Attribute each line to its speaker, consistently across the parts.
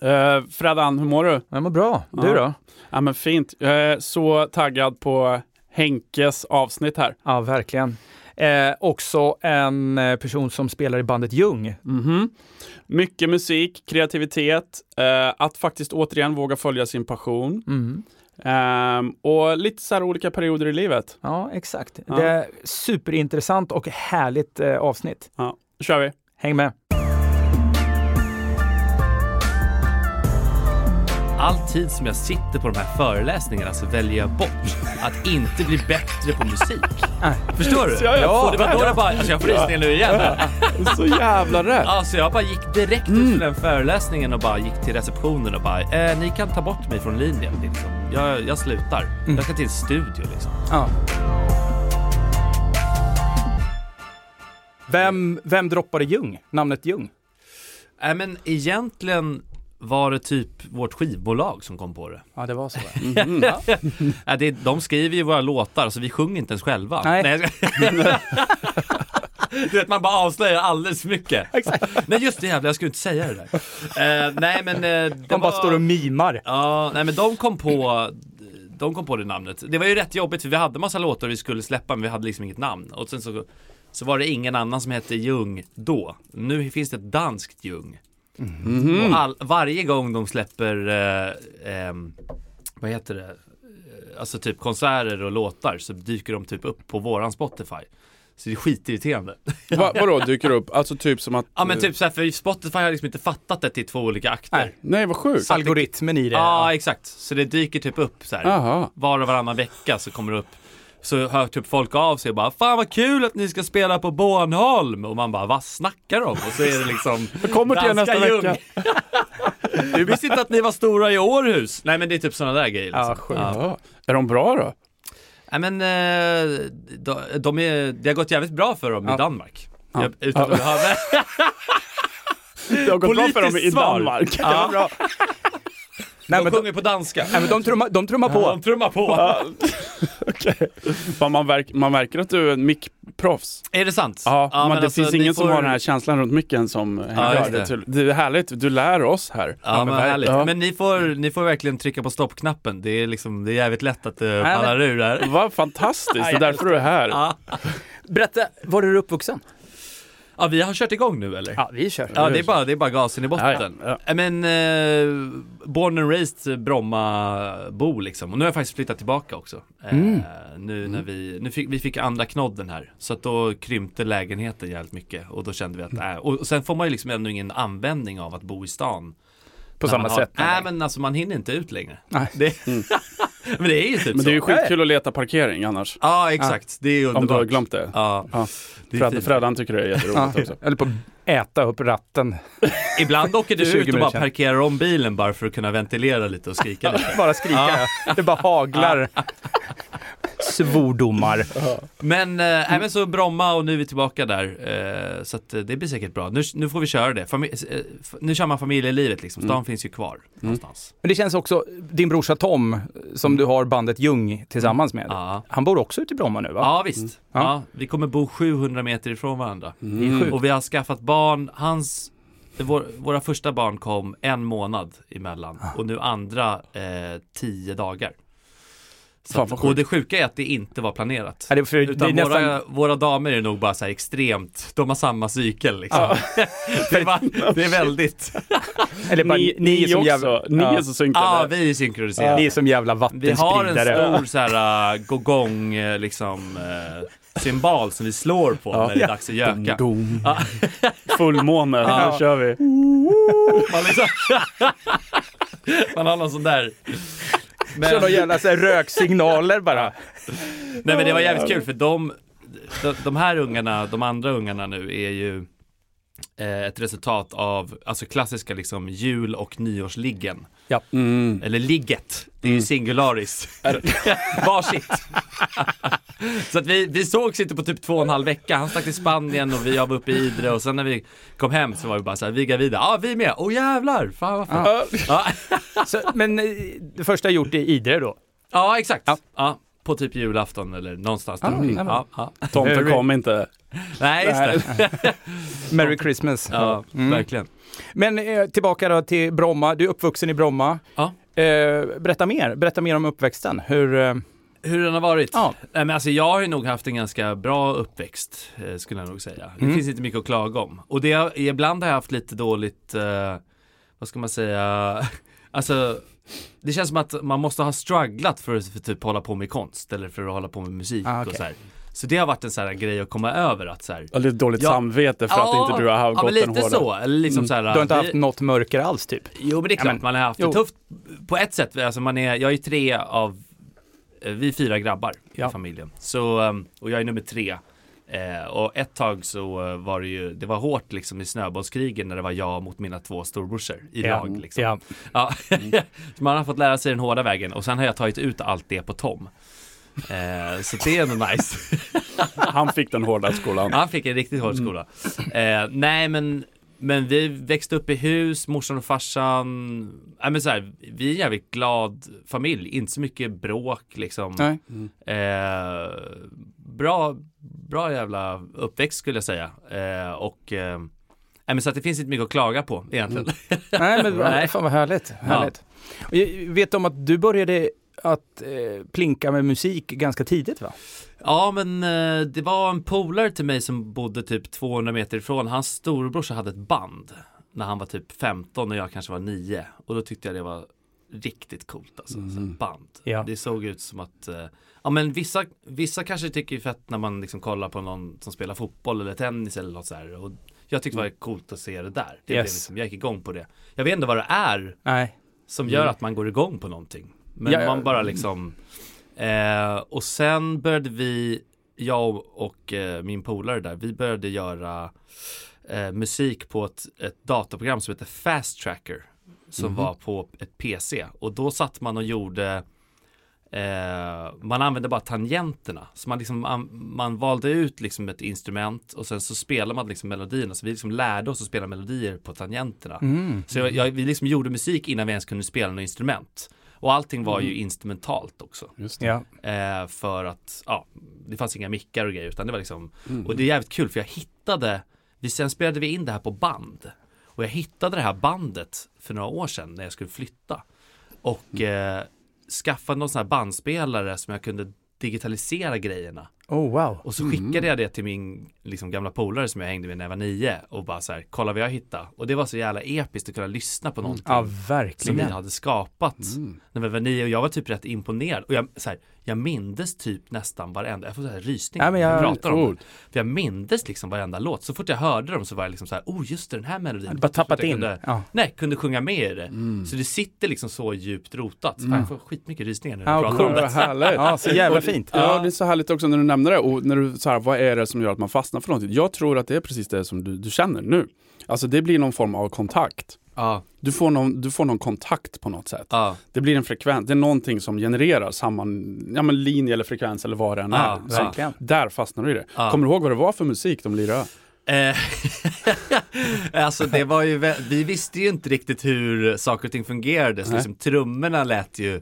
Speaker 1: Eh, Fredan, hur mår du?
Speaker 2: Jag mår bra. Du
Speaker 1: Ja.
Speaker 2: då?
Speaker 1: Ja men fint. Jag är så taggad på Henkes avsnitt här.
Speaker 2: Ja, verkligen. Eh, också en eh, person som spelar i bandet Ljung.
Speaker 1: Mhm. Mycket musik, kreativitet, eh, att faktiskt återigen våga följa sin passion
Speaker 2: Mm.
Speaker 1: ehm, och lite så här olika perioder i livet.
Speaker 2: Ja, exakt.
Speaker 1: Ja.
Speaker 2: Det är superintressant och härligt eh, avsnitt.
Speaker 1: Ja, då kör vi.
Speaker 2: Häng med!
Speaker 3: All tid som jag sitter på de här föreläsningarna så väljer jag bort att inte bli bättre på musik. Förstår du?
Speaker 1: Ja, jag
Speaker 3: det var då jag bara, alltså jag får rysningar nu igen.
Speaker 1: Så jävla rätt!
Speaker 3: Alltså jag bara gick direkt ut
Speaker 1: Mm.
Speaker 3: från den föreläsningen och bara gick till receptionen och bara, eh, ni kan ta bort mig från linjen. Det är Liksom. Jag, jag slutar.
Speaker 1: Mm.
Speaker 3: Jag ska till en studio liksom.
Speaker 2: Ja. Vem, vem droppade Ljung? Namnet Ljung?
Speaker 3: Nej Äh, men egentligen var det typ vårt skivbolag som kom på det.
Speaker 2: Ja, det var så.
Speaker 3: Äh, det är, de skriver ju våra låtar så vi sjunger inte ens själva.
Speaker 2: Nej.
Speaker 3: jag ska- du vet man bara avslöjar alldeles för mycket. Exakt. Men just det jävla, jag skulle inte säga det där. Eh, nej men... eh, det
Speaker 2: De bara
Speaker 3: var-
Speaker 2: står och mimar.
Speaker 3: Ja, nej men de kom på de kom på det namnet. Det var ju rätt jobbigt för vi hade massa låtar vi skulle släppa men vi hade liksom inget namn. Och sen så, så var det ingen annan som hette Ljung då. Nu finns det ett danskt Ljung. Och all, varje gång de släpper, eh, ehm, vad heter det, Eh, alltså typ konserter och låtar så dyker de typ upp på våran Spotify. Så det är skitirriterande.
Speaker 4: Va, vadå dyker upp? Alltså typ som att...
Speaker 3: ja men typ såhär för Spotify har liksom inte fattat att det är två olika akter.
Speaker 2: Nej.
Speaker 4: Nej vad sjukt!
Speaker 2: Algoritmen i det.
Speaker 3: Ja exakt, så det dyker typ upp så här.
Speaker 4: Jaha.
Speaker 3: var och varannan vecka så kommer det upp så hör typ folk av sig och bara Fan vad kul att ni ska spela på Bornholm! Och man bara vad snackar de? Och så är det liksom Jag
Speaker 1: kommer till er nästa vecka.
Speaker 3: Du visste inte att ni var stora i Århus! Nej men det är typ sådana där grejer liksom.
Speaker 2: Ja, sjukt.
Speaker 4: Ja. Är de bra då?
Speaker 3: Nej men eh, de, de är, det har gått jävligt bra för dem i Danmark. Jag, utan att behöva...
Speaker 1: Det har gått bra för dem i
Speaker 3: Politiskt svar.
Speaker 1: Danmark.
Speaker 3: Ja.
Speaker 2: Nej,
Speaker 3: De
Speaker 2: men de,
Speaker 3: sjunger på danska.
Speaker 2: nej, men de trummar, de trummar
Speaker 3: De
Speaker 2: på.
Speaker 3: trummar på.
Speaker 1: Fan, Man, verk, man märker att du är en mickproffs.
Speaker 3: Är det sant?
Speaker 1: Ja, men
Speaker 3: men
Speaker 1: det
Speaker 3: alltså,
Speaker 1: finns
Speaker 3: ni
Speaker 1: ingen som
Speaker 3: får-
Speaker 1: har den här känslan runt micken som Henke
Speaker 3: just
Speaker 1: har. det.
Speaker 3: det.
Speaker 1: är- det är härligt, du lär oss här.
Speaker 3: Ja, men
Speaker 1: verk-
Speaker 3: härligt.
Speaker 1: Ja.
Speaker 3: Men ni får, ni får verkligen trycka på stoppknappen. Det är liksom, det är jävligt lätt att det
Speaker 2: men-
Speaker 3: pallar ur där.
Speaker 1: Vad fantastiskt, det är därför du är här.
Speaker 2: Berätta, var är du uppvuxen?
Speaker 3: Ja, vi har kört igång nu eller?
Speaker 2: Ja, vi kör.
Speaker 3: Ja, det är bara, det är bara gasen i botten.
Speaker 1: Ja,
Speaker 3: Äh, Men, eh, born and raised eh, Bromma-bo liksom. Och nu har jag faktiskt flyttat tillbaka också. Eh, Nu när vi, nu fick, vi fick andra knodden här. Så att då krympte lägenheten jävligt mycket. Och då kände vi att, äh, och och sen får man ju liksom ändå ingen användning av att bo i stan.
Speaker 2: På samma sätt.
Speaker 3: Nej, men alltså man hinner inte ut längre.
Speaker 2: Nej.
Speaker 3: Det, men det är ju typ
Speaker 1: Men
Speaker 3: så.
Speaker 1: det är ju skitkul att leta parkering annars.
Speaker 3: Ja, exakt. Det är underbart.
Speaker 1: Om du har glömt det.
Speaker 3: Ja,
Speaker 1: Ja.
Speaker 3: det är
Speaker 1: Fred,
Speaker 3: fint.
Speaker 1: Fredan tycker det är jätteroligt också.
Speaker 2: Jag höll på att äta upp ratten.
Speaker 3: Ibland åker du
Speaker 2: 20
Speaker 3: ut och bara
Speaker 2: minuter.
Speaker 3: parkerar om bilen bara för att kunna ventilera lite och skrika lite.
Speaker 2: Bara skrika. Det bara haglar. Svordomar.
Speaker 3: Men, eh, även så Bromma och nu är vi tillbaka där. Eh, så att, eh, det blir säkert bra. Nu, nu får vi köra det. Fami- eh, f- nu kör man familjelivet
Speaker 1: Mm.
Speaker 3: liksom. Stan finns ju kvar någonstans.
Speaker 2: Men det känns också, din brorsa Tom, som du har bandet Ljung tillsammans med,
Speaker 3: Ja.
Speaker 2: han bor också ute i Bromma nu va?
Speaker 3: Ja visst.
Speaker 1: Mm.
Speaker 3: Ja.
Speaker 2: Ja.
Speaker 3: vi kommer bo 700 meter ifrån varandra.
Speaker 2: Det är sjukt.
Speaker 3: Och vi har skaffat barn. Hans, vår, våra första barn kom en månad emellan
Speaker 2: Ah.
Speaker 3: och nu andra eh, tio dagar. Så
Speaker 1: Fan,
Speaker 3: att,
Speaker 1: vad
Speaker 3: och det sjuka är att det inte var planerat.
Speaker 2: Ja, det är för, det är
Speaker 3: Utan
Speaker 2: nästan,
Speaker 3: våra, våra damer är nog bara så här extremt, de har samma cykel liksom.
Speaker 2: Ah.
Speaker 3: det, är bara, det är väldigt,
Speaker 2: eller bara, ni, ni, är som
Speaker 1: också,
Speaker 2: jävla,
Speaker 1: ni
Speaker 2: ja,
Speaker 1: är så synkade.
Speaker 3: ja Ah, vi är
Speaker 2: ni
Speaker 3: synkroniserade.
Speaker 2: är som jävla
Speaker 3: Vi har en
Speaker 2: vattenspridare.
Speaker 3: stor så här äh, gogong äh, liksom äh, symbol som vi slår på när det är dags att göka.
Speaker 1: Dom. Fullmåne, nu kör vi.
Speaker 3: Man, liksom, man har någon sån där.
Speaker 2: Kör
Speaker 3: Men,
Speaker 2: några jävla så här, röksignaler bara.
Speaker 3: nej men det var jävligt kul för de, de, de här ungarna, de andra ungarna nu är ju eh, ett resultat av alltså klassiska liksom jul och nyårsliggen.
Speaker 2: Ja.
Speaker 3: Eller ligget, det är ju singularis. Varsitt. så att vi, vi sågs inte på typ två och en halv vecka. Han stack till Spanien och vi jag var uppe i Idre och sen när vi kom hem så var vi bara såhär, vi Gavida, ja ah, vi med, åh jävlar, fan vad fan. Ja,
Speaker 2: Så, men eh, det första jag gjort i Idre då.
Speaker 3: Ja, exakt. Ja. på typ julafton eller någonstans där omkring. ja, ja.
Speaker 1: Tomten kom inte.
Speaker 3: Nej, Mm. just det.
Speaker 2: Merry Christmas.
Speaker 3: Ja, verkligen.
Speaker 2: Men eh, tillbaka då till Bromma, du är uppvuxen i Bromma.
Speaker 3: Ja.
Speaker 2: Eh, berätta mer, berätta mer om uppväxten. Hur, eh,
Speaker 3: Hur den har varit?
Speaker 2: ja,
Speaker 3: Nej, men alltså, jag har ju nog haft en ganska bra uppväxt, eh, skulle jag nog säga. Det
Speaker 2: Mm.
Speaker 3: finns inte mycket att klaga om. Och det har, ibland har jag haft lite dåligt, eh, vad ska man säga, alltså det känns som att man måste ha strugglat för att för typ hålla på med konst eller för att hålla på med musik
Speaker 2: Ah,
Speaker 3: och
Speaker 2: okej.
Speaker 3: så här. Så det har varit en sån här grej att komkomma över att så här.
Speaker 4: Och lite dåligt
Speaker 3: Ja.
Speaker 4: samvete för
Speaker 3: Ja,
Speaker 4: att inte du har
Speaker 3: ja,
Speaker 4: gått
Speaker 3: men
Speaker 4: den
Speaker 3: lite
Speaker 4: hårda.
Speaker 3: så. Eller liksom så här,
Speaker 2: Mm. du har inte
Speaker 3: vi-
Speaker 2: haft något mörker alls typ?
Speaker 3: Jo men det är
Speaker 2: Ja,
Speaker 3: klart,
Speaker 2: men-
Speaker 3: man har haft
Speaker 2: jo.
Speaker 3: det tufft på ett sätt. Alltså man är, jag är tre av, eh, vi är fyra grabbar
Speaker 2: Ja.
Speaker 3: i familjen. Så, eh, och jag är nummer tre. Eh, och ett tag så eh, var det ju, det var hårt liksom i snöbollskrigen när det var jag mot mina två storbrorsor i lag. Liksom.
Speaker 2: Ja.
Speaker 3: Ja. så man har fått lära sig den hårda vägen och sen har jag tagit ut allt det på Tom. Eh, så det är ändå nice.
Speaker 4: Han fick den hårda skolan.
Speaker 3: Han fick en riktigt hård skola. Eh, nej men, men vi växte upp i hus, morsan och farsan. Nej men så här, vi är en jävligt glad familj, inte så mycket bråk liksom.
Speaker 2: Nej.
Speaker 3: Eh, bra, bra jävla uppväxt skulle jag säga. Eh, och eh, nej, men så att det finns inte mycket att klaga på egentligen.
Speaker 2: Nej, men
Speaker 3: Nej.
Speaker 2: fan vad härligt. härligt. Och jag Vet om att du började att eh, plinka med musik ganska tidigt va?
Speaker 3: Ja men eh, det var en polare till mig som bodde typ 200 meter ifrån. Hans storebrorsa hade ett band när han var typ 15 och jag kanske var 9. Och då tyckte jag det var riktigt coolt alltså. Så ett band.
Speaker 2: Mm. Ja.
Speaker 3: Det såg ut som att eh, Ja men vissa, vissa kanske tycker det är fett när man liksom kollar på någon som spelar fotboll eller tennis eller något så här. Och jag tyckte det var coolt att se det där. Det blev
Speaker 2: Mm. Yes.
Speaker 3: liksom, jag gick igång på det. Jag vet inte vad det är
Speaker 2: Nej.
Speaker 3: som gör att man går igång på någonting. Men
Speaker 2: Mm. Ja, ja.
Speaker 3: man bara liksom eh, Och sen började vi Jag och eh, min polare där Vi började göra eh, Musik på ett, ett datorprogram som heter Fast Tracker Som
Speaker 2: Mhm.
Speaker 3: var på ett PC Och då satt man och gjorde eh, Man använde bara tangenterna Så man liksom man, man valde ut liksom ett instrument Och sen så spelade man liksom melodierna Så vi liksom lärde oss att spela melodier på tangenterna
Speaker 2: Mm.
Speaker 3: så jag, jag, vi liksom gjorde musik innan vi ens kunde spela något instrument. Och allting var ju instrumentalt också.
Speaker 4: Just det.
Speaker 2: Ja.
Speaker 3: Eh, för att, ja, det fanns inga mickar och grejer utan det var liksom, och det är jävligt kul för jag hittade, vi, sen spelade vi in det här på band. Och jag hittade det här bandet för några år sedan när jag skulle flytta. Och eh, skaffade någon sån här bandspelare som jag kunde digitalisera grejerna.
Speaker 2: Oh wow.
Speaker 3: Och så skickade jag det till min liksom, gamla polare som jag hängde med när jag var nio och bara så här, kolla vad jag hittade. Och det var så jävla episkt att kunna lyssna på någonting
Speaker 2: Ja,
Speaker 3: som vi
Speaker 2: verkligen.
Speaker 3: hade skapat
Speaker 2: Mm.
Speaker 3: när vi var nio och jag var typ rätt imponerad. Och jag, så här, jag mindes typ nästan varenda, jag får så här rysningar
Speaker 2: Ja, men jag-
Speaker 3: när jag pratar om det.
Speaker 4: coolt.
Speaker 3: För jag mindes liksom varenda låt. Så fort jag hörde dem så var jag liksom så här, oh just det, den här melodin.
Speaker 2: Du bara tappat
Speaker 3: Så att jag
Speaker 2: in.
Speaker 3: Kunde,
Speaker 2: Ja. Mm.
Speaker 3: Nej, kunde sjunga med i det. Så det sitter liksom så djupt rotat. Fan, jag får skitmycket rysningar nu när jag
Speaker 2: Ja,
Speaker 3: pratar om
Speaker 2: coolt.
Speaker 3: det.
Speaker 4: Vad härligt.
Speaker 2: ja, så jävla fint.
Speaker 4: Ja, det är så härligt också när du nämner det och när du så här, vad är det som gör att man fastnar för någonting? Jag tror att det är precis det som du, du känner nu. Alltså det blir någon form av kontakt.
Speaker 3: Ja,
Speaker 4: Du får någon, du får någon kontakt på något sätt.
Speaker 3: ja,
Speaker 4: Det blir en frekvens, det är någonting som genererar samma ja, men linje eller frekvens eller vad det än är.
Speaker 3: ja,
Speaker 4: Så
Speaker 3: verkligen.
Speaker 2: Verkligen.
Speaker 4: Där fastnar du i det.
Speaker 3: Ja.
Speaker 4: Kommer du ihåg vad det var för musik de lirade?
Speaker 3: Eh, alltså det var ju, vä- vi visste ju inte riktigt hur saker och ting fungerade, så
Speaker 4: Nej. Mm.
Speaker 3: liksom, trummorna lät ju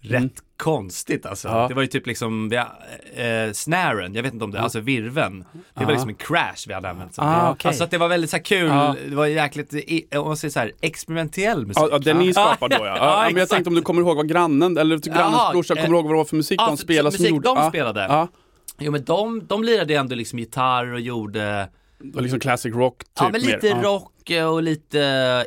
Speaker 3: rätt konstigt alltså.
Speaker 4: Ja. Mm.
Speaker 3: Det var ju typ liksom, vi, eh, snaren, jag vet inte om det, alltså virven det var liksom en crash vi hade använt. som
Speaker 2: Ah,
Speaker 3: det.
Speaker 2: okej.
Speaker 3: Alltså att det var väldigt så här kul,
Speaker 4: Ja.
Speaker 3: det var jäkligt, i- om man säger så här, experimentell musik.
Speaker 4: Ja, ja, det ni skapar då ja. ja,
Speaker 3: Ja,
Speaker 4: men jag
Speaker 3: exakt.
Speaker 4: tänkte om du kommer ihåg vad grannen, eller
Speaker 3: Jaha,
Speaker 4: grannens brorsa, kommer
Speaker 3: eh,
Speaker 4: du ihåg vad det var för musik
Speaker 3: ja,
Speaker 4: de
Speaker 3: för
Speaker 4: spelade? som
Speaker 3: musik
Speaker 4: gjorde-
Speaker 3: de
Speaker 4: ja,
Speaker 3: spelade.
Speaker 4: Ja,
Speaker 3: Jo men de, de lirade ju ändå liksom gitarr och gjorde
Speaker 4: och liksom classic rock typ
Speaker 3: ja, men lite
Speaker 4: mer. Ja.
Speaker 3: rock och lite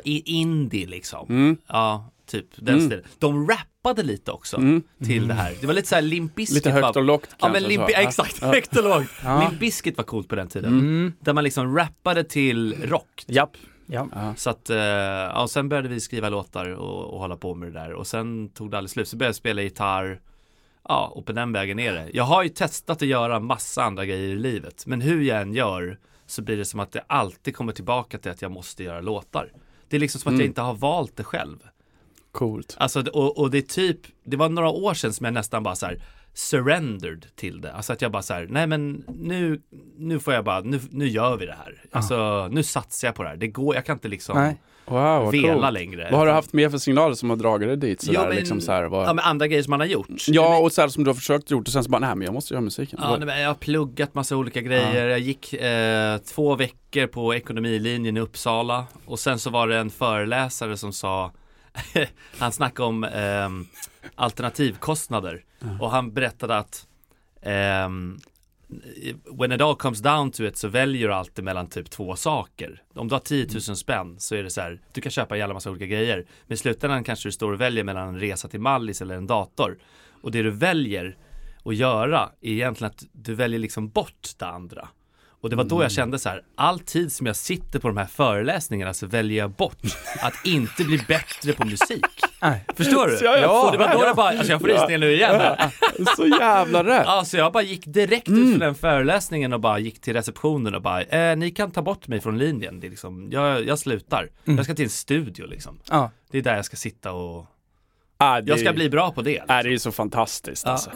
Speaker 3: i- indie liksom.
Speaker 4: Mm.
Speaker 3: Ja, typ den stilen. De rappade lite också till det här. Det var lite så här Limp Bizkit
Speaker 4: Mm. Lite högt
Speaker 3: var-
Speaker 4: och lågt
Speaker 3: typ Ja
Speaker 4: kanske
Speaker 3: men Limp,
Speaker 4: så. Ja. Mm.
Speaker 3: exakt, högt och lågt. Limp Bizkit var coolt på den tiden. Där man liksom rappade till rock.
Speaker 2: Japp. Ja.
Speaker 3: Så att, eh, ja, och sen började vi skriva låtar och, och hålla på med det där. Och sen tog det aldrig slut. Så började jag spela gitarr. Ja, och på den vägen är det. Jag har ju testat att göra massa andra grejer i livet. Men hur jag än gör så blir det som att det alltid kommer tillbaka till att jag måste göra låtar. Det är liksom som att jag inte har valt det själv.
Speaker 4: Coolt.
Speaker 3: Alltså, det- och, och det är typ, det var några år sedan som jag nästan bara så här surrendered till det. Alltså att jag bara så här, nej men nu, nu får jag bara, nu, nu gör vi det här. Alltså nu satsar jag på det här. Det går, jag kan inte liksom
Speaker 2: Nej.
Speaker 4: Wow, vad
Speaker 3: vela
Speaker 4: coolt.
Speaker 3: längre.
Speaker 4: Vad har du haft med för signaler som har dragit dig dit? Sådär,
Speaker 3: Ja, men-
Speaker 4: liksom så här, vad...
Speaker 3: Ja, men andra grejer som man har gjort.
Speaker 4: Ja, och så här, som du har försökt gjort och sen så bara, nej men jag måste göra musiken.
Speaker 3: Ja, nej, men jag har pluggat massa olika grejer. Jag gick eh, två veckor på ekonomilinjen i Uppsala och sen så var det en föreläsare som sa, han snackade om ehm, alternativkostnader och han berättade att ehm, When it all comes down to it så väljer du alltid mellan typ två saker. Om du har 10 000 spänn så är det så här, du kan köpa en jävla massa olika grejer. Men i slutändan kanske du står och väljer mellan en resa till Mallis eller en dator. Och det du väljer att göra är egentligen att du väljer liksom bort det andra. Och det var då jag kände så här, all tid som jag sitter på de här föreläsningarna så väljer jag bort att inte bli bättre på musik.
Speaker 2: Nej.
Speaker 3: Förstår du?
Speaker 4: Ja, jag
Speaker 3: det var då jag bara, alltså jag får rysningar nu igen här.
Speaker 4: Så jävla rätt!
Speaker 3: Ja, så jag bara gick direkt ut från den föreläsningen och bara gick till receptionen och bara, eh, ni kan ta bort mig från linjen, det är liksom, jag, jag slutar. Jag ska till en studio liksom.
Speaker 2: Ja.
Speaker 3: Det är där jag ska sitta och,
Speaker 4: Ah, det,
Speaker 3: jag ska bli bra på det.
Speaker 4: Ah, det är ju så fantastiskt alltså.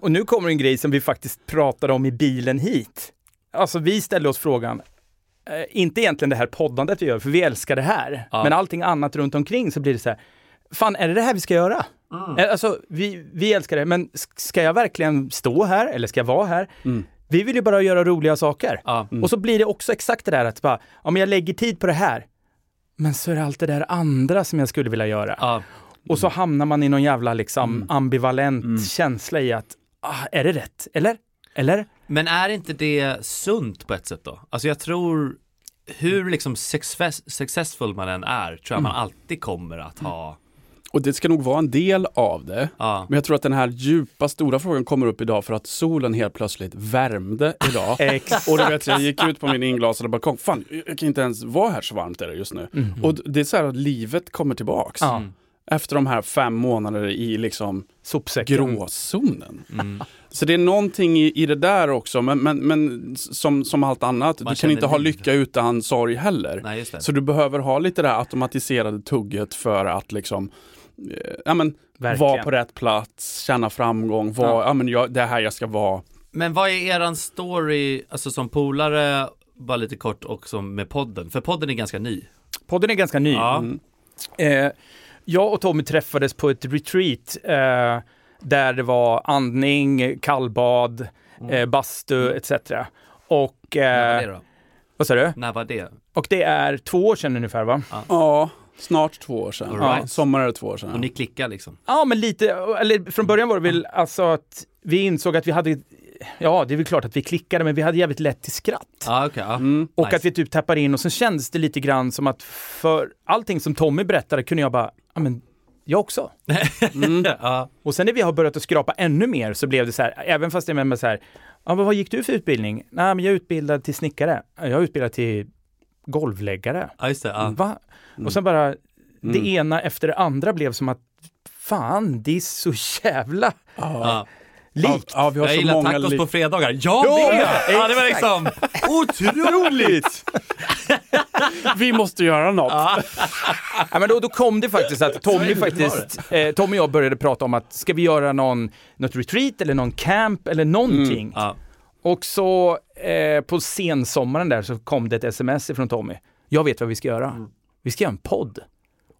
Speaker 2: Och nu kommer en grej som vi faktiskt pratade om i bilen hit. Alltså vi ställde oss frågan, eh, inte egentligen det här poddandet vi gör, för vi älskar det här,
Speaker 3: Ja.
Speaker 2: men allting annat runt omkring så blir det så här, fan är det det här vi ska göra? Eh, Alltså vi, vi älskar det, men s- ska jag verkligen stå här eller ska jag vara här? Vi vill ju bara göra roliga saker.
Speaker 3: Ja.
Speaker 2: Och så blir det också exakt det där att bara, ja men jag lägger tid på det här, men så är det allt det där andra som jag skulle vilja göra.
Speaker 3: Ja.
Speaker 2: Och
Speaker 3: Mm.
Speaker 2: så hamnar man i någon jävla liksom ambivalent känsla i att, ah, är det rätt? Eller? Eller?
Speaker 3: Men är inte det sunt på ett sätt då? Alltså jag tror,
Speaker 4: Mm.
Speaker 3: hur liksom success, successful man än är, tror jag man alltid kommer att
Speaker 4: Mm.
Speaker 3: ha,
Speaker 4: Och det ska nog vara en del av det.
Speaker 3: ja.
Speaker 4: Men jag tror att den här djupa, stora frågan kommer upp idag för att solen helt plötsligt värmde idag.
Speaker 3: Eh,
Speaker 2: Exakt.
Speaker 4: Och du vet, jag gick ut på min inglasade balkong. Fan, jag kan inte ens vara här så varmt är det just nu.
Speaker 3: Mhm.
Speaker 4: Och det är så här att livet kommer tillbaks.
Speaker 2: Ja.
Speaker 4: Efter de här fem månaderna i liksom
Speaker 2: Sopsäcken.
Speaker 4: gråzonen.
Speaker 3: Mm.
Speaker 4: Så det är någonting i, i det där också, men, men, men som, som allt annat,
Speaker 3: Man
Speaker 4: du kan inte
Speaker 3: känner
Speaker 4: ha
Speaker 3: liv.
Speaker 4: lycka utan sorg heller.
Speaker 3: Nej, just det.
Speaker 4: Så du behöver ha lite det här automatiserade tugget för att liksom eh, Ja, men,
Speaker 2: Verkligen.
Speaker 4: vara på rätt plats, känna framgång, vara, ja. men jag, det är här jag ska vara.
Speaker 3: Men vad är eran story, alltså som polare, bara lite kort också med podden? För podden är ganska
Speaker 4: Mm.
Speaker 3: ny.
Speaker 2: Podden är ganska ny.
Speaker 3: Ja.
Speaker 2: Eh, jag och Tommy träffades på ett retreat eh, där det var andning, kallbad,
Speaker 3: Mm.
Speaker 2: eh, bastu etc. Och,
Speaker 3: När var det
Speaker 2: eh,
Speaker 3: då?
Speaker 2: vad sa du?
Speaker 3: När var det?
Speaker 2: Och det är två år sedan ungefär va?
Speaker 4: Ja, snart två år sedan.
Speaker 3: All right.
Speaker 4: Ja, sommar är det två år sedan.
Speaker 3: Och ni klickar liksom?
Speaker 2: Ja, men lite, eller från början var det väl alltså att vi insåg att vi hade, ja det är väl klart att vi klickade, men vi hade jävligt lätt till skratt.
Speaker 3: Ja, okej. ja.
Speaker 2: Och
Speaker 3: Nice.
Speaker 2: att vi typ tappar in och sen kändes det lite grann som att för allting som Tommy berättade kunde jag bara, ja men jag också.
Speaker 3: mm.
Speaker 4: Mm.
Speaker 3: ja.
Speaker 2: Och sen när vi har börjat att skrapa ännu mer så blev det så här, även fast det är med så här, ja men vad gick du för utbildning? Nej men jag är utbildad till snickare, jag är utbildad till golvläggare.
Speaker 3: ja, just det. Ja.
Speaker 2: Va? Och sen bara, det ena efter det andra blev som att, fan det är så jävla
Speaker 3: Ja.
Speaker 2: likt.
Speaker 4: Ja, vi har
Speaker 3: Jag
Speaker 4: så
Speaker 3: gillar
Speaker 4: många
Speaker 3: tacos
Speaker 4: li-
Speaker 3: på fredagar. Jag med! Ja, det var liksom otroligt!
Speaker 4: Vi måste göra något.
Speaker 2: Ja, men då, då kom det faktiskt att Tommy, faktiskt, eh, Tommy och jag började prata om att ska vi göra någon, något retreat eller någon camp eller någonting.
Speaker 3: Mm, Ja.
Speaker 2: Och så eh, på sensommaren där så kom det ett sms ifrån Tommy. Jag vet vad vi ska göra.
Speaker 3: Mm.
Speaker 2: Vi ska göra en podd.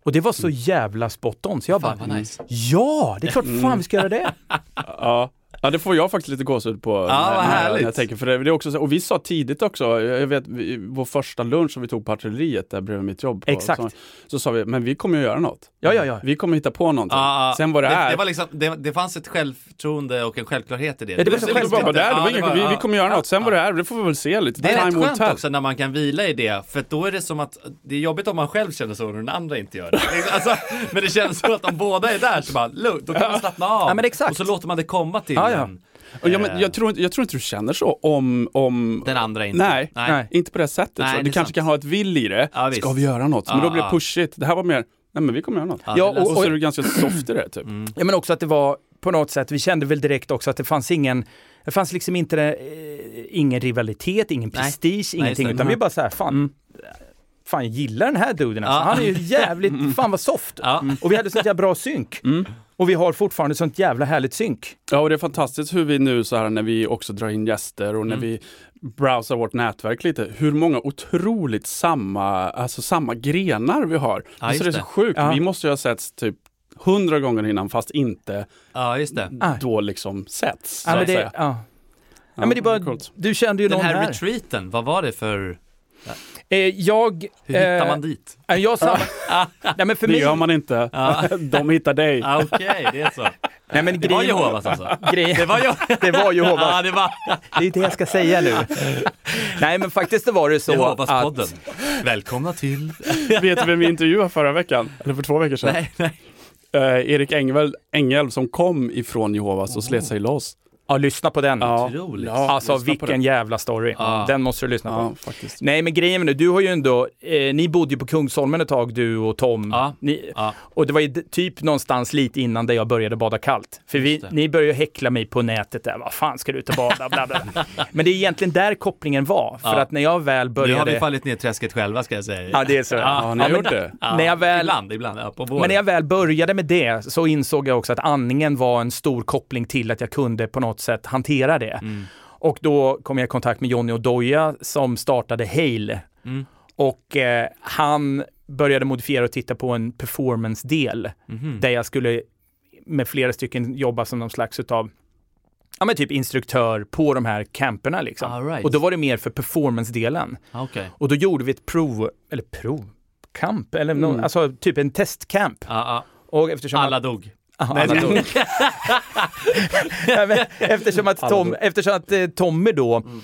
Speaker 2: Och det var så jävla spot on så jag
Speaker 3: Fan
Speaker 2: bara,
Speaker 3: vad nice. Mm.
Speaker 2: ja det är klart fan vi ska göra det.
Speaker 4: Ja. ja, det får jag faktiskt lite gåshud på. när,
Speaker 3: vad
Speaker 4: när,
Speaker 3: härligt.
Speaker 4: när jag tänker, för det, det är också så, och vi sa tidigt också, jag jag vet vi, vår första lunch som vi tog på artilleriet där bredvid mitt jobb. På,
Speaker 2: Exakt.
Speaker 4: Så, så sa vi, men vi kommer ju göra något.
Speaker 2: Ja, ja, ja.
Speaker 4: Vi kommer hitta på någonting.
Speaker 3: Ja, ja.
Speaker 4: Sen vad det,
Speaker 3: Ah, det,
Speaker 4: är.
Speaker 3: det, var liksom, det, det fanns ett självförtroende och en självklarhet i det.
Speaker 2: Ja, det var
Speaker 4: Så
Speaker 2: så
Speaker 4: det var bara vad det är, det var
Speaker 3: Ja, det
Speaker 4: inget,
Speaker 3: var-
Speaker 4: vi,
Speaker 3: ja.
Speaker 4: vi kommer göra något. Sen vad det är, det får vi väl se lite.
Speaker 3: Det är rätt
Speaker 4: Time will
Speaker 3: skönt
Speaker 4: tell.
Speaker 3: också när man kan vila i det, för att då är det som att det är jobbigt om man själv känner så och den andra inte gör det. Alltså, men det känns som att om båda är där så bara, lugnt, då kan man slappna av.
Speaker 2: Ja, men exakt.
Speaker 3: Och så låter man det komma till
Speaker 2: Ja, ja.
Speaker 3: en.
Speaker 4: Och jag,
Speaker 3: eh,
Speaker 4: men, jag, tror, inte- jag tror inte du känner så om... om
Speaker 3: den andra inte.
Speaker 4: Nej,
Speaker 2: Nej.
Speaker 4: inte på det sättet.
Speaker 3: Nej,
Speaker 4: så. Du
Speaker 3: det är
Speaker 4: kanske
Speaker 3: sant.
Speaker 4: kan ha ett vill i det.
Speaker 3: Ja, visst.
Speaker 4: Ska vi göra något? Men
Speaker 3: Ja,
Speaker 4: då blir det
Speaker 3: ja.
Speaker 4: pushigt. Det här var mer, nej men vi kommer göra något.
Speaker 3: Ja,
Speaker 2: Ja,
Speaker 3: det lät-
Speaker 2: och-
Speaker 4: Och så är du ganska soft i det typ.
Speaker 2: Ja men också att det var på något sätt, vi kände väl direkt också att det fanns ingen, det fanns liksom inte, eh, ingen rivalitet, ingen
Speaker 3: Nej.
Speaker 2: prestige,
Speaker 3: Nej, just
Speaker 2: ingenting,
Speaker 3: det. Mm.
Speaker 2: utan vi bara så här, fan, fan jag gillar den här duden alltså.
Speaker 3: Ja. Mm.
Speaker 2: han är ju jävligt, fan vad soft. Mm.
Speaker 3: Ja. Mm.
Speaker 2: Och vi hade sånt jävla bra synk. Och Och vi har fortfarande sånt jävla härligt synk.
Speaker 4: Ja, och det är fantastiskt hur vi nu så här när vi också drar in gäster och när
Speaker 2: Mm.
Speaker 4: vi browsar vårt nätverk lite, hur många otroligt samma, alltså samma grenar vi har.
Speaker 3: Ja,
Speaker 4: alltså det är
Speaker 3: just
Speaker 4: så
Speaker 3: det.
Speaker 4: sjukt.
Speaker 2: Ja.
Speaker 4: Vi måste ju ha setts typ hundra gånger innan fast inte
Speaker 3: Ja, just det.
Speaker 2: Nej.
Speaker 4: då liksom setts. så
Speaker 2: Ja, men
Speaker 4: att
Speaker 2: det,
Speaker 4: säga.
Speaker 2: ja. Ja, men det är bara,
Speaker 4: coolt.
Speaker 2: du kände ju
Speaker 3: Den
Speaker 2: någon
Speaker 3: här,
Speaker 2: här.
Speaker 3: retreaten, vad var det för...
Speaker 2: Eh, jag...
Speaker 3: Hur hittar
Speaker 2: eh,
Speaker 3: man dit?
Speaker 2: eh, Jag sam- Nej men för
Speaker 4: Det
Speaker 2: mig...
Speaker 4: gör man inte.
Speaker 3: Ja.
Speaker 4: De hittar dig.
Speaker 3: Ah, Okej, det är så.
Speaker 2: Nej men
Speaker 3: Det var
Speaker 2: grejen...
Speaker 3: Jehovas alltså?
Speaker 2: grejen-
Speaker 3: Det var jag.
Speaker 2: Det var Jehovas.
Speaker 3: Ja, det var
Speaker 2: Det är det jag ska säga nu. Nej men faktiskt det var det så
Speaker 3: Jehovaspodden. Välkomna till...
Speaker 4: Vet du vem vi intervjuade förra veckan? Eller för två veckor sedan?
Speaker 3: Nej, nej.
Speaker 4: Eh, Erik Engel, Engel som kom ifrån Jehovas och slet sig loss.
Speaker 2: Ja, lyssna på den.
Speaker 3: Otroligt.
Speaker 2: Alltså
Speaker 4: lyssna på
Speaker 2: vilken
Speaker 4: den.
Speaker 2: jävla story.
Speaker 3: Ja.
Speaker 2: Den måste du lyssna på.
Speaker 4: Ja, faktiskt.
Speaker 2: Nej men grejen är nu, du har ju ändå, eh, ni bodde ju på Kungsholmen ett tag du och Tom.
Speaker 3: Ja.
Speaker 2: Ni,
Speaker 3: Ja.
Speaker 2: Och det var ju d- typ någonstans lite innan där jag började bada kallt. För vi,
Speaker 3: det.
Speaker 2: ni började ju häckla mig på nätet där, vad fan ska du ut och bada? Bla, bla. bla. men det är egentligen där kopplingen var. För
Speaker 3: Ja.
Speaker 2: att när jag väl
Speaker 3: Nu har
Speaker 2: började...
Speaker 3: vi fallit ner i träsket själva ska jag säga.
Speaker 2: ja det är så.
Speaker 4: Ja, ni har
Speaker 2: men-
Speaker 4: gjort det.
Speaker 3: Ja,
Speaker 2: När jag väl-
Speaker 3: Ibland, ibland. Ja, på våren.
Speaker 2: Men när jag väl började med det så insåg jag också att andningen var en stor koppling till att jag kunde på något sätt hantera det.
Speaker 3: Mm.
Speaker 2: Och då kom jag i kontakt med Jonny Odoja som startade Hail.
Speaker 3: Mm.
Speaker 2: Och eh, han började modifiera och titta på en performance-del
Speaker 3: Mhm.
Speaker 2: där jag skulle med flera stycken jobba som någon slags utav Ja men typ instruktör på de här camperna liksom.
Speaker 3: All right.
Speaker 2: Och då var det mer för performance-delen.
Speaker 3: Ah, Okej.
Speaker 2: Och då gjorde vi ett prov, eller prov, camp, eller någon,
Speaker 3: Mm.
Speaker 2: alltså typ en testcamp.
Speaker 3: Ah, ah.
Speaker 2: Och eftersom
Speaker 3: Alla
Speaker 2: att,
Speaker 3: dog.
Speaker 2: Aha, alla dog. Nej, men eftersom att, Tom, eftersom att eh, Tommy då
Speaker 3: Mm.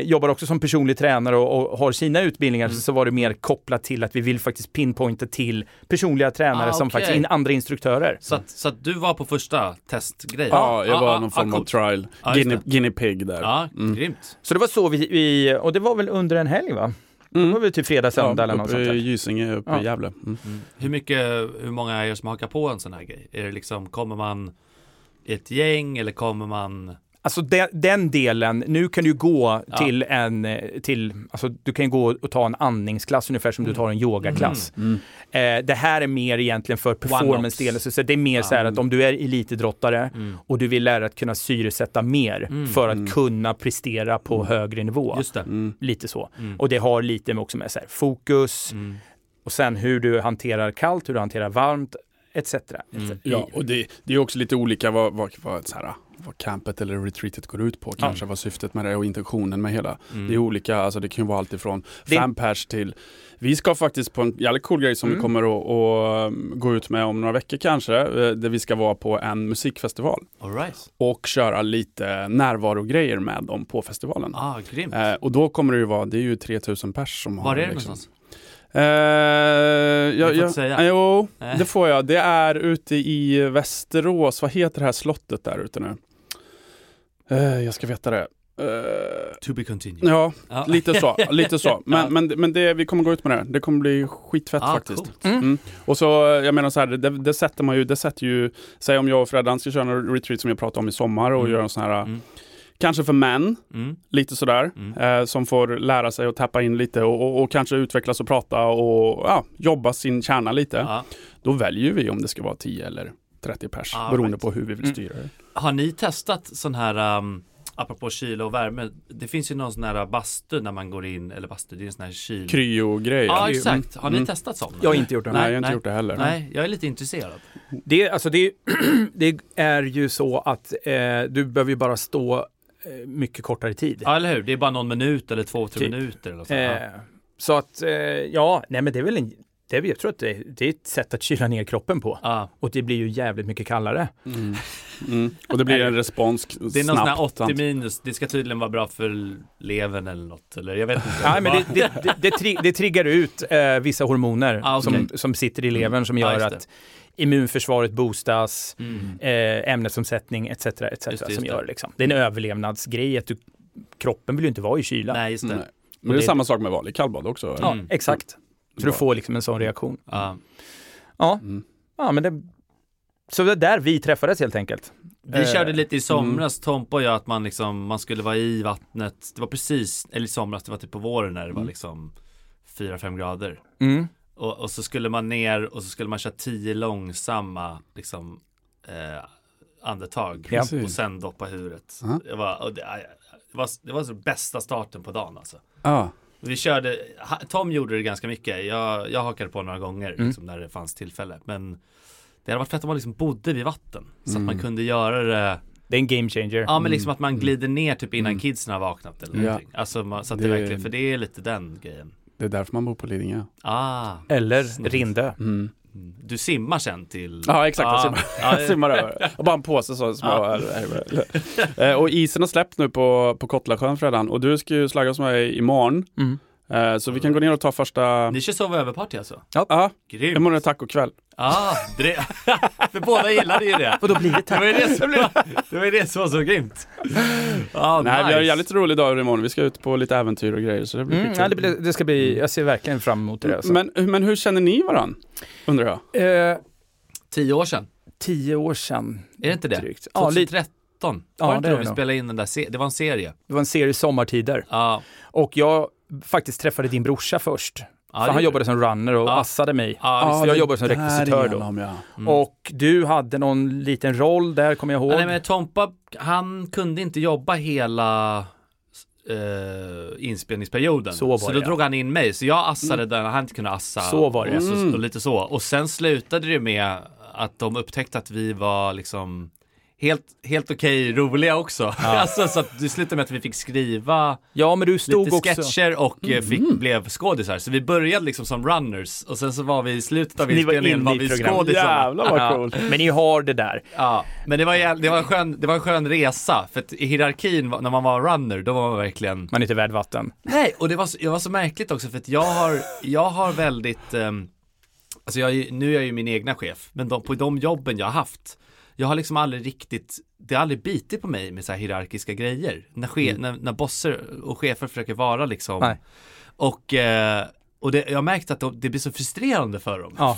Speaker 2: eh, jobbar också som personlig tränare och, och har sina utbildningar
Speaker 3: Mm.
Speaker 2: så var det mer kopplat till att vi vill faktiskt pinpointa till personliga tränare
Speaker 3: Ah,
Speaker 2: som
Speaker 3: okej.
Speaker 2: faktiskt in andra instruktörer.
Speaker 3: Så att, så att du var på första testgrejen?
Speaker 4: Ja, jag var
Speaker 3: ah,
Speaker 4: någon
Speaker 3: ah,
Speaker 4: form av Mm.
Speaker 3: coolt.
Speaker 4: trial.
Speaker 3: Ja, just
Speaker 4: guinea, guinea pig där.
Speaker 3: Ja, grymt.
Speaker 2: Så det var så vi, vi, och det var väl under en helg va?
Speaker 3: Mm.
Speaker 2: Det var väl typ fredag, söndag eller något
Speaker 4: uppe
Speaker 2: sånt
Speaker 4: i
Speaker 2: där.
Speaker 4: Gysinge, uppe
Speaker 2: Ja.
Speaker 4: i Gävle. Mm.
Speaker 3: Hur, mycket, hur många är det som hakar på en sån här grej? Är det liksom, kommer man i ett gäng eller kommer man...
Speaker 2: Alltså den, den delen, nu kan du ju gå
Speaker 3: Ja.
Speaker 2: till en, eh, till, alltså du kan ju gå och ta en andningsklass ungefär
Speaker 3: Mm.
Speaker 2: som du tar en yogaklass. Eh, det här är mer egentligen för performance-delen, så så det är mer så här att om du är elitidrottare
Speaker 4: Mm.
Speaker 2: och du vill lära att kunna syresätta mer för att kunna prestera på
Speaker 4: Mm.
Speaker 2: högre nivå.
Speaker 3: Just det.
Speaker 2: Lite så. Och det har lite med också med så här, fokus
Speaker 4: Mm.
Speaker 2: och sen hur du hanterar kallt, hur du hanterar varmt, etc. etc.
Speaker 4: Mm. Ja, och det, det är också lite olika vad, vad, vad, så här, vad campet eller retreatet går ut på kanske, vad syftet med det är och intentionen med hela.
Speaker 3: Mm.
Speaker 4: Det är olika, alltså det kan ju vara allt ifrån
Speaker 2: Det-
Speaker 4: fem pers till, vi ska faktiskt på en jävligt cool grej som vi kommer att, att um, gå ut med om några veckor kanske, eh, där vi ska vara på en musikfestival
Speaker 3: All right.
Speaker 4: och köra lite närvarogrejer med dem på festivalen.
Speaker 3: Ah, grymt.
Speaker 4: Eh, och då kommer det ju vara, det är ju 3000 pers som har
Speaker 3: Var är det
Speaker 4: liksom-
Speaker 3: någonstans?
Speaker 4: Eh,
Speaker 3: får
Speaker 4: jag,
Speaker 3: inte
Speaker 4: jag,
Speaker 3: säga.
Speaker 4: eh, Jo,
Speaker 3: Nej.
Speaker 4: det får jag. Det är ute i Västerås. Vad heter det här slottet där ute nu? Eh, jag ska veta det. Eh,
Speaker 3: To be continued.
Speaker 4: ja,
Speaker 3: Ja.
Speaker 4: lite så. Lite så. Men, men, men det, vi kommer gå ut med det. här. Det kommer bli skitfett
Speaker 3: Ah,
Speaker 4: faktiskt.
Speaker 3: coolt.
Speaker 4: Mm. Och så, jag menar så här, det, det sätter man ju, det sätter ju, säg om jag och Freddan ska köra en retreat som jag pratade om i sommar och
Speaker 3: Mm.
Speaker 4: göra en sån här, eh,
Speaker 3: Mm.
Speaker 4: kanske för män,
Speaker 3: Mm.
Speaker 4: lite sådär,
Speaker 3: Mm.
Speaker 4: eh, som får lära sig att tappa in lite och, och, och kanske utvecklas och prata och ja, jobba sin kärna lite.
Speaker 3: Ja.
Speaker 4: Då väljer vi om det ska vara 10 eller 30 pers,
Speaker 3: Ah,
Speaker 4: beroende
Speaker 3: right.
Speaker 4: på hur vi vill styra det.
Speaker 3: Har ni testat sån här, um, apropå kyla och värme, det finns ju någon sån här bastu när man går in, eller bastu, det är en sån här kyl...
Speaker 4: Kryo-grejer.
Speaker 3: Ja,
Speaker 4: Mm.
Speaker 3: exakt. Har ni
Speaker 4: Mm.
Speaker 3: testat sån?
Speaker 2: Jag har inte gjort det.
Speaker 4: Nej, jag har inte
Speaker 3: Nej.
Speaker 4: gjort det heller.
Speaker 3: Nej, jag är lite intresserad.
Speaker 2: Det, alltså det, det är ju så att eh, du behöver ju bara stå eh, mycket kortare tid.
Speaker 3: Ja, eller hur? Det är bara någon minut eller två, tre
Speaker 2: Typ.
Speaker 3: minuter eller något sånt. Ja.
Speaker 2: Eh, så att, eh, ja, nej men det är väl en, det är, väl- jag tror att det, det är ett sätt att kyla ner kroppen på.
Speaker 3: Ja.
Speaker 2: Och det blir ju jävligt mycket kallare.
Speaker 4: Mm. Mm. Och det blir en respons snabbt.
Speaker 3: Det är någon sån här 80
Speaker 4: sant?
Speaker 3: minus, det ska tydligen vara bra för levern eller något, eller jag vet inte.
Speaker 2: Nej, men
Speaker 3: Bara-
Speaker 2: det, det, det, det, tri, det triggar ut eh, vissa hormoner
Speaker 3: Ah, okej.
Speaker 2: som, som sitter i levern som
Speaker 3: Ja,
Speaker 2: gör
Speaker 3: just det.
Speaker 2: att immunförsvaret boostas,
Speaker 3: Mm.
Speaker 2: eh, ämnesomsättning etc. etc.
Speaker 3: Just det,
Speaker 2: som
Speaker 3: just
Speaker 2: gör
Speaker 3: det.
Speaker 2: liksom. Det är en överlevnadsgrej att du, kroppen vill ju inte vara i kyla.
Speaker 3: Nej, just det.
Speaker 4: Nej. Men det är
Speaker 2: det-
Speaker 4: samma sak med vanlig kallbad också.
Speaker 2: Ja,
Speaker 3: Mm.
Speaker 2: exakt. Så du
Speaker 4: Bra.
Speaker 2: får liksom en sån reaktion.
Speaker 3: Ja.
Speaker 2: Ja,
Speaker 4: Mm.
Speaker 2: ja men det... Så det är där vi träffades helt enkelt.
Speaker 3: Vi
Speaker 2: Eh,
Speaker 3: körde lite i somras, Tompa och jag, att man liksom, man skulle vara i vattnet. Det var precis, eller i somras, det var typ på våren när det var liksom 4-5 grader.
Speaker 2: Mm.
Speaker 3: Och, och så skulle man ner och så skulle man köra 10 långsamma liksom eh, andetag
Speaker 2: Ja.
Speaker 3: och sen doppa huvudet.
Speaker 4: Ja.
Speaker 3: Det, var, och det, det, var, det var så bästa starten på dagen alltså.
Speaker 4: Ja.
Speaker 3: Vi körde, ha- Tom gjorde det ganska mycket, jag, jag hakade på några gånger
Speaker 2: Mm.
Speaker 3: liksom, när det fanns tillfälle. Men det hade varit fett om man liksom bodde vid vatten. Så
Speaker 2: Mm.
Speaker 3: att man kunde göra det,
Speaker 2: Det är en game changer.
Speaker 3: ja men liksom att man glider ner typ innan kidsen har vaknat eller
Speaker 4: Mm. Ja.
Speaker 3: någonting. Alltså man, så att det,
Speaker 4: Det-
Speaker 3: verkligen, för det är lite den grejen.
Speaker 4: Det är därför man bor på Lidingö.
Speaker 3: Ah, mm.
Speaker 2: Eller Rindö.
Speaker 3: du simmar sen till... Ah.
Speaker 4: Ja, exakt. Jag simmar,
Speaker 3: ja,
Speaker 4: jag simmar över. Och bara en påse så små. Eh, och isen har släppt nu på, på Kottlasjön Fredan och du ska ju slagga hos mig imorgon.
Speaker 2: Mm.
Speaker 4: Eh, så vi kan gå ner och ta första...
Speaker 3: Ni kör sova över-party alltså?
Speaker 4: Ja,
Speaker 3: Grymt!
Speaker 4: imorgon är tacokväll.
Speaker 3: Ah, dre... för båda gillade ju det.
Speaker 2: Och då blir det
Speaker 3: Det var ju det som, det var, ju det som var så grymt. Ah,
Speaker 4: Nej, vi
Speaker 3: nice.
Speaker 4: har en jävligt rolig dag imorgon. Vi ska ut på lite äventyr och grejer så det blir
Speaker 2: Mm,
Speaker 4: skitkul.
Speaker 2: ja, det, blir, det ska bli, jag ser verkligen fram emot det. Alltså.
Speaker 4: typ- men, men hur känner ni varann? Undrar jag.
Speaker 2: Eh,
Speaker 3: Tio år sedan,
Speaker 2: tio år sedan.
Speaker 3: är det inte det?
Speaker 2: Drygt. Ja, lite.
Speaker 3: 2013?
Speaker 2: Ja,
Speaker 3: var det inte
Speaker 2: det
Speaker 3: då
Speaker 2: är
Speaker 3: vi
Speaker 2: det nog.
Speaker 3: spelade in den där serien? Det var en serie.
Speaker 2: Det var en serie sommartider.
Speaker 3: Ja,
Speaker 2: Och jag faktiskt träffade din brorsa först.
Speaker 3: Ja,
Speaker 2: för
Speaker 3: det-
Speaker 2: han jobbade som runner och
Speaker 3: Ja.
Speaker 2: assade mig.
Speaker 3: ja, visst. Mm.
Speaker 2: jag jobbade som rekvisitör då. Och du hade någon liten roll där, kommer jag ihåg.
Speaker 3: Ja, Nej, men Tompa, han kunde inte jobba hela eh, inspelningsperioden.
Speaker 2: Så var
Speaker 3: så
Speaker 2: det,
Speaker 3: då
Speaker 2: ja. Mm.
Speaker 3: drog han in mig, så jag assade där han inte kunde assa.
Speaker 2: Så var det. Mm.
Speaker 3: Och, så, och lite så. Och sen slutade det med att de upptäckte att vi var liksom helt, helt okej roliga också. alltså, så att det slutade med att vi fick skriva
Speaker 2: ja, men du stod
Speaker 3: lite
Speaker 2: också... Mm.
Speaker 3: sketcher och eh, fick, blev skådisar. Så vi började liksom som runners och sen så var vi i slutet av
Speaker 2: Ni var
Speaker 3: inspelningen
Speaker 2: inne
Speaker 3: var
Speaker 2: i
Speaker 3: vi
Speaker 2: programmet.
Speaker 3: skådisar.
Speaker 4: Jävlar vad
Speaker 2: Ja,
Speaker 4: coolt.
Speaker 2: Men ni har det där.
Speaker 3: Ja, men det var, jävla- det, var en skön, det var en skön resa, för att i hierarkin, var- när man var runner, då var man verkligen...
Speaker 2: Man är inte värd vatten.
Speaker 3: Nej, och det var så, det var så märkligt också, för att jag har, jag har väldigt... ehm, alltså jag, är ju- nu är jag ju min egna chef, men de, på de jobben jag har haft, jag har liksom aldrig riktigt, det har aldrig bitit på mig med så här hierarkiska grejer. När, che, när, när bosser och chefer försöker vara liksom...
Speaker 2: Nej.
Speaker 3: Och, eh, och det, jag har märkt att de, det blir så frustrerande för dem.
Speaker 2: Ja.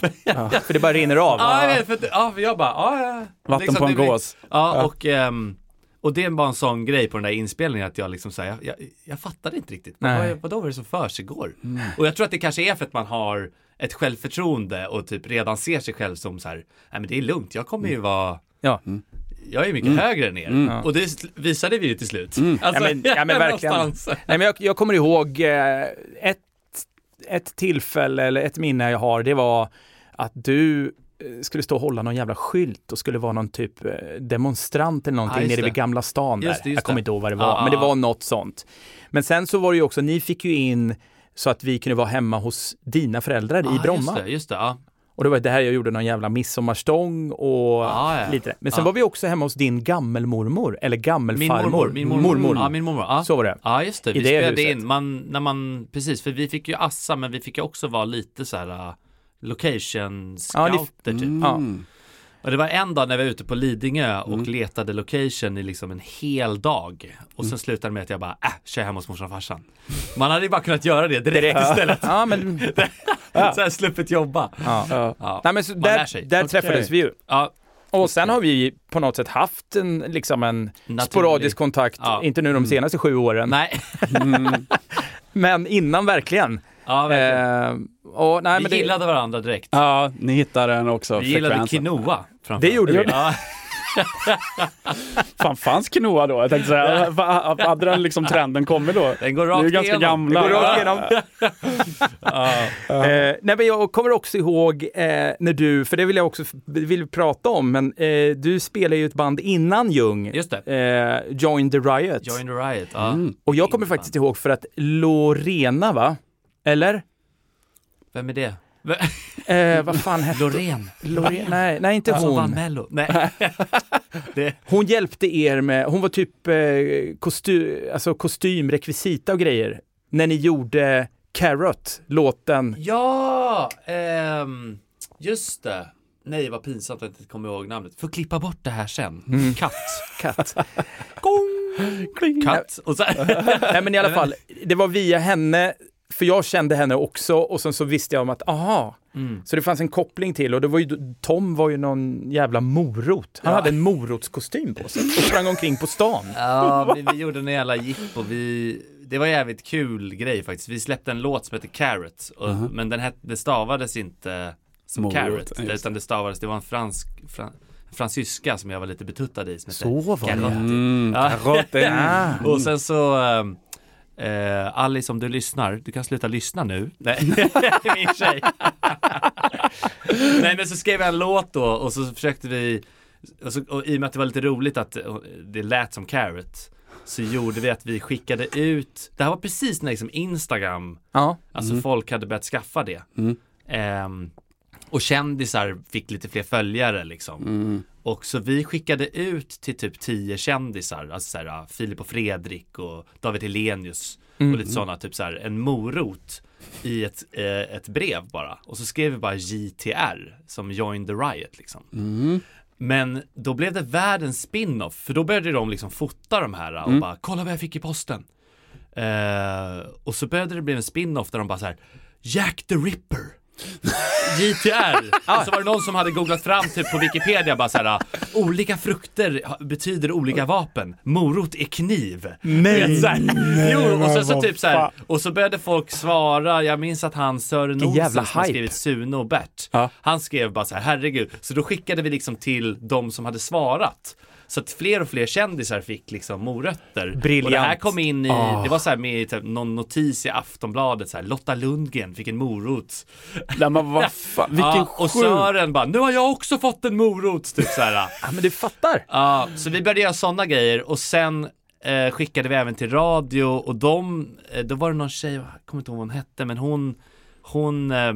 Speaker 2: För det bara rinner av.
Speaker 3: Ja, jag vet, för, att- ja, för jag bara, ja, ja. Liksom
Speaker 4: Vatten på en
Speaker 3: det blir-
Speaker 4: gås.
Speaker 3: Ja, och, ehm, och det var en sån grej på den där inspelningen att jag liksom så här, jag, jag, jag fattade inte riktigt.
Speaker 2: Nej.
Speaker 3: Vad, vad var det som försiggår? Och jag tror att det kanske är för att man har ett självförtroende och typ redan ser sig själv som så här, nej men det är lugnt, jag kommer ju
Speaker 2: Mm.
Speaker 3: vara
Speaker 2: Ja.
Speaker 3: jag är mycket högre än er. Och det sl- visade vi ju till slut. Alltså,
Speaker 2: Mm. Ja, men, ja, men verkligen.
Speaker 3: någonstans.
Speaker 2: Nej, men jag, jag kommer ihåg eh, ett, ett tillfälle, eller ett minne jag har, det var att du eh, skulle stå och hålla någon jävla skylt och skulle vara någon typ eh, demonstrant eller någonting
Speaker 3: Ja, just
Speaker 2: nere vid
Speaker 3: det.
Speaker 2: Gamla stan där.
Speaker 3: Just det, just
Speaker 2: jag kommer
Speaker 3: det.
Speaker 2: inte ihåg vad det var,
Speaker 3: Ja,
Speaker 2: men det
Speaker 3: ja,
Speaker 2: var
Speaker 3: ja.
Speaker 2: något sånt. Men sen så var det ju också, ni fick ju in så att vi kunde vara hemma hos dina föräldrar i
Speaker 3: Ja,
Speaker 2: Bromma.
Speaker 3: Just det, just det. Ja.
Speaker 2: Och det var det här jag gjorde någon jävla midsommarstång och
Speaker 3: Ah, ja.
Speaker 2: lite det. Men sen
Speaker 3: Ah.
Speaker 2: var vi också hemma hos din gammelmormor, eller
Speaker 3: Min
Speaker 2: gammelfarmor.
Speaker 3: mormor. Min mormor.
Speaker 2: mormor.
Speaker 3: Ja, min mormor. Ja.
Speaker 2: Så var det.
Speaker 3: Ja just det,
Speaker 2: I
Speaker 3: vi
Speaker 2: det
Speaker 3: spelade
Speaker 2: huset.
Speaker 3: in, man, när man, precis för vi fick ju assa men vi fick ju också vara lite så här uh, location
Speaker 2: Ja, ni- mm.
Speaker 3: scouter typ.
Speaker 2: Ja.
Speaker 4: Mm.
Speaker 3: Och det var en dag när vi var ute på Lidingö och
Speaker 2: Mm.
Speaker 3: letade location i liksom en hel dag. Och
Speaker 2: Mm.
Speaker 3: sen slutade det med att jag bara, äh, kör hem hos morsan och farsan. Man hade ju bara kunnat göra det direkt, istället.
Speaker 2: Ja, men,
Speaker 3: så här sluppet jobba.
Speaker 2: ja.
Speaker 4: Ja.
Speaker 3: Ja.
Speaker 2: Nej, men så
Speaker 3: Man lär
Speaker 2: där
Speaker 3: sig.
Speaker 2: där träffades vi ju.
Speaker 3: Ja,
Speaker 2: Och sen har vi på något sätt haft en, liksom en
Speaker 3: Naturlig.
Speaker 2: sporadisk kontakt,
Speaker 3: Ja. Mm.
Speaker 2: inte nu de senaste sju åren,
Speaker 3: nej.
Speaker 2: men innan verkligen.
Speaker 3: Ja, verkligen.
Speaker 2: Eh, och, nej, men
Speaker 3: vi
Speaker 2: det,
Speaker 3: gillade varandra direkt.
Speaker 4: Ja, ni hittar den också.
Speaker 3: Vi gillade
Speaker 4: frekvensen.
Speaker 3: quinoa. framför
Speaker 2: det
Speaker 3: allt.
Speaker 2: gjorde vi.
Speaker 3: Ja,
Speaker 4: Fan, fanns quinoa då? Jag tänkte så här, va- hade den liksom trenden kommit då?
Speaker 3: den går
Speaker 4: Vi är
Speaker 3: rakt
Speaker 4: ju ganska
Speaker 3: igenom.
Speaker 4: gamla.
Speaker 2: Det går rakt igenom. Eh, nej, men jag kommer också ihåg eh, när du, för det vill jag också f- vill prata om, men eh, du spelade ju ett band innan Ljung,
Speaker 3: Just det.
Speaker 2: eh, Join the Riot.
Speaker 3: Join the riot. Ja.
Speaker 2: Mm. Och jag kommer faktiskt ihåg för att Lorena, va? Eller?
Speaker 3: Vem är det? Vem-
Speaker 2: Eh, vad fan hette
Speaker 3: Loreen.
Speaker 2: Lorena? Nej, Alltså, nej, inte
Speaker 3: Som vann
Speaker 2: hon.
Speaker 3: Mello. Nej. det,
Speaker 2: Hon hjälpte er med, hon var typ eh, kosty, alltså kostym, rekvisita och grejer. När ni gjorde Carrot, låten.
Speaker 3: ja, ehm, just det. Nej, vad pinsamt att jag inte kommer ihåg namnet. Får klippa bort det här sen. Katt.
Speaker 2: Katt.
Speaker 3: Katt. Och så,
Speaker 2: Nej men i alla fall, det var via henne, för jag kände henne också och sen så visste jag om att, aha, så det fanns en koppling till och det var ju, Tom var ju någon jävla morot. Han hade en morotskostym på sig och sprang omkring på stan.
Speaker 3: ja, vi, vi gjorde en jävla jippo. Vi, det var en jävligt kul grej faktiskt. Vi släppte en låt som heter Carrot. Och, Men den het, det stavades inte som
Speaker 4: Morot,
Speaker 3: Carrot.
Speaker 4: just det.
Speaker 3: Utan det stavades, det var en fransk, fran, fransyska som jag var lite betuttad i. Som hette
Speaker 2: Så var det.
Speaker 3: Garotti.
Speaker 4: Mm.
Speaker 3: Ja.
Speaker 2: Ja.
Speaker 3: Och sen så ehm, Eh, Alice om du lyssnar, du kan sluta lyssna nu. Nej, min tjej. Nej men så skrev jag en låt då och så försökte vi, och, så, och i och med att det var lite roligt att eh, det lät som Carrot, så gjorde vi att vi skickade ut, det här var precis när liksom Instagram
Speaker 2: Ja.
Speaker 3: Alltså folk hade börjat skaffa det. Ehm, och kändisar fick lite fler följare liksom. Och så vi skickade ut till typ tio kändisar, alltså så här, ah, Filip och Fredrik och David Helenius och lite sådana, typ så här, en morot i ett, eh, ett brev bara. Och så skrev vi bara JTR som Join the Riot liksom. Men då blev det världens spin-off, för då började de liksom fota de här
Speaker 2: Mm.
Speaker 3: och bara kolla vad jag fick i posten. Eh, och så började det bli en spin-off där de bara så här Jack the Ripper JTR, och så var det någon som hade googlat fram typ på Wikipedia bara så här, olika frukter ha- betyder olika vapen, morot är kniv.
Speaker 2: Nej,
Speaker 3: Så här, jo, och
Speaker 2: men
Speaker 3: sen så
Speaker 2: vad
Speaker 3: typ så här,
Speaker 2: fan.
Speaker 3: och så började folk svara, jag minns att han Sören
Speaker 2: jävla
Speaker 3: Olsson som har
Speaker 2: hype.
Speaker 3: skrivit Sune och Bert,
Speaker 4: Ja.
Speaker 3: han skrev bara så här, herregud, så då skickade vi liksom till de som hade svarat. Så att fler och fler kändisar fick liksom morötter. Och det här
Speaker 2: Briljant.
Speaker 3: kom in i, det var så här med i typ någon notis i Aftonbladet, så här, Lotta Lundgren fick en morot.
Speaker 4: Nej, men vad fan, vilken
Speaker 3: Ja, och
Speaker 4: sjuk...
Speaker 3: Sören bara, nu har jag också fått en morot, typ så här.
Speaker 2: Ja, men du fattar.
Speaker 3: Ja, så vi började göra sådana grejer och sen eh, skickade vi även till radio och de, eh, då var det någon tjej, jag kommer inte ihåg vad hon hette, men hon, hon, eh,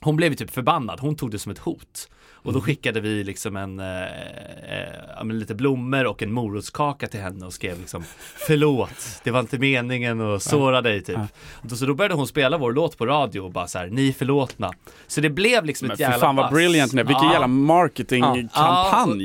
Speaker 3: hon blev ju typ förbannad, hon tog det som ett hot. Och
Speaker 4: Mm.
Speaker 3: då skickade vi liksom en, eh, eh, ja, men lite blommor och en morotskaka till henne och skrev liksom Förlåt, det var inte meningen att såra dig typ. Då, så då började hon spela vår låt på radio och bara så här, ni är förlåtna. Så det blev liksom
Speaker 4: Men
Speaker 3: ett
Speaker 4: fy
Speaker 3: jävla
Speaker 4: fan vad
Speaker 3: bass.
Speaker 4: brilliant det är. vilken
Speaker 3: Ja.
Speaker 4: jävla marketingkampanj.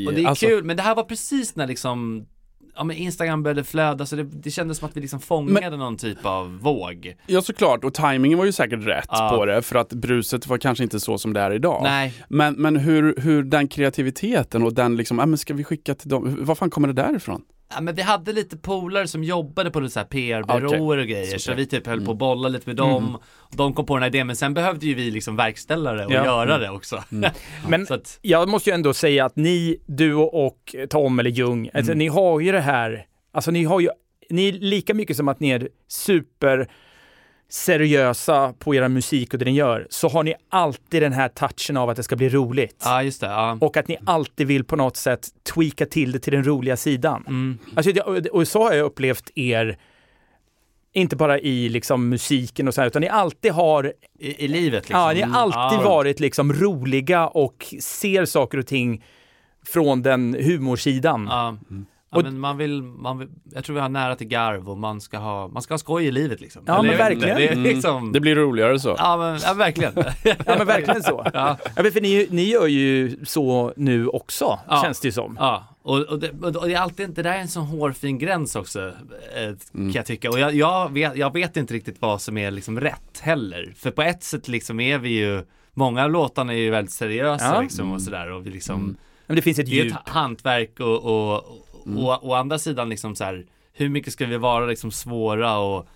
Speaker 3: Ja, och, och det är
Speaker 4: Alltså,
Speaker 3: kul, men det här var precis när liksom Ja men Instagram började flöda så det, det kändes som att vi liksom fångade någon typ av våg.
Speaker 4: Ja såklart, och tajmingen var ju säkert rätt
Speaker 3: Ja.
Speaker 4: på det för att bruset var kanske inte så som det är idag.
Speaker 3: Nej.
Speaker 4: Men, men hur, hur den kreativiteten och den liksom, ah, men ska vi skicka till dem, var fan kommer det där ifrån?
Speaker 3: Ja, men vi hade lite polare som jobbade på lite så här PR-byråer och grejer så vi typ
Speaker 2: Mm.
Speaker 3: höll på att bolla lite med dem. De kom på den här idén men sen behövde ju vi liksom verkställa det och
Speaker 2: Ja. Mm.
Speaker 3: göra det också.
Speaker 2: Men
Speaker 3: så att,
Speaker 2: jag måste ju ändå säga att ni, du och Tom eller Ljung, alltså, ni har ju det här, alltså ni har ju, ni är lika mycket som att ni är super seriösa på era musik och det ni gör, så har ni alltid den här touchen av att det ska bli roligt.
Speaker 3: ja just det. Ja.
Speaker 2: Och att ni alltid vill på något sätt tweaka till det till den roliga sidan. Alltså, det- och- och så har jag upplevt er, inte bara i liksom musiken och så här, utan ni alltid har
Speaker 3: I, I livet liksom.
Speaker 2: Ja, ni har alltid
Speaker 3: Ja.
Speaker 2: varit liksom roliga och ser saker och ting från den humorsidan.
Speaker 3: Ja.
Speaker 2: Mm.
Speaker 3: Ja, men man vill, man vill, jag tror vi har nära till garv och man ska ha, man ska ha skoj i livet liksom.
Speaker 2: Ja, men
Speaker 3: jag vet inte.
Speaker 2: verkligen. Mm.
Speaker 3: Det är liksom,
Speaker 4: Mm. Det blir roligare så.
Speaker 3: Ja men ja, verkligen.
Speaker 2: Ja, men verkligen så. ja. men för ni, ni gör ju så nu också,
Speaker 3: Ja.
Speaker 2: känns det ju som.
Speaker 3: ja, och, och, det, och det är alltid inte, det där är en sån hårfin gräns också eh, kan jag tycka. Och jag, jag, vet, jag vet inte riktigt vad som är liksom rätt heller. För på ett sätt liksom är vi ju, många av låtarna är ju väldigt seriösa
Speaker 2: Ja.
Speaker 3: liksom och sådär och vi liksom
Speaker 2: Men det finns ett
Speaker 3: Det är ju
Speaker 2: djup. Mm.
Speaker 3: ett hantverk och, och, och, och å andra sidan liksom så här, hur mycket ska vi vara liksom svåra och,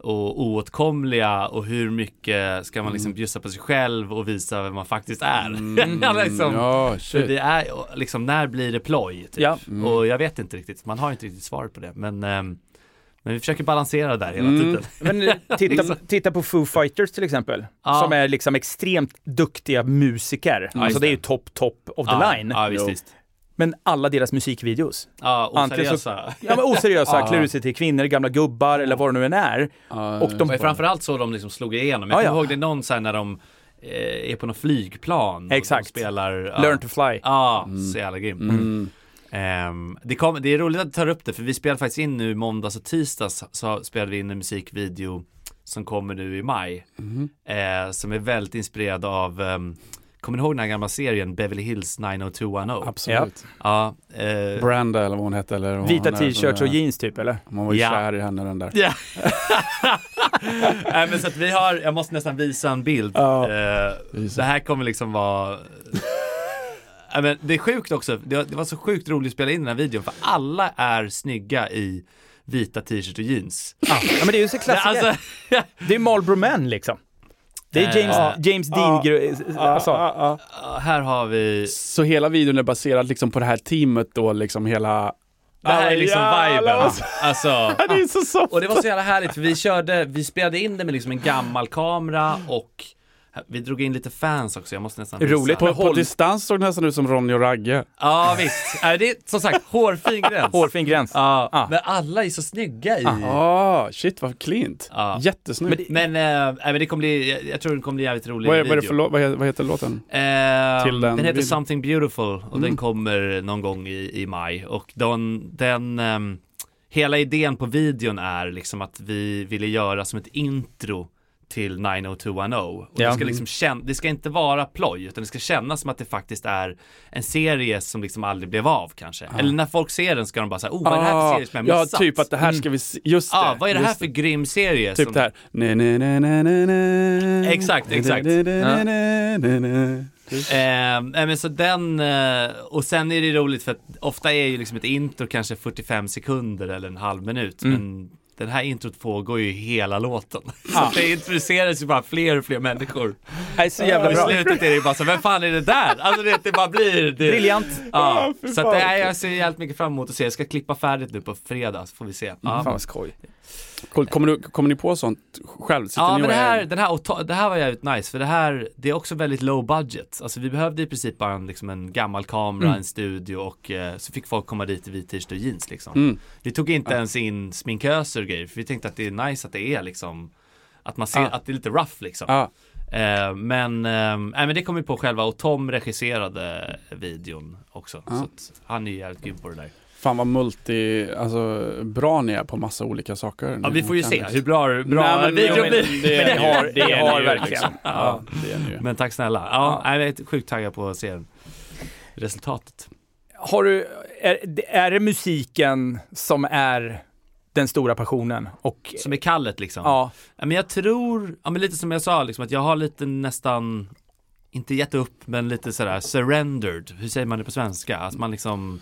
Speaker 3: och oåtkomliga och hur mycket ska man liksom
Speaker 2: Mm.
Speaker 3: bjussa på sig själv och visa vem man faktiskt är. Ja, liksom,
Speaker 4: Mm. Ja,
Speaker 3: för
Speaker 4: shit.
Speaker 3: vi är, och liksom, när blir det ploj? Typ.
Speaker 2: Ja.
Speaker 3: Och jag vet inte riktigt, man har inte riktigt svar på det. Men, ehm, men vi försöker balansera där hela tiden.
Speaker 2: Men eh, titta, titta på Foo Fighters till exempel,
Speaker 3: Ja.
Speaker 2: som är liksom extremt duktiga musiker. alltså det är ju topp, topp of the
Speaker 3: Ja,
Speaker 2: line.
Speaker 3: Ja, visst, visst.
Speaker 2: Men alla deras musikvideos,
Speaker 3: Ja,
Speaker 2: Antingen så-
Speaker 3: oseriösa.
Speaker 2: ja, men oseriösa, klär ut sig till kvinnor, gamla gubbar eller vad det nu än är. och de
Speaker 3: Men framförallt så de liksom slog igenom. Jag
Speaker 2: Ja,
Speaker 3: kommer
Speaker 2: ja.
Speaker 3: ihåg det är någon så här när de eh, är på något flygplan.
Speaker 2: Exakt.
Speaker 3: Och de spelar... ja.
Speaker 2: learn to fly.
Speaker 3: Ja, så jävla grymt.
Speaker 4: Mm.
Speaker 3: Ehm, det, kom, det är roligt att du tar upp det för vi spelar faktiskt in nu måndags och tisdags så spelar vi in en musikvideo som kommer nu i maj.
Speaker 4: Mm.
Speaker 3: Eh, som är väldigt inspirerad av, ehm, kommer ni ihåg den här gamla serien Beverly Hills 90210?
Speaker 4: Absolut.
Speaker 3: Ja, eh,
Speaker 4: Branda eller vad hon hette eller vad
Speaker 2: Vita
Speaker 4: hon är,
Speaker 2: t-shirts och jeans typ, eller?
Speaker 4: Man var ju
Speaker 3: Ja.
Speaker 4: kär i henne den där.
Speaker 3: Ja. Nej men så att vi har, jag måste nästan visa en bild. Eh, det här kommer liksom vara... Nej, men det är sjukt också, det var, det var så sjukt roligt att spela in den här videon för alla är snygga i vita t-shirt och jeans.
Speaker 2: Ja, men det är ju så klassiker.
Speaker 3: Alltså,
Speaker 2: Det är Marlboro Man liksom. Det är James,
Speaker 3: Ja.
Speaker 2: James Dean, gre- alltså,
Speaker 3: Ah, Här har vi...
Speaker 4: Så hela videon är baserad liksom på det här teamet då, liksom hela... Ah.
Speaker 3: Det här är
Speaker 4: Alla
Speaker 3: liksom
Speaker 4: jävlar,
Speaker 3: viben.
Speaker 4: vad-
Speaker 3: Alltså,
Speaker 4: Det är så soft!
Speaker 3: och det var så jävla härligt för vi körde, vi spelade in det med liksom en gammal kamera och vi drog in lite fans också, jag måste nästan visa.
Speaker 2: Roligt.
Speaker 4: På, på
Speaker 2: Håll-
Speaker 4: distans såg det nästan ut som Ronny och Ragge.
Speaker 3: Ja visst, Nej, det är som sagt hårfin gräns.
Speaker 2: hårfin gräns.
Speaker 3: Ja,
Speaker 2: Ah.
Speaker 3: men alla är så snygga i...
Speaker 4: Ah, shit vad klint.
Speaker 3: Ja.
Speaker 4: Jättesnyggt.
Speaker 3: Men, eh, nej, men det kommer bli, jag, jag tror den kommer bli jävligt rolig
Speaker 4: Vad, är, vad, är det
Speaker 3: video.
Speaker 4: för, lå- vad, heter, vad heter låten?
Speaker 3: Ehm,
Speaker 4: Till den Mm.
Speaker 3: den heter
Speaker 4: videon.
Speaker 3: Something Beautiful och den kommer någon gång i, i maj. Och den, den ehm, hela idén på videon är liksom att vi ville göra som ett intro till 90210. Och
Speaker 2: Ja.
Speaker 3: det, ska liksom
Speaker 4: Mm.
Speaker 3: kän- det ska inte vara ploj utan det ska kännas som att det faktiskt är en serie som liksom aldrig blev av kanske. Eller när folk ser den ska de bara säga, oh vad är det här för serie som jag
Speaker 4: Ah. ja,
Speaker 3: missat?
Speaker 4: typ att det här ska vi se. Just det.
Speaker 3: Ja, vad är det här
Speaker 4: just
Speaker 3: för grym serie?
Speaker 4: Typ
Speaker 3: som-
Speaker 4: det här. Ne, ne, ne, ne, ne, ne.
Speaker 3: Exakt, exakt.
Speaker 4: Ne, ne, ne, ne, ne, ne.
Speaker 3: Eh, nej, men så den, eh, och sen är det roligt för att ofta är ju liksom ett intro kanske 45 sekunder eller en halv minut.
Speaker 2: Mm.
Speaker 3: Men den här introt pågår ju hela låten. Så det introduceras ju bara fler och fler människor.
Speaker 2: Nej, så jävla
Speaker 3: Och i
Speaker 2: bra.
Speaker 3: slutet är det ju bara så vem fan är det där? Alltså det, det bara blir... Det,
Speaker 2: Briljant.
Speaker 3: Ja,
Speaker 4: fy
Speaker 3: så att
Speaker 4: fan.
Speaker 3: det är, jag ser jävligt mycket fram emot att se. Jag ska klippa färdigt nu på fredag så får vi se. Ja.
Speaker 2: Mm, Fan vad skoj.
Speaker 4: Coolt. Kommer, du, kommer ni på sånt själv? Sitter
Speaker 3: Ja
Speaker 4: ni
Speaker 3: men
Speaker 4: och
Speaker 3: det här,
Speaker 4: är-
Speaker 3: den här, auto- det här var jävligt nice för det här, det är också väldigt low budget. Alltså vi behövde i princip bara en, liksom en gammal kamera, en studio och eh, så fick folk komma dit i vit t-shirt och jeans liksom.
Speaker 4: Mm.
Speaker 3: Vi tog inte ens in sminköser och grejer för vi tänkte att det är nice att det är liksom att man ser
Speaker 4: Ah.
Speaker 3: att det är lite rough liksom.
Speaker 4: Ja.
Speaker 3: Eh, men, eh, nej, men det kom vi på själva och Tom regisserade videon också. Så att han är ju jävligt grym på det där.
Speaker 4: Fan vad multi, alltså bra ni är på massa olika saker.
Speaker 3: Ja vi får ju
Speaker 4: Kan
Speaker 3: se
Speaker 4: liksom-
Speaker 3: hur bra, hur bra
Speaker 4: Nej, men-
Speaker 3: videon
Speaker 4: ja, men
Speaker 3: blir.
Speaker 4: det är ni ju.
Speaker 2: har- det
Speaker 4: är
Speaker 2: har
Speaker 4: ni ju,
Speaker 2: verkligen.
Speaker 4: liksom. Ja, det är ni ju.
Speaker 3: Men tack snälla. Ja, nej, Jag är sjukt taggad på att se resultatet.
Speaker 2: Har du, är, är det musiken som är den stora passionen? Och,
Speaker 3: Som är kallet liksom.
Speaker 2: ja,
Speaker 3: Ja, Men jag tror, ja, men lite som jag sa, liksom, att jag har lite nästan, inte gett upp, men lite sådär surrendered. Hur säger man det på svenska? Att man liksom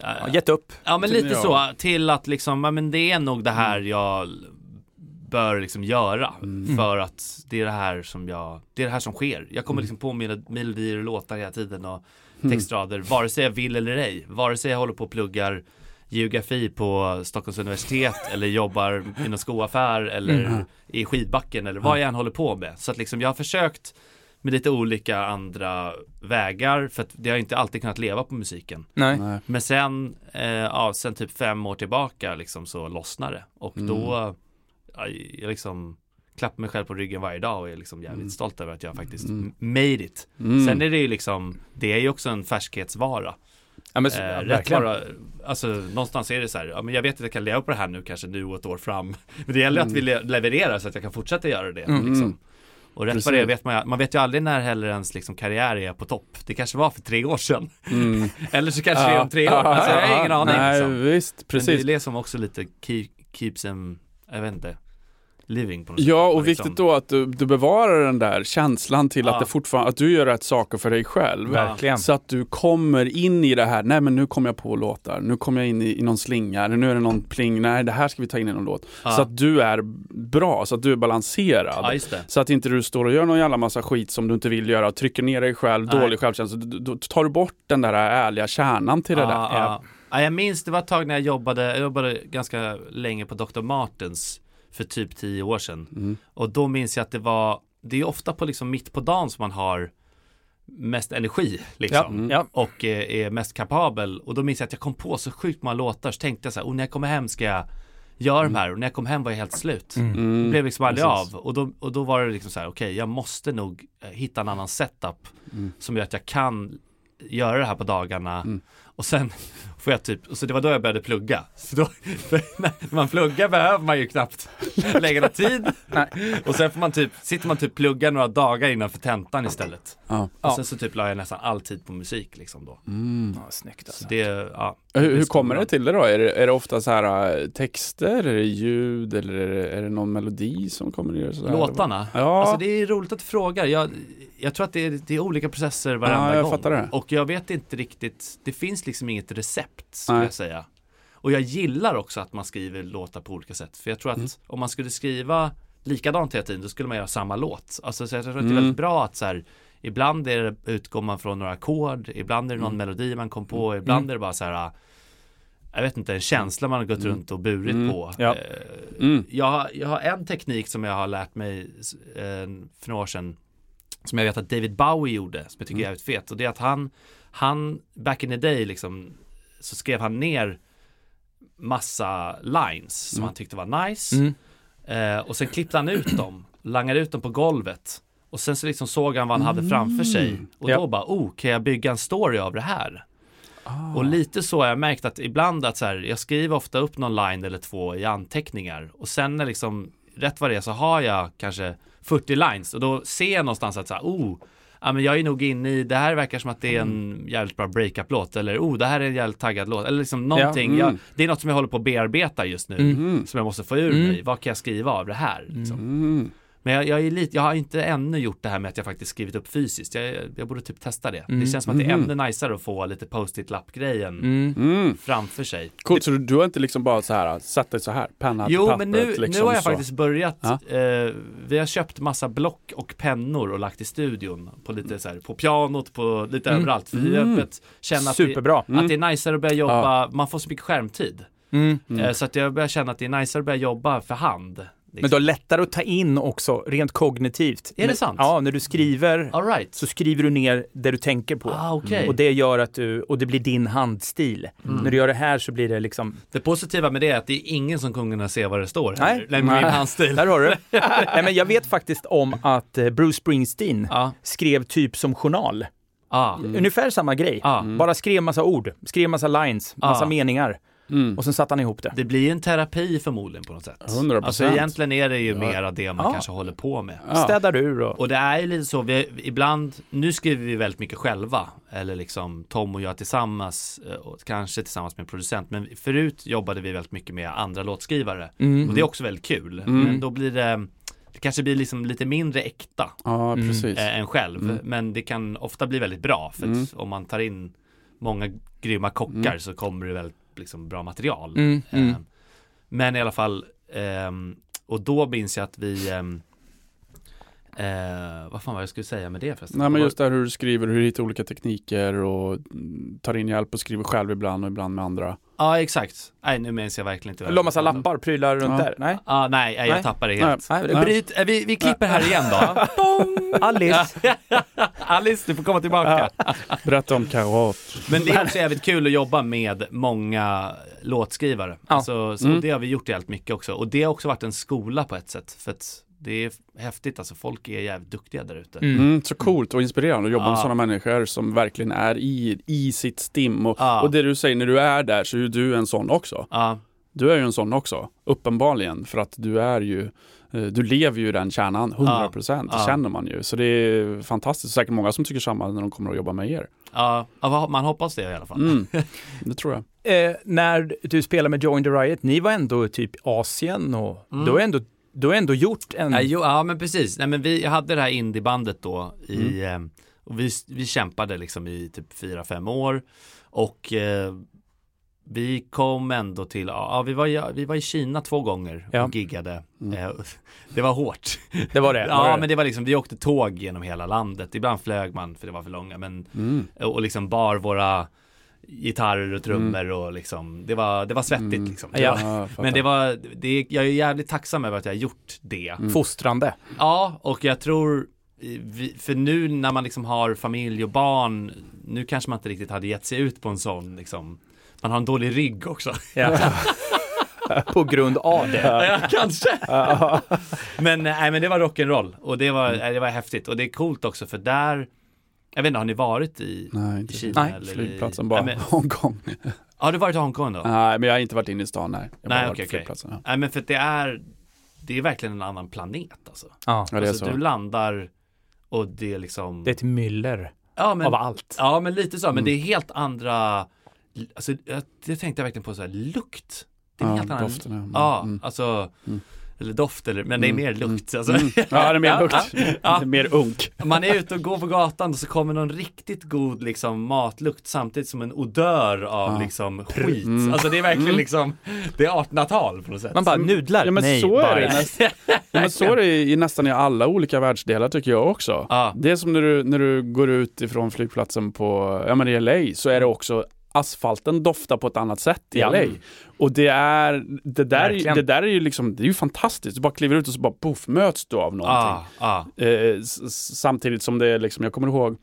Speaker 3: eh,
Speaker 2: ja, gett upp.
Speaker 3: Ja men
Speaker 4: Till-
Speaker 3: lite
Speaker 4: ja.
Speaker 3: så, till att liksom, ja, men det är nog det här jag l- bör liksom göra. För att det är det här som jag, det är det här som sker. Jag kommer liksom på mina melodier och låtar hela tiden och textrader, vare sig jag vill eller ej. Vare sig jag håller på och pluggar geografi på Stockholms universitet eller jobbar i någon skoaffär eller i skidbacken eller vad jag än håller på med. Så att liksom jag har försökt med lite olika andra vägar för att det har inte alltid kunnat leva på musiken.
Speaker 2: Nej.
Speaker 4: Nej.
Speaker 3: Men sen, eh, ja, sen typ fem år tillbaka liksom så lossnar det. Och
Speaker 2: Mm.
Speaker 3: då, ja, jag liksom klappar mig själv på ryggen varje dag och är liksom jävligt
Speaker 2: Mm.
Speaker 3: stolt över att jag faktiskt made it. Sen är det ju liksom, det är ju också en färskhetsvara.
Speaker 2: Ja, men, så-
Speaker 3: Eh, rätt
Speaker 2: verkligen.
Speaker 3: bara, alltså någonstans är det så här, ja, men jag vet att jag kan leva på det här nu kanske nu och ett år fram. Men det
Speaker 2: Mm.
Speaker 3: gäller att vi le- levererar så att jag kan fortsätta göra det. Liksom. Och rätt vad det är vet man, ju- man vet ju aldrig när heller ens liksom karriär är på topp. Det kanske var för tre år sedan. Eller så kanske det är om tre år. Alltså, jag har ingen aning.
Speaker 4: Mm. Nej,
Speaker 3: liksom.
Speaker 4: visst,
Speaker 3: Men det är
Speaker 4: precis.
Speaker 3: det som också lite keep, keeps them, jag vet inte, living på något sätt.
Speaker 4: Ja,
Speaker 3: Man
Speaker 4: och
Speaker 3: liksom-
Speaker 4: viktigt då att du, du bevarar den där känslan till
Speaker 3: Ja.
Speaker 4: att, det fortfarande, att du gör rätt saker för dig själv.
Speaker 2: Verkligen.
Speaker 4: Så att du kommer in i det här, nej men nu kommer jag på låtar, nu kommer jag in i, i någon slinga, eller nu är det någon pling, nej det här ska vi ta in i någon låt. Så att du är bra, så att du är balanserad.
Speaker 3: Ja, just det.
Speaker 4: Så att inte du står och gör någon jävla massa skit som du inte vill göra och trycker ner dig själv,
Speaker 3: Nej.
Speaker 4: dålig självkänsla. Då- Då tar du bort den där ärliga kärnan till det där.
Speaker 3: Ja, ja. Ja, Ah, jag minns det var ett tag när jag jobbade, jag jobbade ganska länge på Dr. Martens för typ tio år sedan.
Speaker 4: Mm.
Speaker 3: Och då minns jag att det var, det är ofta på liksom mitt på dagen som man har mest energi liksom.
Speaker 2: Ja,
Speaker 4: Mm.
Speaker 2: ja.
Speaker 3: Och eh, är mest kapabel. Och då minns jag att jag kom på så sjukt många låtar så tänkte jag så här, och när jag kommer hem ska jag göra de här och när jag kom hem var jag helt slut. Det blev liksom aldrig av. Och då, och då var det liksom så här, okej jag måste nog eh, hitta en annan setup som gör att jag kan göra det här på dagarna. Och sen får jag typ, och så det var då jag började plugga. Så då, för när man pluggar behöver man ju knappt lägga någon tid. Och sen får man typ, sitter man typ plugga några dagar innanför tentan istället.
Speaker 4: Ja.
Speaker 3: Och sen så typ la jag nästan all tid på musik liksom då.
Speaker 2: Ja, snyggt alltså.
Speaker 3: Så det, ja.
Speaker 4: Hur, hur kommer det till det då? Är det, är det ofta så här äh, texter, är det ljud eller är det, är det någon melodi som kommer ur? Så här?
Speaker 3: Låtarna?
Speaker 4: Ja.
Speaker 3: Alltså det är roligt att du frågar. Jag, jag tror att det är, det är olika processer varenda
Speaker 4: Ja, jag
Speaker 3: gång.
Speaker 4: fattar det.
Speaker 3: Och jag vet inte riktigt, det finns liksom inget recept skulle
Speaker 4: Nej.
Speaker 3: jag säga.
Speaker 4: Mm.
Speaker 3: Och jag gillar också att man skriver låtar på olika sätt. För jag tror att om man skulle skriva likadant hela tiden, då skulle man göra samma låt. Alltså, så jag tror att det är
Speaker 4: Mm.
Speaker 3: väldigt bra att så här, ibland är det, utgår man från några ackord, ibland är det någon
Speaker 4: Mm.
Speaker 3: melodi man kom på, ibland är det bara så här jag vet inte, en känsla man har gått runt och burit på.
Speaker 2: Ja.
Speaker 3: Eh,
Speaker 4: Mm.
Speaker 3: Jag, har- jag har en teknik som jag har lärt mig eh, för några år sedan som jag vet att David Bowie gjorde, som
Speaker 2: Mm.
Speaker 3: jag tycker är jävligt fet. Och det är att han, han, back in the day liksom, så skrev han ner massa lines som han tyckte var nice.
Speaker 2: Mm.
Speaker 3: Eh, och sen klippte han ut dem, langade ut dem på golvet. Och sen så liksom såg han vad han hade framför sig.
Speaker 2: Mm.
Speaker 3: Och
Speaker 2: Ja.
Speaker 3: då bara, oh, kan jag bygga en story av det här? Och lite så har jag märkt att ibland att så här, jag skriver ofta upp någon line eller två i anteckningar. Och sen när liksom, rätt vad det är så har jag kanske 40 lines. Och då ser jag någonstans att så här, oh, Ja, men jag är nog inne i, det här verkar som att det är en
Speaker 4: Mm.
Speaker 3: jävligt bra breakup-låt eller oh, det här är en jävligt taggad låt eller liksom någonting.
Speaker 4: mm.
Speaker 3: jag, det är något som jag håller på att bearbeta just nu som jag måste få ur mig. Vad kan jag skriva av det här? Liksom.
Speaker 4: Mm.
Speaker 3: Men jag, jag, är lite, jag har inte ännu gjort det här med att jag faktiskt skrivit upp fysiskt. Jag, jag borde typ testa det. Det känns som att det är
Speaker 4: Mm-hmm.
Speaker 3: ännu najsare att få lite post-it-lapp-grejen
Speaker 4: Mm.
Speaker 3: framför sig.
Speaker 4: Coolt, så du, du har inte liksom bara så här, satt dig så här, penna till
Speaker 3: Jo,
Speaker 4: pappret
Speaker 3: men nu,
Speaker 4: liksom,
Speaker 3: nu har jag
Speaker 4: så.
Speaker 3: faktiskt börjat.
Speaker 4: Ja.
Speaker 3: Eh, vi har köpt massa block och pennor och lagt i studion på lite så här, på pianot, på lite överallt. För vi har börjat känna att det,
Speaker 2: Superbra.
Speaker 3: att det är najsare att börja jobba, man får så mycket skärmtid.
Speaker 2: Mm.
Speaker 3: Eh, så att jag börjar känna att det är najsare att börja jobba för hand. liksom.
Speaker 2: Men då är det lättare att ta in också, rent kognitivt.
Speaker 3: Är det
Speaker 2: Men-
Speaker 3: sant?
Speaker 2: Ja, när du skriver
Speaker 3: All right.
Speaker 2: så skriver du ner det du tänker på.
Speaker 3: Ah, okej. Mm.
Speaker 2: Och det gör att du, och det blir din handstil. När du gör det här så blir det liksom,
Speaker 3: Det positiva med det är att det är ingen som kommer kunna se vad det står.
Speaker 2: Nej.
Speaker 3: Nej, med min handstil.
Speaker 2: där har du. Nej, men jag vet faktiskt om att eh, Bruce Springsteen
Speaker 3: Ja, Ah.
Speaker 2: skrev typ som journal.
Speaker 3: ja,
Speaker 2: Ungefär samma grej.
Speaker 3: ja.
Speaker 2: Bara skrev massa ord, skrev massa lines, massa
Speaker 3: Mm. Ah.
Speaker 2: meningar.
Speaker 4: Mm.
Speaker 2: Och sen satte han ihop det.
Speaker 3: Det blir en terapi förmodligen på något sätt.
Speaker 4: 100%.
Speaker 3: Alltså egentligen är det ju mera det man kanske håller på med.
Speaker 2: Städar ur och...
Speaker 3: ah. Och det är ju lite så, vi, ibland, nu skriver vi väldigt mycket själva, eller liksom Tom och jag tillsammans, eh, och kanske tillsammans med en producent, men förut jobbade vi väldigt mycket med andra låtskrivare.
Speaker 2: Mm.
Speaker 3: Och det är också väldigt kul, men då blir det, det kanske blir liksom lite mindre äkta
Speaker 4: Ja, precis.
Speaker 3: eh, än själv. Men det kan ofta bli väldigt bra. För att om man tar in många grymma kockar så kommer det väldigt liksom, bra material.
Speaker 2: Mm, mm.
Speaker 3: Eh, men i alla fall, ehm, och då minns jag att vi ehm, Eh, vad fan var jag skulle säga med det förresten?
Speaker 4: Nej men
Speaker 3: Det var-
Speaker 4: just det här hur du skriver, hur du hittar olika tekniker och mm, tar in hjälp och skriver själv ibland och ibland med andra.
Speaker 3: Ja exakt. Nej nu minns jag verkligen inte. vad jag-
Speaker 2: La massa lappar, prylar runt
Speaker 4: Ja.
Speaker 2: där. Nej.
Speaker 3: Ja, nej, nej, jag
Speaker 2: Nej.
Speaker 3: tappade det helt.
Speaker 2: Nej, det-
Speaker 4: Nej.
Speaker 3: Bryt, eh, vi, vi klipper här igen då.
Speaker 2: Alice.
Speaker 3: Alice, du får komma tillbaka.
Speaker 4: Berätta om karat.
Speaker 3: Men det är också jävligt kul att jobba med många låtskrivare.
Speaker 2: Ja.
Speaker 3: Alltså,
Speaker 4: Mm.
Speaker 3: så Det har vi gjort jävligt mycket också. Och det har också varit en skola på ett sätt. För att det är häftigt, alltså folk är jävligt duktiga där ute.
Speaker 4: Mm, så coolt och inspirerande att jobba med
Speaker 3: Ja.
Speaker 4: sådana människor som verkligen är i, i sitt stim. Och,
Speaker 3: Ja.
Speaker 4: och det du säger, när du är där så är du en sån också.
Speaker 3: Ja,
Speaker 4: Du är ju en sån också, uppenbarligen. För att du är ju, eh, du lever ju i den kärnan, 100 procent, det
Speaker 3: Ja.
Speaker 4: känner man ju. Så det är fantastiskt, säkert många som tycker samma när de kommer att jobba med er.
Speaker 3: ja, ja, vad- man hoppas det i alla fall.
Speaker 4: Mm, det tror jag.
Speaker 2: eh, när du spelade med Join the Riot, ni var ändå typ Asien och du har ändå, du har ändå gjort en...
Speaker 3: Ja, jo, ja men precis, Nej, men vi jag hade det här indiebandet då i,
Speaker 2: Mm.
Speaker 3: eh, och vi, vi kämpade liksom i typ fyra fem år och eh, vi kom ändå till, ja vi var, i- vi var i Kina två gånger
Speaker 2: Ja.
Speaker 3: och giggade. Eh, Det var hårt.
Speaker 2: Det var det.
Speaker 3: Ja, men det var liksom, vi åkte tåg genom hela landet. Ibland flög man för det var för långa, men
Speaker 4: Mm.
Speaker 3: och liksom bar våra gitarrer och trummor och liksom, det var, det var svettigt liksom.
Speaker 2: Mm.
Speaker 3: Det
Speaker 2: Ja.
Speaker 3: var-
Speaker 4: Mm. Ja, jag fattar.
Speaker 3: Men det var, det, jag är jävligt tacksam över att jag har gjort det.
Speaker 2: Mm. Fostrande.
Speaker 3: Ja, och jag tror, eh, vi- för nu när man liksom har familj och barn, nu kanske man inte riktigt hade gett sig ut på en sån liksom, man har en dålig rygg också.
Speaker 2: På grund av det.
Speaker 3: Ja, kanske. men, eh, nej, men det var rock'n'roll och det var, eh, det var häftigt och det är coolt också för där, jag vet inte, har ni varit i,
Speaker 4: Nej,
Speaker 3: i
Speaker 4: inte
Speaker 3: Kina?
Speaker 2: Nej,
Speaker 3: eller i-
Speaker 4: flygplatsen bara,
Speaker 3: Nej, men,
Speaker 4: Hongkong.
Speaker 3: har du varit i Hongkong då?
Speaker 4: Nej, men jag har inte varit inne i stan, nej. Jag har bara
Speaker 3: nej,
Speaker 4: varit
Speaker 3: okej,
Speaker 4: på
Speaker 3: okej.
Speaker 4: flygplatsen, ja.
Speaker 3: Nej, men för att det är, det är verkligen en annan planet alltså.
Speaker 2: Ja.
Speaker 4: Ja, det är
Speaker 3: alltså
Speaker 4: så.
Speaker 3: du landar och det är liksom,
Speaker 2: Det är ett myller
Speaker 3: ja, men,
Speaker 2: av allt.
Speaker 3: Ja, men lite
Speaker 4: Mm.
Speaker 3: så. Men det är helt andra, alltså jag- det tänkte jag verkligen på så här, lukt. Det är en
Speaker 4: Ja,
Speaker 3: helt annan
Speaker 4: doften, ja. Mm,
Speaker 3: Ja,
Speaker 4: mm.
Speaker 3: alltså Eller doft, eller, men det är mer lukt. Alltså.
Speaker 1: Ja, det är mer lukt.
Speaker 3: Ja.
Speaker 1: Det är mer unk.
Speaker 3: Man är ute och går på gatan och så kommer någon riktigt god liksom, matlukt samtidigt som en odör av liksom, skit.
Speaker 4: mm.
Speaker 3: Alltså det är verkligen liksom, det är 1800-tal på något sätt.
Speaker 2: Man
Speaker 3: Mm.
Speaker 2: bara nudlar,
Speaker 4: Ja, men
Speaker 2: nej,
Speaker 4: så är det
Speaker 2: bajs.
Speaker 4: nästan. Ja, men så är det i, i nästan i alla olika världsdelar tycker jag också.
Speaker 3: Ja.
Speaker 4: Det är som när du, när du går ut ifrån flygplatsen på, ja men i LA, så är det också asfalten doftar på ett annat sätt i
Speaker 2: Ja.
Speaker 4: LA. Och det är, det där, är-
Speaker 2: Verkligen.
Speaker 4: det där är ju liksom, det är ju fantastiskt. Du bara kliver ut och så bara poff, möts du av någonting.
Speaker 3: ah, ah.
Speaker 4: Eh, s- s- samtidigt som det är liksom, jag kommer ihåg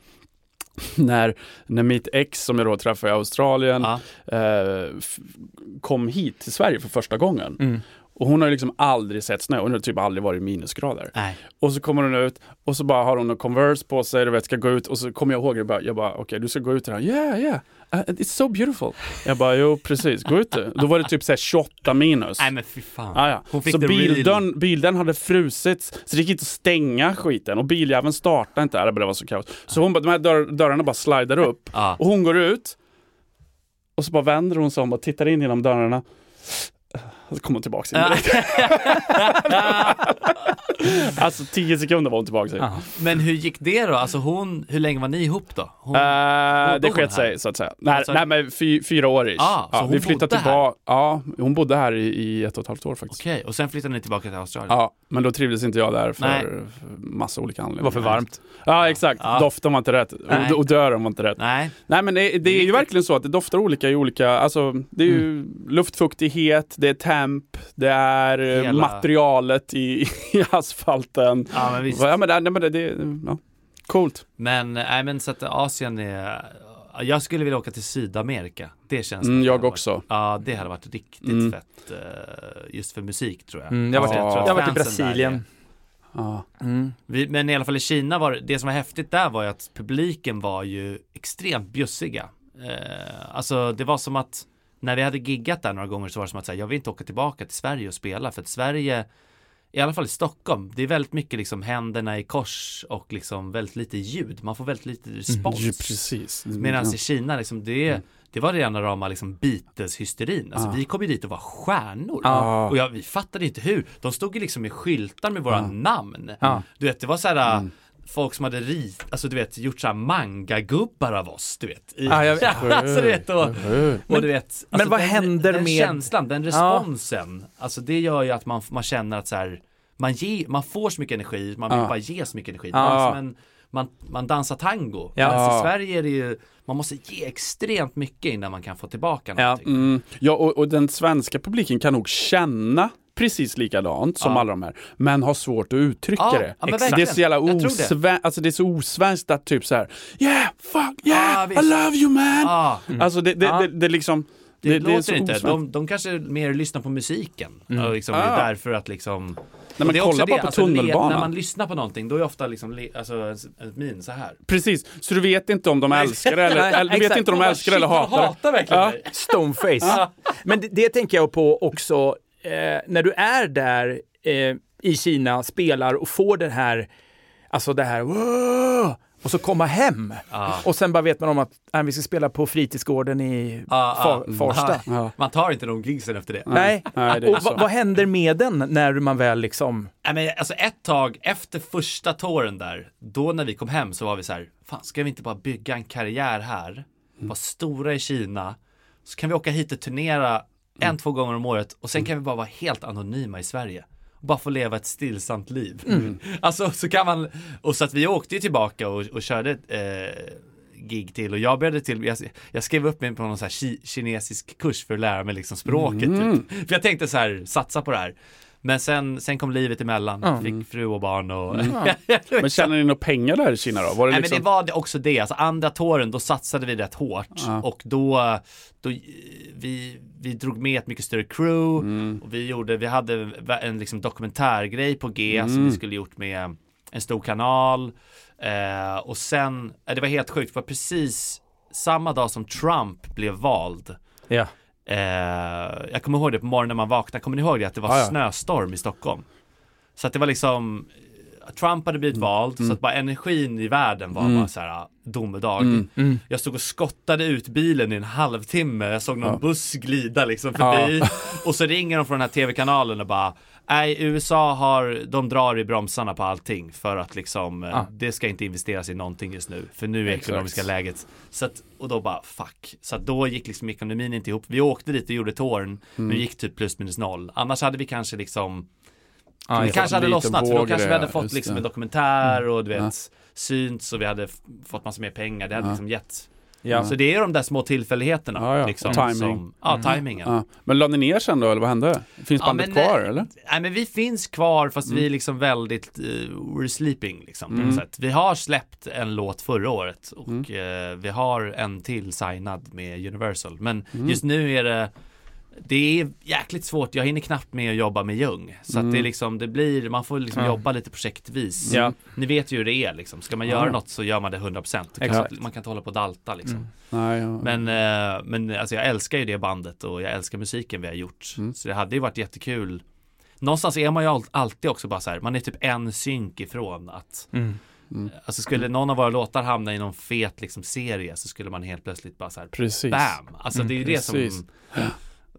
Speaker 4: när, när mitt ex som jag då träffade i Australien
Speaker 3: Ja.
Speaker 4: eh, f- kom hit till Sverige för första gången.
Speaker 3: Mm.
Speaker 4: Och hon har ju liksom aldrig sett snö, hon har typ aldrig varit i minusgrader.
Speaker 3: Nej.
Speaker 4: Och så kommer hon ut och så bara har hon en Converse på sig, du vet, ska gå ut och så kommer jag ihåg det, bara, jag bara okej du ska gå ut här, yeah yeah, uh, it's so beautiful. Jag bara jo precis, gå ut du. Då var det typ såhär 28 minus.
Speaker 3: Nej men fy fan.
Speaker 4: Ah, ja.
Speaker 3: Hon fick
Speaker 4: så
Speaker 3: the real-
Speaker 4: bildörren, bildörren hade frusits, så det gick inte att stänga skiten och biljäveln startade inte. Ah, Det bara var så kaos. Så hon bara, de här dörr, dörrarna bara slidar upp
Speaker 3: Ja.
Speaker 4: och hon går ut och så bara vänder hon sig om och tittar in genom dörrarna. Och så kommer hon tillbaks in direkt. alltså tio sekunder var hon tillbaks in. Eh,
Speaker 2: Ja.
Speaker 3: Men hur gick det då? Alltså hon, hur länge var ni ihop då? Hon,
Speaker 4: Eh, det
Speaker 3: bodde hon
Speaker 4: sket sig så att säga. Nej,
Speaker 3: Alltså-
Speaker 4: nej men fy, fyra år ish.
Speaker 3: Ah, så hon
Speaker 4: vi flyttade
Speaker 3: bodde här?
Speaker 4: tillbaka. Ja, hon bodde här i, i ett och ett halvt år faktiskt.
Speaker 3: Okej, och sen flyttade ni tillbaka till Australien?
Speaker 4: Ja, men då trivdes inte jag där för,
Speaker 3: Nej.
Speaker 4: för massa olika anledningar.
Speaker 2: Det var för varmt.
Speaker 4: Ja, exakt.
Speaker 3: Ja.
Speaker 4: Doften var inte rätt.
Speaker 3: Nej.
Speaker 4: Och, och dörren var inte rätt. Nej,
Speaker 3: Nej,
Speaker 4: men det, det är ju verkligen så att det doftar olika i olika, alltså det är ju
Speaker 3: Mm.
Speaker 4: luftfuktighet, det är temp, det är eh,
Speaker 3: Hela-
Speaker 4: materialet i, i asfalten.
Speaker 3: ja men visst.
Speaker 4: Ja men det, nej, men det, det ja. coolt.
Speaker 3: Men, nej men så att Asien är, jag skulle vilja åka till Sydamerika. Det känns
Speaker 4: Mm,
Speaker 3: som-
Speaker 4: jag också.
Speaker 3: Ja, det hade varit riktigt
Speaker 4: Mm.
Speaker 3: fett eh, just för musik tror jag.
Speaker 2: Mm, jag har varit,
Speaker 4: Ja.
Speaker 2: jag har varit i
Speaker 3: Fansen där är-
Speaker 2: Brasilien.
Speaker 4: Ja.
Speaker 2: Mm.
Speaker 3: Vi, men i alla fall i Kina var det, det som var häftigt där var ju att publiken var ju extremt bjussiga. Eh, alltså det var som att när vi hade giggat där några gånger så var det som att säga, jag vill inte åka tillbaka till Sverige och spela för att Sverige i alla fall i Stockholm, det är väldigt mycket liksom händerna i kors och liksom väldigt lite ljud. Man får väldigt lite respons.
Speaker 4: Ja, precis.
Speaker 2: Mm,
Speaker 3: Medan
Speaker 4: Ja.
Speaker 3: i Kina, liksom, det, det var rena rama liksom, Beatles-hysterin.
Speaker 2: Ah.
Speaker 3: Alltså, Vi kom ju dit och var stjärnor.
Speaker 4: Ah.
Speaker 3: Och jag, vi fattade inte hur. De stod ju liksom med skyltar med
Speaker 2: Ah.
Speaker 3: våra namn.
Speaker 2: Ja.
Speaker 3: Du vet, det var så här...
Speaker 2: Mm.
Speaker 3: Folk som hade rit, alltså du vet, gjort såhär mangagubbar av oss, du vet. I,
Speaker 2: Ja, Ah, jag vet.
Speaker 3: alltså, du vet och, och du vet. Alltså,
Speaker 2: men vad
Speaker 3: den,
Speaker 2: händer
Speaker 3: den
Speaker 2: med-
Speaker 3: känslan, den responsen. Alltså det gör ju att man, man känner att så här, man, ge, man får så mycket energi, man vill
Speaker 2: Ah.
Speaker 3: bara ge så mycket energi. Det var
Speaker 4: Ja.
Speaker 3: som en, man, man dansar tango.
Speaker 2: Ja.
Speaker 3: Alltså, i Sverige är det ju, man måste ge extremt mycket innan man kan få tillbaka
Speaker 2: Ja.
Speaker 3: någonting.
Speaker 4: Mm. Ja, och, och den svenska publiken kan nog känna precis likadant som alla de här, men har svårt att uttrycka
Speaker 3: Ja,
Speaker 4: det.
Speaker 3: ja, men
Speaker 4: Det är
Speaker 3: verkligen.
Speaker 4: så jävla
Speaker 3: Jag tror det.
Speaker 4: osven- alltså det är så osvenskt att typ så här, yeah, fuck, yeah,
Speaker 3: Ah,
Speaker 4: I
Speaker 3: visst.
Speaker 4: love you man.
Speaker 3: Ah,
Speaker 4: Alltså det, det,
Speaker 2: Ja.
Speaker 4: det, det är liksom,
Speaker 3: det,
Speaker 4: är
Speaker 3: låter
Speaker 4: så
Speaker 3: inte.
Speaker 4: osvenskt.
Speaker 3: De, de kanske mer lyssnar på musiken. Och liksom,
Speaker 4: Ah.
Speaker 3: Det är därför att liksom...
Speaker 4: Nej, men
Speaker 3: det är också
Speaker 4: kolla bara
Speaker 3: det,
Speaker 4: på
Speaker 3: alltså, le- När
Speaker 4: tunnelbanan.
Speaker 3: man lyssnar på någonting, då är ofta liksom, le- alltså, en s- en min så här.
Speaker 4: Precis, så du vet inte om de älskar det eller,
Speaker 2: Nej,
Speaker 4: eller du vet
Speaker 2: exakt.
Speaker 4: inte om de
Speaker 3: Bara,
Speaker 4: älskar
Speaker 3: shit,
Speaker 4: det eller
Speaker 3: de
Speaker 4: hatar det.
Speaker 3: hatar verkligen
Speaker 4: Ja.
Speaker 3: dig.
Speaker 2: Stoneface. Men det, det tänker jag på också eh, när du är där eh, i Kina, spelar och får den här, alltså det här "Wow!" och så komma hem. Och sen bara vet man om att nej, vi ska spela på fritidsgården i
Speaker 3: Ah, ah.
Speaker 2: Fa- Farsta.
Speaker 3: Ah. Man tar inte de gigsen efter det.
Speaker 2: Nej,
Speaker 4: Nej, det är
Speaker 2: och
Speaker 4: så.
Speaker 2: vad, vad händer med den när man väl liksom...
Speaker 3: Nej, men alltså ett tag efter första touren där, då när vi kom hem så var vi så här, fan ska vi inte bara bygga en karriär här, vara stora i Kina, så kan vi åka hit och turnera en, två gånger om året och sen kan vi bara vara helt anonyma i Sverige. Och bara få leva ett stillsamt liv. Alltså så kan man, och så att vi åkte ju tillbaka och, och körde eh, gig till och jag började till, jag, jag skrev upp mig på någon så här ki, kinesisk kurs för att lära mig liksom språket. Typ. För jag tänkte så här, satsa på det här. Men sen, sen kom livet emellan, fick fru och barn och...
Speaker 4: Men tjänar ni några pengar där i Kina då? Var det
Speaker 3: Nej
Speaker 4: liksom...
Speaker 3: men det var det också det, alltså andra tåren då satsade vi rätt hårt och då, då eh, vi, vi drog med ett mycket större crew
Speaker 4: Mm.
Speaker 3: och vi gjorde, vi hade en liksom dokumentärgrej på G som vi
Speaker 4: Mm.
Speaker 3: skulle gjort med en stor kanal eh, och sen, eh, det var helt sjukt, det var precis samma dag som Trump blev vald
Speaker 2: Ja.
Speaker 3: Eh, jag kommer ihåg det på morgonen när man vaknade, kommer ni ihåg det? Att det var
Speaker 4: Ja, ja.
Speaker 3: snöstorm i Stockholm. Så att det var liksom, Trump hade blivit vald, så att bara energin i världen var bara så här ah, domedag. Jag stod och skottade ut bilen i en halvtimme, jag såg någon buss glida liksom förbi. Och så ringer de från den här tv-kanalen och bara Nej, USA har, de drar i bromsarna på allting för att liksom, eh, det ska inte investeras i någonting just nu, för nu är ekonomiska läget. Så att, och då bara fuck. Så att då gick liksom ekonomin inte ihop. Vi åkte dit och gjorde tårn,
Speaker 4: Mm.
Speaker 3: men gick typ plus minus noll. Annars hade vi kanske liksom, vi
Speaker 2: ja.
Speaker 3: kanske hade
Speaker 4: liten
Speaker 3: lossnat, för då
Speaker 4: våg i
Speaker 3: kanske vi
Speaker 4: det,
Speaker 3: hade fått
Speaker 4: just
Speaker 3: liksom
Speaker 4: det. Mm.
Speaker 3: en dokumentär och du vet, synts och vi hade f- fått massa mer pengar. Det hade liksom gett.
Speaker 2: Ja.
Speaker 3: Så Alltså, det är de där små tillfälligheterna.
Speaker 4: Ja, ja.
Speaker 3: Liksom,
Speaker 4: Och timing.
Speaker 3: Som, ja, tajmingen.
Speaker 4: Ja. Men la ni ner sen då, eller vad hände? Finns
Speaker 3: Ja,
Speaker 4: bandet
Speaker 3: men,
Speaker 4: kvar,
Speaker 3: eh,
Speaker 4: eller?
Speaker 3: Nej men vi finns kvar fast
Speaker 2: Mm.
Speaker 3: vi är liksom väldigt, eh, we're sleeping liksom på något sätt. Vi har släppt en låt förra året och
Speaker 2: Mm.
Speaker 3: eh, vi har en till signad med Universal. Men
Speaker 2: Mm.
Speaker 3: just nu är det, det är jäkligt svårt, jag hinner knappt med att jobba med Ljung. Så att det är liksom, det blir, man får liksom jobba lite projektvis.
Speaker 2: Mm. Ja.
Speaker 3: Ni vet ju hur det är liksom, ska man göra något så gör man det 100%. Då Kan man,
Speaker 2: Exakt.
Speaker 3: man kan inte hålla på och dalta liksom.
Speaker 2: Mm.
Speaker 4: Nej, ja.
Speaker 3: Men, eh, men alltså jag älskar ju det bandet och jag älskar musiken vi har gjort.
Speaker 4: Mm.
Speaker 3: Så det hade ju varit jättekul. Någonstans är man ju al- alltid också bara så här, man är typ en synk ifrån att
Speaker 2: Mm.
Speaker 3: Alltså
Speaker 4: Mm.
Speaker 3: skulle någon av våra låtar hamna i någon fet liksom serie så skulle man helt plötsligt bara så här
Speaker 4: Precis. Mm,
Speaker 3: BAM! Alltså det är ju det
Speaker 4: Precis.
Speaker 3: som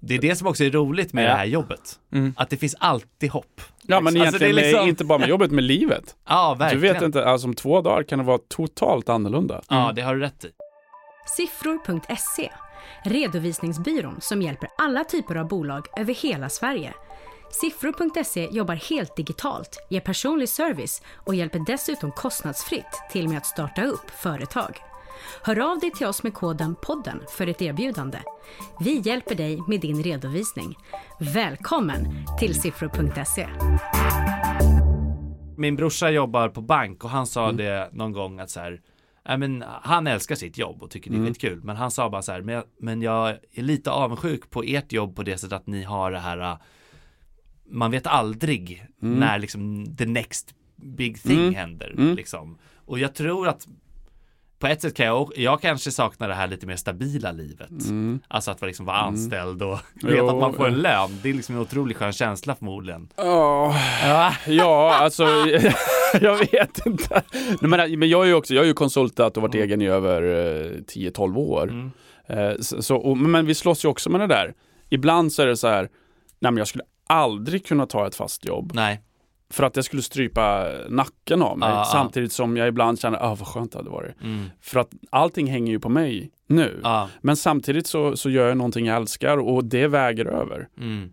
Speaker 3: Det är det som också är roligt med
Speaker 2: Ja.
Speaker 3: det här jobbet. Att det finns alltid hopp.
Speaker 4: Mm. Ja, men
Speaker 3: Alltså,
Speaker 4: egentligen
Speaker 3: det är liksom-
Speaker 4: inte bara med jobbet, med livet.
Speaker 3: Ja, verkligen.
Speaker 4: Du vet inte, Mm. alltså om två dagar kan det vara totalt annorlunda.
Speaker 3: Ja, det har du rätt i.
Speaker 5: Siffror.se. E. Redovisningsbyrån som hjälper alla typer av bolag över hela Sverige. Siffror.se E jobbar helt digitalt, ger personlig service och hjälper dessutom kostnadsfritt till med att starta upp företag. Hör av dig till oss med koden podden för ett erbjudande. Vi hjälper dig med din redovisning. Välkommen till siffror.se.
Speaker 3: min brorsa jobbar på bank och han sa det någon gång att så här, "Nej, men han älskar sitt jobb och tycker det är skitkul. Men han sa bara så här, men jag, men jag är lite avundsjuk på ert jobb på det sättet att ni har det här, äh, man vet aldrig när liksom the next big thing händer. Liksom. Och jag tror att på ett sätt kan jag, jag kanske saknar det här lite mer stabila livet. Alltså att vara liksom vara anställd och veta att man får en lön. Det är liksom en otroligt skön känsla förmodligen.
Speaker 4: Ja, ja alltså jag vet inte. Nej, men, men jag är ju också, jag har ju konsultat och
Speaker 3: Mm.
Speaker 4: varit egen i över eh, 10-12 år. Eh, så, så- och, men vi slåss ju också med det där. Ibland så är det så här, nej men jag skulle aldrig kunna ta ett fast jobb
Speaker 3: Nej.
Speaker 4: för att det skulle strypa nacken av mig.
Speaker 3: Ah, ah.
Speaker 4: samtidigt som jag ibland känner, ah, vad skönt det hade varit. För att allting hänger ju på mig nu.
Speaker 3: Mm. Ja.
Speaker 4: Men samtidigt så, så gör jag någonting jag älskar och det väger över.
Speaker 3: Mm.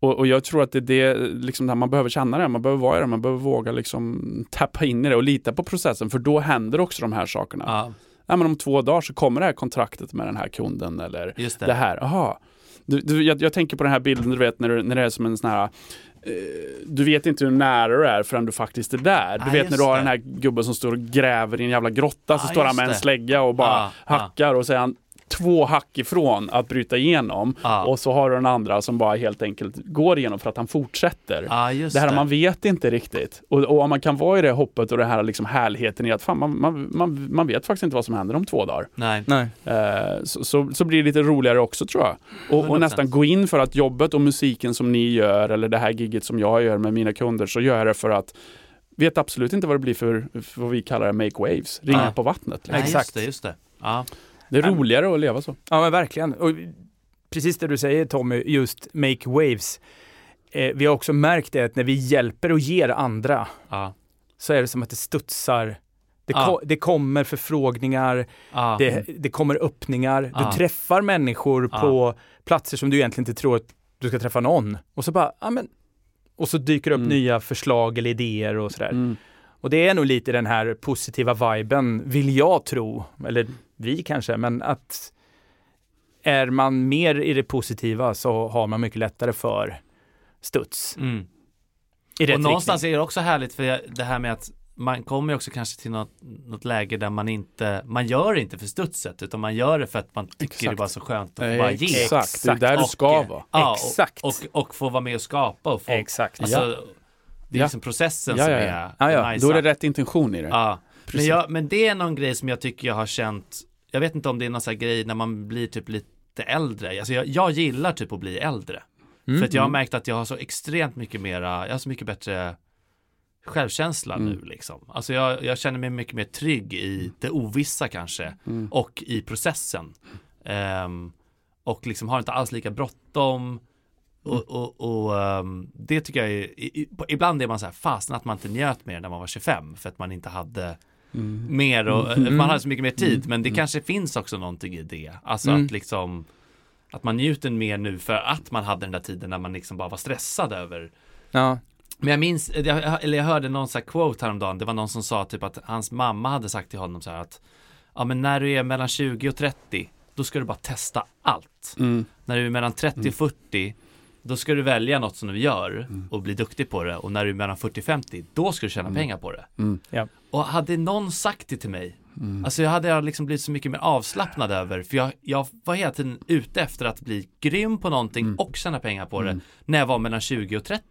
Speaker 4: Och, och jag tror att det är det, liksom, där man behöver känna det, man behöver vara i det, man behöver våga liksom, tappa in i det och lita på processen för då händer också de här sakerna.
Speaker 3: Ja.
Speaker 4: Ja, men om två dagar så kommer det här kontraktet med den här kunden eller
Speaker 3: Just det.
Speaker 4: det här. Aha. Du, du, jag, jag tänker på den här bilden du vet när, du, när det är som en sån här eh, du vet inte hur nära du är förrän du faktiskt är där. Du
Speaker 3: Ah,
Speaker 4: vet när du
Speaker 3: just
Speaker 4: har
Speaker 3: det.
Speaker 4: den här gubben som står och gräver i en jävla grotta så
Speaker 3: Ah,
Speaker 4: står han
Speaker 3: just
Speaker 4: med en
Speaker 3: det.
Speaker 4: slägga och bara
Speaker 3: Ah, ah.
Speaker 4: hackar och så är han två hack ifrån att bryta igenom
Speaker 3: Ah.
Speaker 4: och så har du den andra som bara helt enkelt går igenom för att han fortsätter.
Speaker 3: Ja, just
Speaker 4: Det här
Speaker 3: det.
Speaker 4: man vet inte riktigt. Och, och om man kan vara i det hoppet och det här liksom härligheten i att fan, man, man, man, man vet faktiskt inte vad som händer om två dagar.
Speaker 3: Nej.
Speaker 2: Nej.
Speaker 4: Eh, så, så, så blir det lite roligare också tror jag. Och, och
Speaker 3: 100%.
Speaker 4: nästan gå in för att jobbet och musiken som ni gör eller det här gigget som jag gör med mina kunder så gör jag det för att vet absolut inte vad det blir för, för vad vi kallar det, make waves, ringar
Speaker 3: Nej.
Speaker 4: på vattnet.
Speaker 3: Nej,
Speaker 4: Liksom.
Speaker 2: Exakt.
Speaker 3: Just det, just det. Ja.
Speaker 4: Det är roligare att leva så.
Speaker 2: Ja men verkligen. Och precis det du säger Tommy, just make waves. Eh, vi har också märkt det att när vi hjälper och ger andra
Speaker 3: Ja.
Speaker 2: så är det som att det studsar. Det, ko-
Speaker 3: Ja.
Speaker 2: det kommer förfrågningar,
Speaker 3: Ja.
Speaker 2: det, det kommer öppningar.
Speaker 3: Ja.
Speaker 2: Du träffar människor
Speaker 3: Ja.
Speaker 2: på platser som du egentligen inte tror att du ska träffa någon. Och så bara, ja men, och så dyker
Speaker 3: Mm.
Speaker 2: det upp nya förslag eller idéer och sådär. Och det är nog lite den här positiva viben, vill jag tro, eller vi kanske, men att är man mer i det positiva så har man mycket lättare för studs.
Speaker 3: Mm.
Speaker 2: I rätt
Speaker 3: Och någonstans är det också härligt för jag- det här med att man kommer ju också kanske till något, något läge där man inte, man gör det inte för studset utan man gör det för att man tycker det är bara så skönt att bara ge.
Speaker 4: Exakt, det är
Speaker 2: Exakt.
Speaker 4: där du
Speaker 2: Och,
Speaker 4: ska vara.
Speaker 3: Ja,
Speaker 2: Exakt.
Speaker 3: Och, och, och få vara med och skapa och få,
Speaker 2: riktning. Exakt.
Speaker 3: alltså,
Speaker 2: Ja.
Speaker 3: det är
Speaker 4: Ja.
Speaker 3: liksom processen
Speaker 4: Ja,
Speaker 3: som
Speaker 4: ja,
Speaker 3: är
Speaker 4: ja.
Speaker 2: Ja, ja.
Speaker 3: nice.
Speaker 4: Då är det rätt intention i det.
Speaker 3: Ja, men, jag, men det är någon grej som jag tycker jag har känt, jag vet inte om det är någon sån här grej när man blir typ lite äldre, alltså jag, jag gillar typ att bli äldre. För att jag har märkt att jag har så extremt mycket mera, jag har så mycket bättre självkänsla nu liksom. Alltså jag, jag känner mig mycket mer trygg i det ovissa kanske och i processen. Ehm, och liksom har inte alls lika bråttom. Och, och, och ehm, det tycker jag är, i- i- på- ibland är man så här fasen att man inte njöt mer när man var 25 för att man inte hade mer och man hade så mycket mer tid. Men det kanske finns också någonting i det. Alltså att liksom att man njuter mer nu för att man hade den där tiden när man liksom bara var stressad över
Speaker 2: Ja.
Speaker 3: men jag minns, jag, eller jag hörde någon så här quote häromdagen, det var någon som sa typ att hans mamma hade sagt till honom så här att ja men när du är mellan 20 och 30 då ska du bara testa allt.
Speaker 4: Mm.
Speaker 3: När du är mellan 30 och 40 då ska du välja något som du gör och bli duktig på det och när du är mellan 40 och 50 då ska du tjäna pengar på det.
Speaker 2: Ja.
Speaker 3: Och hade någon sagt det till mig,
Speaker 4: Mm.
Speaker 3: alltså jag hade liksom blivit så mycket mer avslappnad över, för jag, jag var hela tiden ute efter att bli grym på någonting
Speaker 4: Mm.
Speaker 3: och tjäna pengar på det när jag var mellan 20 och 30.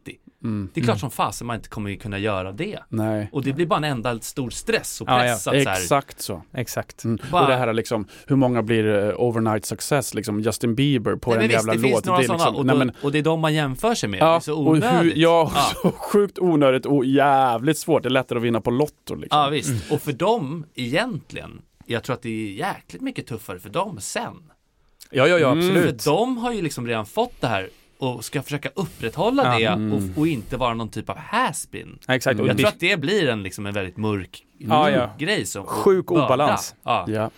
Speaker 4: Mm.
Speaker 3: Det är klart som fasen man inte kommer kunna göra det.
Speaker 4: Nej.
Speaker 3: Och det blir bara en enda stor stress och
Speaker 2: Ja, ja.
Speaker 3: press att så här,
Speaker 4: Exakt så.
Speaker 2: Exakt.
Speaker 4: Mm.
Speaker 3: Bara-
Speaker 4: Och det här är liksom, hur många blir eh, overnight success, liksom Justin Bieber på
Speaker 3: Nej, men
Speaker 4: en
Speaker 3: visst,
Speaker 4: jävla
Speaker 3: det
Speaker 4: låt.
Speaker 3: finns några
Speaker 4: är liksom-
Speaker 3: sådana och,
Speaker 4: nej,
Speaker 3: då,
Speaker 4: men,
Speaker 3: och det är de man jämför sig med. det är
Speaker 4: ja,
Speaker 3: så
Speaker 4: och
Speaker 3: onödigt.
Speaker 4: hur, ja,
Speaker 3: Ja.
Speaker 4: så sjukt onödigt och jävligt svårt. Det är lättare att vinna på Lotto liksom.
Speaker 3: Ja visst, och för dem egentligen, jag tror att det är jäkligt mycket tuffare för dem sen.
Speaker 2: Ja, ja, ja,
Speaker 3: Mm.
Speaker 2: absolut.
Speaker 3: För de har ju liksom redan fått det här och ska försöka upprätthålla
Speaker 2: Ja.
Speaker 3: det och, och inte vara någon typ av has-been.
Speaker 2: Ja, Exakt. Och
Speaker 3: Mm. Jag
Speaker 2: det
Speaker 3: tror
Speaker 2: är
Speaker 3: att det blir en, liksom, en väldigt mörk
Speaker 2: Ja, ja.
Speaker 3: grej. Som,
Speaker 2: Sjuk
Speaker 3: börda.
Speaker 2: obalans.
Speaker 3: Ja.
Speaker 4: Ja.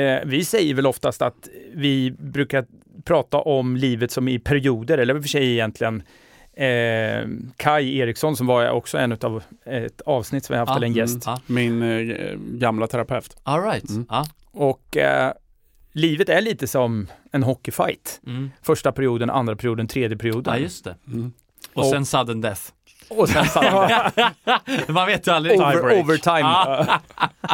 Speaker 2: Eh, vi säger väl oftast att vi brukar prata om livet som i perioder, eller i och för sig egentligen eh, Kai Eriksson som var också en av ett avsnitt som vi har haft,
Speaker 3: Ja,
Speaker 2: eller en gäst. Mm.
Speaker 3: Ja.
Speaker 4: Min eh, gamla terapeut.
Speaker 3: All right. Ja.
Speaker 2: Och eh, livet är lite som en hockeyfight.
Speaker 3: Mm.
Speaker 2: Första perioden, andra perioden, tredje perioden.
Speaker 3: ja, just det.
Speaker 4: Mm.
Speaker 3: Och sen sudden death.
Speaker 2: Och sen
Speaker 3: Man vet ju aldrig.
Speaker 2: over,
Speaker 4: Tiebreak.
Speaker 2: overtime.
Speaker 3: Ah.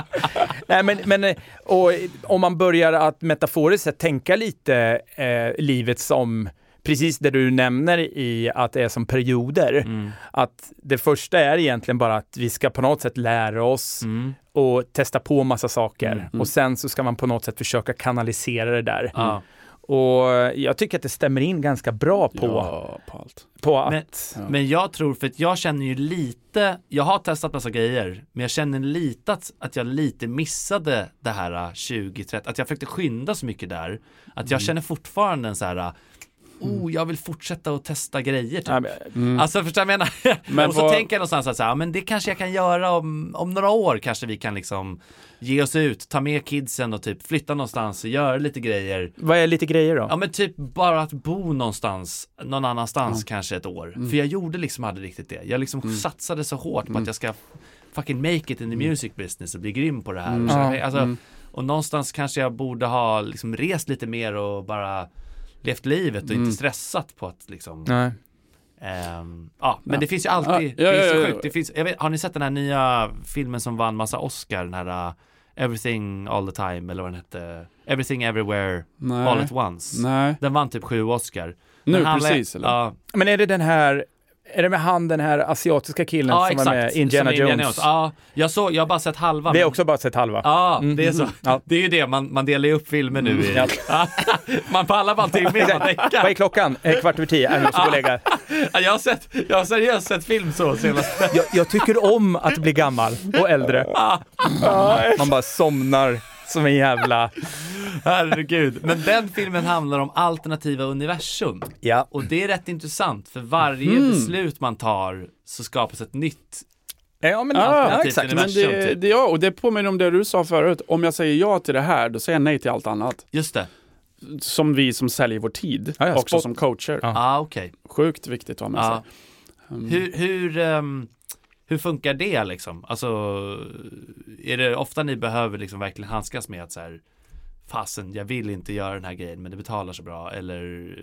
Speaker 2: Nej, men, men eh, och, eh, om man börjar att metaforiskt sett tänka lite eh, livet som precis det du nämner i att det är som perioder.
Speaker 3: Mm.
Speaker 2: Att det första är egentligen bara att vi ska på något sätt lära oss
Speaker 3: Mm.
Speaker 2: och testa på massa saker och sen så ska man på något sätt försöka kanalisera det där.
Speaker 3: Ja.
Speaker 2: Och jag tycker att det stämmer in ganska bra på,
Speaker 4: Ja, på allt.
Speaker 2: på att...
Speaker 3: Men, men jag tror, för att jag känner ju lite, jag har testat massa grejer, men jag känner lite att, att jag lite missade det här äh, 20-30, att jag försökte skynda så mycket där, att
Speaker 4: Mm.
Speaker 3: jag känner fortfarande en så här, äh, oh, jag vill fortsätta att testa grejer typ.
Speaker 2: Ja, men-
Speaker 3: Alltså förstår du vad jag menar?
Speaker 4: Mm. Men
Speaker 3: och så
Speaker 4: vad-
Speaker 3: tänker jag någonstans att så här, ja, men det kanske jag kan göra om, om några år kanske vi kan liksom ge oss ut, ta med kidsen och typ flytta någonstans och göra lite grejer.
Speaker 2: Vad är lite grejer då?
Speaker 3: Ja men typ bara att bo någonstans, någon annanstans kanske ett år.
Speaker 4: Mm.
Speaker 3: För jag gjorde liksom aldrig riktigt det. Jag liksom satsade så hårt på att jag ska fucking make it in
Speaker 4: Mm.
Speaker 3: the music business och bli grym på det här. Så, jag- alltså, Och någonstans kanske jag borde ha liksom rest lite mer och bara levt livet och
Speaker 4: Mm.
Speaker 3: inte stressat på att liksom
Speaker 2: Nej.
Speaker 3: Ehm, ja, men det finns ju alltid,
Speaker 4: Ja, ja,
Speaker 3: det är så
Speaker 4: ja, ja.
Speaker 3: sjukt. Det finns, jag vet, har ni sett den här nya filmen som vann massa Oscar? Den här uh, Everything All The Time eller vad den hette? Everything Everywhere
Speaker 4: Nej.
Speaker 3: All At Once.
Speaker 4: Nej.
Speaker 3: Den vann typ sju Oscar.
Speaker 4: Nu
Speaker 3: Den handlar-
Speaker 4: precis, eller?
Speaker 3: Ja,
Speaker 2: Men är det den här, är det med han den här asiatiska killen
Speaker 3: ja
Speaker 2: som
Speaker 3: exakt.
Speaker 2: var med i Indiana
Speaker 3: Som
Speaker 2: Jones?
Speaker 3: Ja, jag såg, jag har bara sett halva.
Speaker 2: Det är
Speaker 3: Ah, men-
Speaker 2: också bara sett halva.
Speaker 3: Ja, det är så.
Speaker 2: Ja. Mm,
Speaker 3: Det är ju det, man, man delar ju upp filmer nu i...
Speaker 2: Ja.
Speaker 3: man pallar bara en timme innan man däckar.
Speaker 2: Vad är klockan? Eh, Kvart över tio. Äh, Jag, måste gå och lägga.
Speaker 3: Ja, jag, har sett, jag har seriöst sett film så senast.
Speaker 2: jag, jag tycker om att bli gammal och äldre. Man bara somnar som en jävla...
Speaker 3: Herregud. Men den filmen handlar om alternativa universum.
Speaker 2: Ja.
Speaker 3: Och det är rätt intressant för varje
Speaker 2: Mm.
Speaker 3: beslut man tar så skapas ett nytt.
Speaker 2: Ja, men
Speaker 4: Ah,
Speaker 2: ja,
Speaker 3: typ
Speaker 2: exakt.
Speaker 3: den är-
Speaker 4: Men det,
Speaker 3: Universum,
Speaker 4: det, ja, och det påminner om det du sa förut. Om jag säger ja till det här, då säger jag nej till allt annat.
Speaker 3: Just det.
Speaker 4: Som vi som säljer vår tid,
Speaker 2: Ja, ja,
Speaker 4: också
Speaker 2: spot-
Speaker 4: som coacher.
Speaker 2: Ja.
Speaker 3: Ah, okej.
Speaker 4: Sjukt viktigt att ha med sig.
Speaker 3: Ah. Hur, hur, ehm, hur funkar det liksom? Alltså, är det ofta ni behöver liksom verkligen handskas med att så här, fasen, jag vill inte göra den här grejen, men det betalar så bra, eller,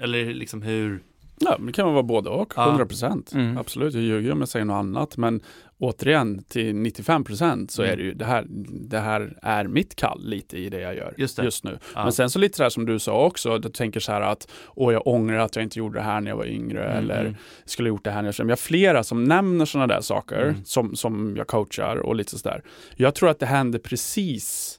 Speaker 3: eller liksom hur?
Speaker 4: Ja, men det kan vara både och,
Speaker 3: Ja. Mm.
Speaker 4: 100 procent. Absolut, jag ljuger om jag säger något annat. Men återigen, till 95 procent
Speaker 3: Mm.
Speaker 4: så är det ju det här, det här är mitt kall lite i det jag gör
Speaker 3: Just det.
Speaker 4: just nu.
Speaker 3: Ja.
Speaker 4: Men sen så lite så här som du sa också, att du tänker så här att åh, jag ångrar att jag inte gjorde det här när jag var yngre
Speaker 3: Mm,
Speaker 4: eller skulle ha gjort det här när jag var Men jag har flera som nämner sådana där
Speaker 3: Mm.
Speaker 4: saker som, som jag coachar och lite sådär. Jag tror att det händer precis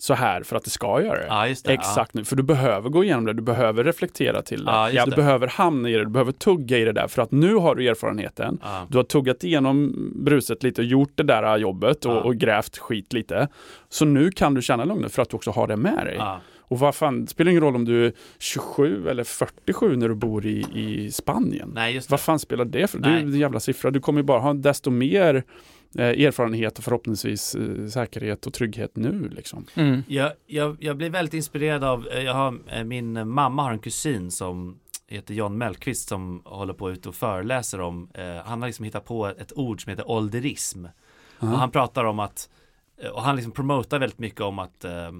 Speaker 4: så här för att det ska göra det.
Speaker 3: Ja, just det.
Speaker 4: Exakt nu, för du behöver gå igenom det, du behöver reflektera till det.
Speaker 3: Ja, just
Speaker 4: du
Speaker 3: det.
Speaker 4: behöver hamna i det, du behöver tugga i det där för att nu har du erfarenheten.
Speaker 3: Ja.
Speaker 4: Du har tuggat igenom bruset lite och gjort det där jobbet och,
Speaker 3: Ja.
Speaker 4: och grävt skit lite. Så nu kan du känna lugnet för att du också har det med dig.
Speaker 3: Ja.
Speaker 4: Och vad fan, det spelar ingen roll om du är 27 eller 47 när du bor i, i Spanien.
Speaker 3: Nej, just det.
Speaker 4: Vad fan spelar det för? Det är
Speaker 3: Nej.
Speaker 4: ju en jävla siffra. Du kommer ju bara ha desto mer eh, erfarenhet och förhoppningsvis eh, säkerhet och trygghet nu liksom.
Speaker 2: Mm.
Speaker 3: Jag, jag, jag blir väldigt inspirerad av, eh, jag har, eh, min mamma har en kusin som heter Jan Mellqvist som håller på ut och föreläser om, eh, han har liksom hittat på ett ord som heter ålderism. Och han pratar om att, eh, och han liksom promotar väldigt mycket om att, eh,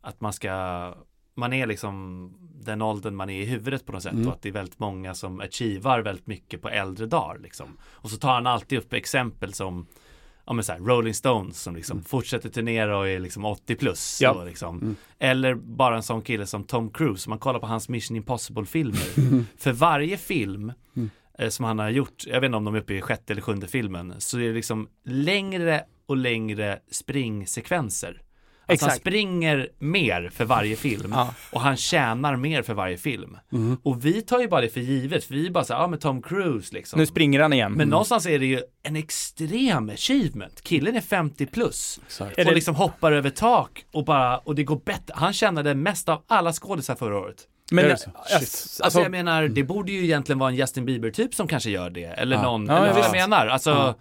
Speaker 3: att man ska, man är liksom den åldern man är i huvudet på något sätt och att det är väldigt många som achievar väldigt mycket på äldre dagar liksom. Och så tar han alltid upp exempel som ja, men så här, Rolling Stones som liksom fortsätter turnera och är liksom 80 plus.
Speaker 2: Mm. Ja. Mm.
Speaker 3: Så, liksom. Eller bara en sån kille som Tom Cruise, om man kollar på hans Mission Impossible-filmer.
Speaker 2: Mm.
Speaker 3: För varje film eh, som han har gjort, jag vet inte om de är uppe i sjätte eller sjunde filmen, så är det liksom längre och längre springsekvenser. Alltså han
Speaker 2: Exakt.
Speaker 3: springer mer för varje film
Speaker 2: Ja. Mm.
Speaker 3: och han tjänar mer för varje film. Och vi tar ju bara det för givet, för vi bara så här, ja ah, men Tom Cruise liksom.
Speaker 2: Nu springer han igen.
Speaker 3: Men
Speaker 4: Mm.
Speaker 3: någonstans är det ju en extrem achievement. Killen är 50 plus och
Speaker 2: Eller-
Speaker 3: liksom hoppar över tak och bara, och det går bättre. Han tjänade mest av alla skådisar förra året.
Speaker 2: Men,
Speaker 4: Är det så?
Speaker 2: alltså,
Speaker 4: Shit.
Speaker 3: Alltså
Speaker 2: alltså,
Speaker 3: jag menar,
Speaker 4: Mm.
Speaker 3: det borde ju egentligen vara en Justin Bieber-typ som kanske gör det. Eller någon,
Speaker 2: Ja,
Speaker 3: eller
Speaker 2: ja,
Speaker 3: vad jag
Speaker 2: visst.
Speaker 3: menar. Alltså,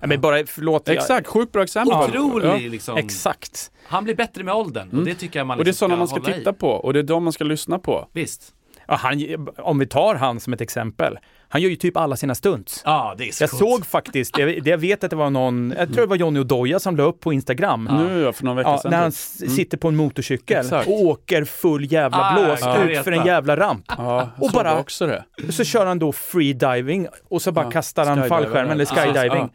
Speaker 2: ja, men bara, förlåt. jag-
Speaker 4: Exakt, sjukt bra exempel.
Speaker 3: otrolig
Speaker 4: Ja. Mm.
Speaker 3: liksom.
Speaker 2: Exakt.
Speaker 3: Han blir bättre med åldern och det tycker jag man
Speaker 4: Och det är
Speaker 3: liksom
Speaker 4: sådana man ska
Speaker 3: hålla i.
Speaker 4: titta på och det är de man ska lyssna på.
Speaker 3: Visst.
Speaker 2: Ja, han, om vi tar han som ett exempel. Han gör ju typ alla sina stunts.
Speaker 3: Ja, det är så
Speaker 2: Jag
Speaker 3: coolt.
Speaker 2: såg faktiskt, jag, jag vet att det var någon, jag tror det var Johnny Odoja som la upp på Instagram.
Speaker 4: Nu ja, för någon vecka
Speaker 2: Ja,
Speaker 4: sedan.
Speaker 2: när han
Speaker 4: typ.
Speaker 2: s- sitter på en motorcykel
Speaker 4: Exakt.
Speaker 2: och åker full jävla
Speaker 3: Ah,
Speaker 2: blås
Speaker 3: jag
Speaker 2: ut
Speaker 3: vet
Speaker 2: för en
Speaker 3: det.
Speaker 2: jävla ramp.
Speaker 4: ja, jag
Speaker 2: och
Speaker 4: såg
Speaker 2: bara-
Speaker 4: också det.
Speaker 2: Så kör han då freediving och så bara
Speaker 4: Ja,
Speaker 2: kastar han
Speaker 4: skydiver,
Speaker 2: fallskärmen eller
Speaker 4: ja, precis,
Speaker 2: skydiving.
Speaker 4: ja.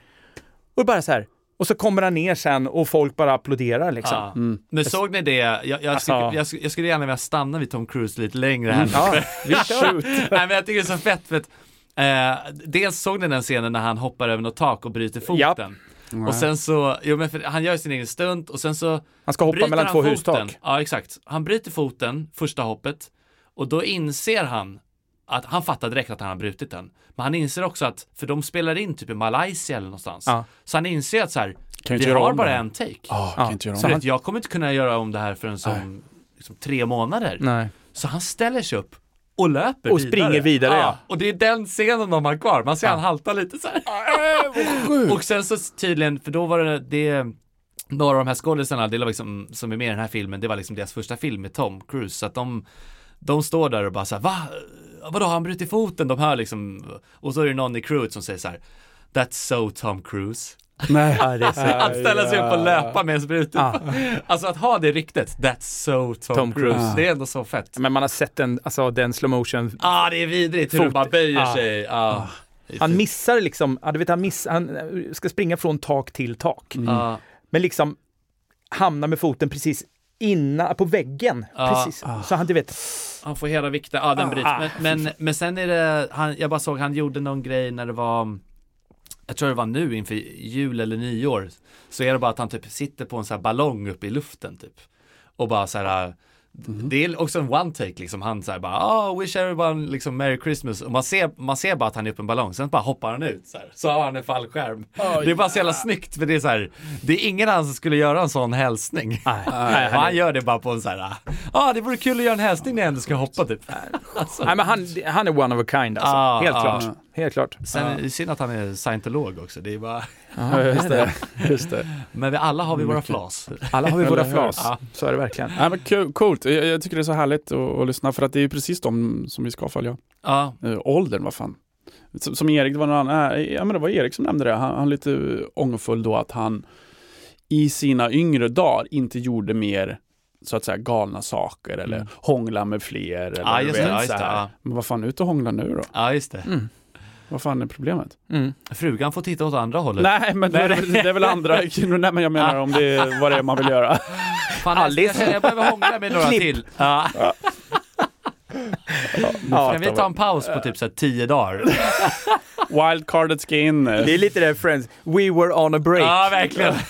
Speaker 2: Och bara så här. Och så kommer han ner sen och folk bara applåderar liksom.
Speaker 3: Ja.
Speaker 4: Mm.
Speaker 3: Men såg ni det? Jag, jag, skulle,
Speaker 4: Alltså-
Speaker 3: jag, skulle- jag skulle gärna vilja stanna vid Tom Cruise lite längre
Speaker 4: Mm.
Speaker 3: här.
Speaker 2: Ja.
Speaker 4: Vi kör.
Speaker 3: Nej, men jag tycker det är så fett för att eh, dels såg ni den scenen när han hoppar över något tak och bryter foten.
Speaker 2: Japp.
Speaker 3: Och sen så, jo men för, han gör sin egen stunt och sen så
Speaker 2: Han ska hoppa
Speaker 3: bryter
Speaker 2: mellan
Speaker 3: han
Speaker 2: två
Speaker 3: foten.
Speaker 2: hustak.
Speaker 3: Ja exakt. Han bryter foten, första hoppet, och då inser han att han fattar direkt att han har brutit den. Men han inser också att, för de spelar in typ i Malaysia eller någonstans.
Speaker 2: Ja.
Speaker 3: Så han inser att så här,
Speaker 4: Kan ju
Speaker 3: vi
Speaker 4: inte göra
Speaker 3: har
Speaker 4: om
Speaker 3: bara
Speaker 4: det.
Speaker 3: en take.
Speaker 4: Ja,
Speaker 2: Ja,
Speaker 4: kan inte göra om
Speaker 2: så
Speaker 3: Så
Speaker 4: det.
Speaker 2: han-
Speaker 3: vet, jag kommer inte kunna göra om det här förrän som liksom, tre månader.
Speaker 2: Nej.
Speaker 3: Så han ställer sig upp och löper
Speaker 2: Och
Speaker 3: vidare.
Speaker 2: springer vidare, ja.
Speaker 3: Och det är den scenen de har kvar. Man ser han halta lite så här. Äh,
Speaker 4: Mm.
Speaker 3: och sen så tydligen, för då var det, det några av de här skådisarna det var liksom, som är med i den här filmen, det var liksom deras första film med Tom Cruise. Så att de, de står där och bara så här, va? Vadå, har han brutit foten? De hör liksom, och så är det någon i crewet som säger så här, That's so Tom Cruise.
Speaker 4: Nej.
Speaker 2: Ja, det är så.
Speaker 3: Att ställa sig upp och löpa med en sprut.
Speaker 2: Ja.
Speaker 3: Alltså att ha det ryktet, that's so Tom,
Speaker 2: Tom
Speaker 3: Cruise.
Speaker 2: Cruise.
Speaker 3: Det är ändå så fett.
Speaker 2: Men man har sett den, alltså den slow motion.
Speaker 3: Ah, det är vidrigt hur de
Speaker 2: Fot-
Speaker 3: bara böjer
Speaker 2: ah.
Speaker 3: sig. Ah.
Speaker 2: Han missar liksom, ja, du vet han, miss, han eh, ska springa från tak till tak.
Speaker 3: Ah.
Speaker 2: Men liksom hamnar med foten precis innan, på väggen. Precis. Så han, du vet,
Speaker 3: Han får hela vikten, ja ah, den bryts. Men, men, men sen är det, han, jag bara såg han gjorde någon grej när det var jag tror det var nu inför jul eller nyår så är det bara att han typ sitter på en sån här ballong uppe i luften typ och bara så här äh, Det är också en one take liksom, han säger bara oh, wish everyone liksom merry christmas och man ser, man ser bara att han är uppe i en ballong, sen bara hoppar han ut så, här. så har han en fallskärm. det är bara så jävla snyggt för det är så här, det är ingen annan som skulle göra en sån hälsning. Nej, och han gör det bara på en så här, ja ah, det vore kul att göra en hälsning när jag ändå ska hoppa typ. Alltså,
Speaker 2: nej, men han, han är one of a kind alltså.
Speaker 3: Ah,
Speaker 2: Helt
Speaker 3: ah.
Speaker 2: klart. Helt klart.
Speaker 3: sen är det synd att han är scientolog också, det är bara,
Speaker 4: Ja, just det. Just det.
Speaker 3: men vi alla har vi våra flas.
Speaker 2: Alla har vi våra
Speaker 4: Eller hur?
Speaker 2: flas.
Speaker 3: Ja.
Speaker 2: Så är det verkligen.
Speaker 4: Nej, men kul, coolt. Jag, jag tycker det är så härligt att, att lyssna för att det är ju precis de som vi ska följa.
Speaker 3: Ja,
Speaker 4: Eh, åldern, vad fan. Som, som Erik, det var någon annan, eh, ja men det var Erik som nämnde det, han, han är lite eh, ångerfull då att han i sina yngre dagar inte gjorde mer så att säga galna saker eller hångla med fler. Eller,
Speaker 3: Mm. Ja,
Speaker 4: du
Speaker 3: just det,
Speaker 4: vet,
Speaker 3: ja, just
Speaker 4: så här.
Speaker 3: det, ja.
Speaker 4: Men vad fan, ut och hångla nu då.
Speaker 3: ja just det.
Speaker 4: Vad fan är problemet?
Speaker 3: Frugan får titta åt andra hållet.
Speaker 4: Nej, men det, är- det är väl andra, nej men jag menar om det är vad det är man vill göra.
Speaker 3: Fan, Alice. Jag, jag behöver hångla med några
Speaker 2: Klipp.
Speaker 3: till. Ja. Kan vi ta en paus på typ så här tio dagar?
Speaker 4: Wildcarded skin.
Speaker 2: Det är lite det Friends, we were on a break.
Speaker 3: Ja, verkligen.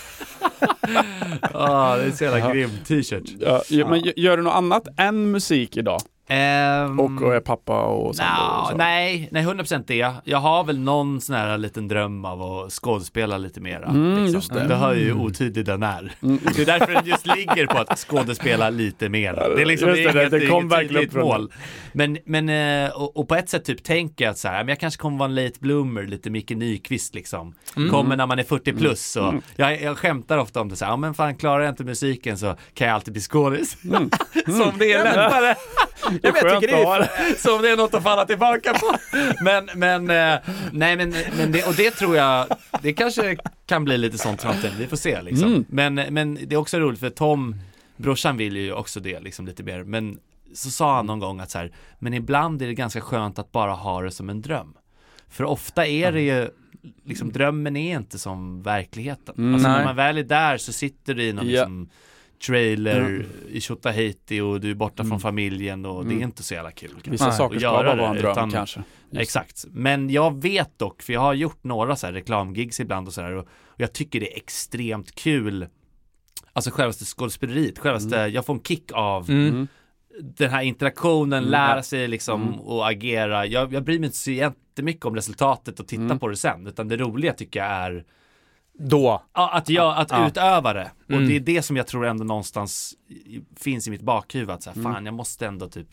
Speaker 3: Ah, det är en så jävla grym t-shirt.
Speaker 4: Ja, ja, men gör du något annat än musik idag?
Speaker 3: Ehm,
Speaker 4: Och, och är pappa och sambo och
Speaker 3: nja,
Speaker 4: så?
Speaker 3: nej, nej, 100% det. Jag har väl någon sån här liten dröm av att skådespela lite mera. Mm,
Speaker 4: just det. Mm.
Speaker 3: hör ju hur otydlig den är. Det är därför den just ligger på att skådespela lite mera. Det är liksom
Speaker 4: Just
Speaker 3: det,
Speaker 4: det,
Speaker 3: det,
Speaker 4: det
Speaker 3: det
Speaker 4: kom
Speaker 3: kom
Speaker 4: verkligen
Speaker 3: tydligt
Speaker 4: från-
Speaker 3: mål. Men, men eh, och, och på ett sätt typ tänker jag att så här, men jag kanske kommer vara en late bloomer, lite Micke Nyqvist liksom.
Speaker 4: Mm.
Speaker 3: Kommer när man är 40 plus och jag, jag skämtar ofta om det så här, ja men fan klarar jag inte musiken så kan jag alltid bli skådis.
Speaker 4: Mm.
Speaker 3: Som det är lättare. Jag, vet, jag
Speaker 4: skönt
Speaker 3: tycker det
Speaker 4: att ha
Speaker 3: är som det är något att falla tillbaka på. Men, men, eh, nej men, men det, och det tror jag, det kanske kan bli lite sånt i framtiden, vi får se liksom.
Speaker 4: Mm.
Speaker 3: Men, men det är också roligt för Tom, brorsan vill ju också det liksom lite mer, men så sa han någon gång att så här, men ibland är det ganska skönt att bara ha det som en dröm. För ofta är det ju, liksom drömmen är inte som verkligheten. alltså
Speaker 2: nej.
Speaker 3: när man väl är där så sitter du i någon
Speaker 4: Mm. Ja.
Speaker 3: liksom trailer i Tjotahejti och du är borta från familjen och det är inte så jävla kul. kanske.
Speaker 4: Vissa
Speaker 2: Nej,
Speaker 4: saker ska
Speaker 3: göra
Speaker 4: bara
Speaker 3: det,
Speaker 4: vara en dröm
Speaker 3: utan-
Speaker 4: kanske.
Speaker 3: Exakt, men jag vet dock, för jag har gjort några så här reklamgigs ibland och sådär och, och jag tycker det är extremt kul Alltså självaste skådespeleriet, självaste, jag får en kick av
Speaker 2: Mm.
Speaker 3: den här interaktionen, lära sig liksom och agera. Jag, jag bryr mig inte så jättemycket om resultatet och titta på det sen, utan det roliga tycker jag är
Speaker 2: Då.
Speaker 3: Ja, att, jag, att
Speaker 2: Ja.
Speaker 3: utöva det. Och
Speaker 2: Mm.
Speaker 3: det är det som jag tror ändå någonstans i- finns i mitt bakhuvud. Att så
Speaker 2: Mm.
Speaker 3: här, fan, jag måste ändå typ,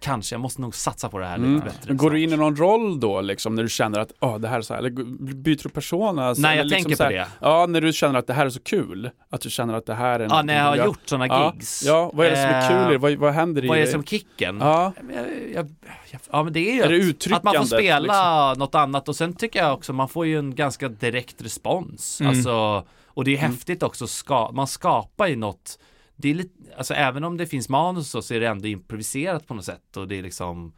Speaker 3: kanske, jag måste nog satsa på det här
Speaker 2: Mm.
Speaker 3: lite bättre.
Speaker 4: Går du in i någon roll då liksom när du känner att oh, det här är så här, eller byter du persona? Alltså,
Speaker 3: Nej, jag
Speaker 4: eller liksom
Speaker 3: tänker på
Speaker 4: så här,
Speaker 3: det.
Speaker 4: Ja, när du känner att det här är så kul, att du känner att det här är
Speaker 3: Ja,
Speaker 4: någonting
Speaker 3: när jag har
Speaker 4: du gör.
Speaker 3: gjort sådana
Speaker 4: ja,
Speaker 3: gigs.
Speaker 4: Ja, vad är det som är kul i
Speaker 3: Eh,
Speaker 4: det? Vad, vad händer
Speaker 3: Vad
Speaker 4: i
Speaker 3: är det som kicken?
Speaker 4: Ja,
Speaker 3: Men jag- jag- jag- Ja men det är ju
Speaker 4: Är det
Speaker 3: att- att man får
Speaker 4: uttryckandet,
Speaker 3: spela något annat och sen tycker jag också man får ju en ganska direkt respons. Alltså, och det är häftigt också, ska, man skapar ju något, det är lite, alltså även om det finns manus och så, så är det ändå improviserat på något sätt och det är liksom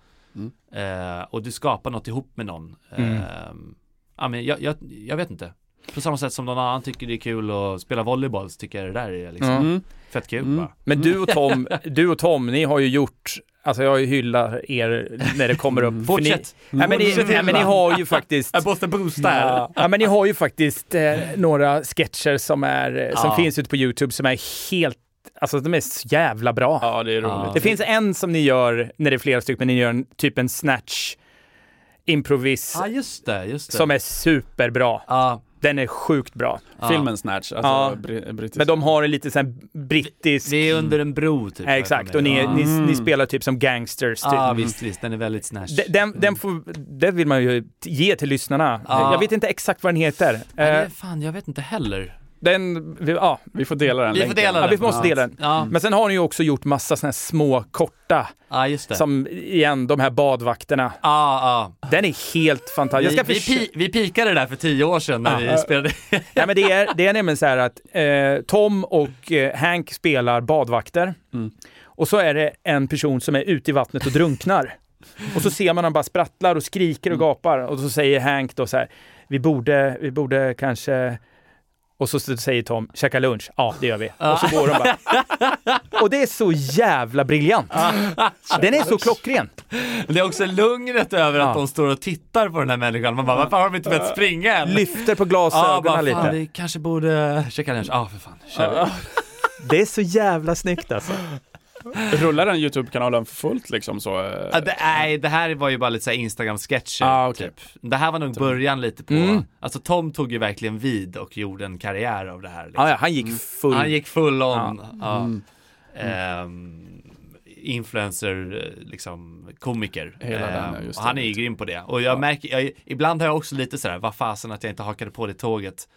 Speaker 3: eh, och du skapar något ihop med någon. Eh, ja, men jag, jag, jag vet inte. På samma sätt som någon annan tycker det är kul att spela volleyboll så tycker jag det där är liksom
Speaker 4: Mm.
Speaker 3: fett kul bara.
Speaker 2: Men du och Tom, du och Tom, ni har ju gjort Alltså jag hyllar er när det kommer upp. För
Speaker 3: Fortsätt.
Speaker 2: Ni, nej, men ni,
Speaker 3: Fortsätt
Speaker 2: nej, men ni
Speaker 3: hylla.
Speaker 2: har ju faktiskt...
Speaker 3: måste boosta
Speaker 2: Ja. ja, men ni har ju faktiskt eh, några sketcher som, är, eh, som
Speaker 3: Ja.
Speaker 2: finns ute på YouTube som är helt, alltså de är så jävla bra.
Speaker 4: ja, det är roligt.
Speaker 3: Ja.
Speaker 2: Det finns en som ni gör, när det är flera stycken, men ni gör en, typ en snatch improvis
Speaker 3: Ja Ah, just det, just det.
Speaker 2: som är superbra.
Speaker 3: Ja,
Speaker 2: Den är sjukt bra.
Speaker 4: Filmen Snatch, alltså
Speaker 2: Ja.
Speaker 4: br- brittisk.
Speaker 2: Men de har en lite sån brittisk...
Speaker 3: vi är under en bro typ.
Speaker 2: Ja, exakt, och ni,
Speaker 3: Ja,
Speaker 2: ni, ni spelar typ som gangsters. Typ.
Speaker 3: ah, visst, visst, den är väldigt snatch.
Speaker 2: De- Den, den, får, den vill man ju ge till lyssnarna.
Speaker 3: Ja.
Speaker 2: Jag vet inte exakt vad den heter.
Speaker 3: Ah. Nej, det
Speaker 2: Eh,
Speaker 3: är fan, jag vet inte heller.
Speaker 2: Den, ja,
Speaker 4: Vi får dela den
Speaker 3: Vi får
Speaker 4: länken.
Speaker 3: dela
Speaker 2: Ja,
Speaker 3: den.
Speaker 2: vi måste dela den.
Speaker 3: Ja,
Speaker 2: Men sen har ni ju också gjort massa såna här små korta,
Speaker 3: ja Ah, just det.
Speaker 2: som igen, de här badvakterna.
Speaker 3: Ah, ah.
Speaker 2: Den är helt fantastisk.
Speaker 3: Vi,
Speaker 2: Jag ska
Speaker 3: vi,
Speaker 2: försöka-
Speaker 3: pi, vi pikade där för tio år sedan när vi spelade.
Speaker 2: Nej, men det, är, det är nämligen så här att eh, Tom och eh, Hank spelar badvakter.
Speaker 3: Mm.
Speaker 2: Och så är det en person som är ute i vattnet och drunknar. Och så ser man han bara sprattlar och skriker och
Speaker 3: Mm.
Speaker 2: gapar. Och så säger Hank då så här, vi borde, vi borde kanske... Och så säger Tom, käka lunch. Ja, det gör vi. Och så går de bara. Och det är så jävla briljant. Den är så klockren.
Speaker 3: Det är också lugnet över att de står och tittar på den här människan. Man bara, varför har de inte börjat springa än?
Speaker 2: Lyfter på
Speaker 3: Ja,
Speaker 2: glasögonen
Speaker 3: bara, fan,
Speaker 2: lite.
Speaker 3: vi kanske borde checka lunch. Ja, ah, för fan, kör vi.
Speaker 2: Det är så jävla snyggt alltså.
Speaker 4: Rullar den YouTube-kanalen för fullt liksom så? eh,
Speaker 3: Ja, det, nej, Ah, det här var ju bara lite så här Instagram-sketcher.
Speaker 4: Ah, okej.
Speaker 3: typ. Det här var nog början lite på,
Speaker 2: Mm.
Speaker 3: alltså Tom tog ju verkligen vid och gjorde en karriär av det här. Liksom.
Speaker 2: Ja, ja, han gick full.
Speaker 3: Han gick full on. Ja. Ehm, influencer, eh, liksom komiker.
Speaker 4: Hela den,
Speaker 3: Ehm,
Speaker 4: ja, just
Speaker 3: och
Speaker 4: det.
Speaker 3: han är ju grym på det. Och jag märker, jag, ibland har jag också lite sådär, vad fasen att jag inte hakade på det tåget.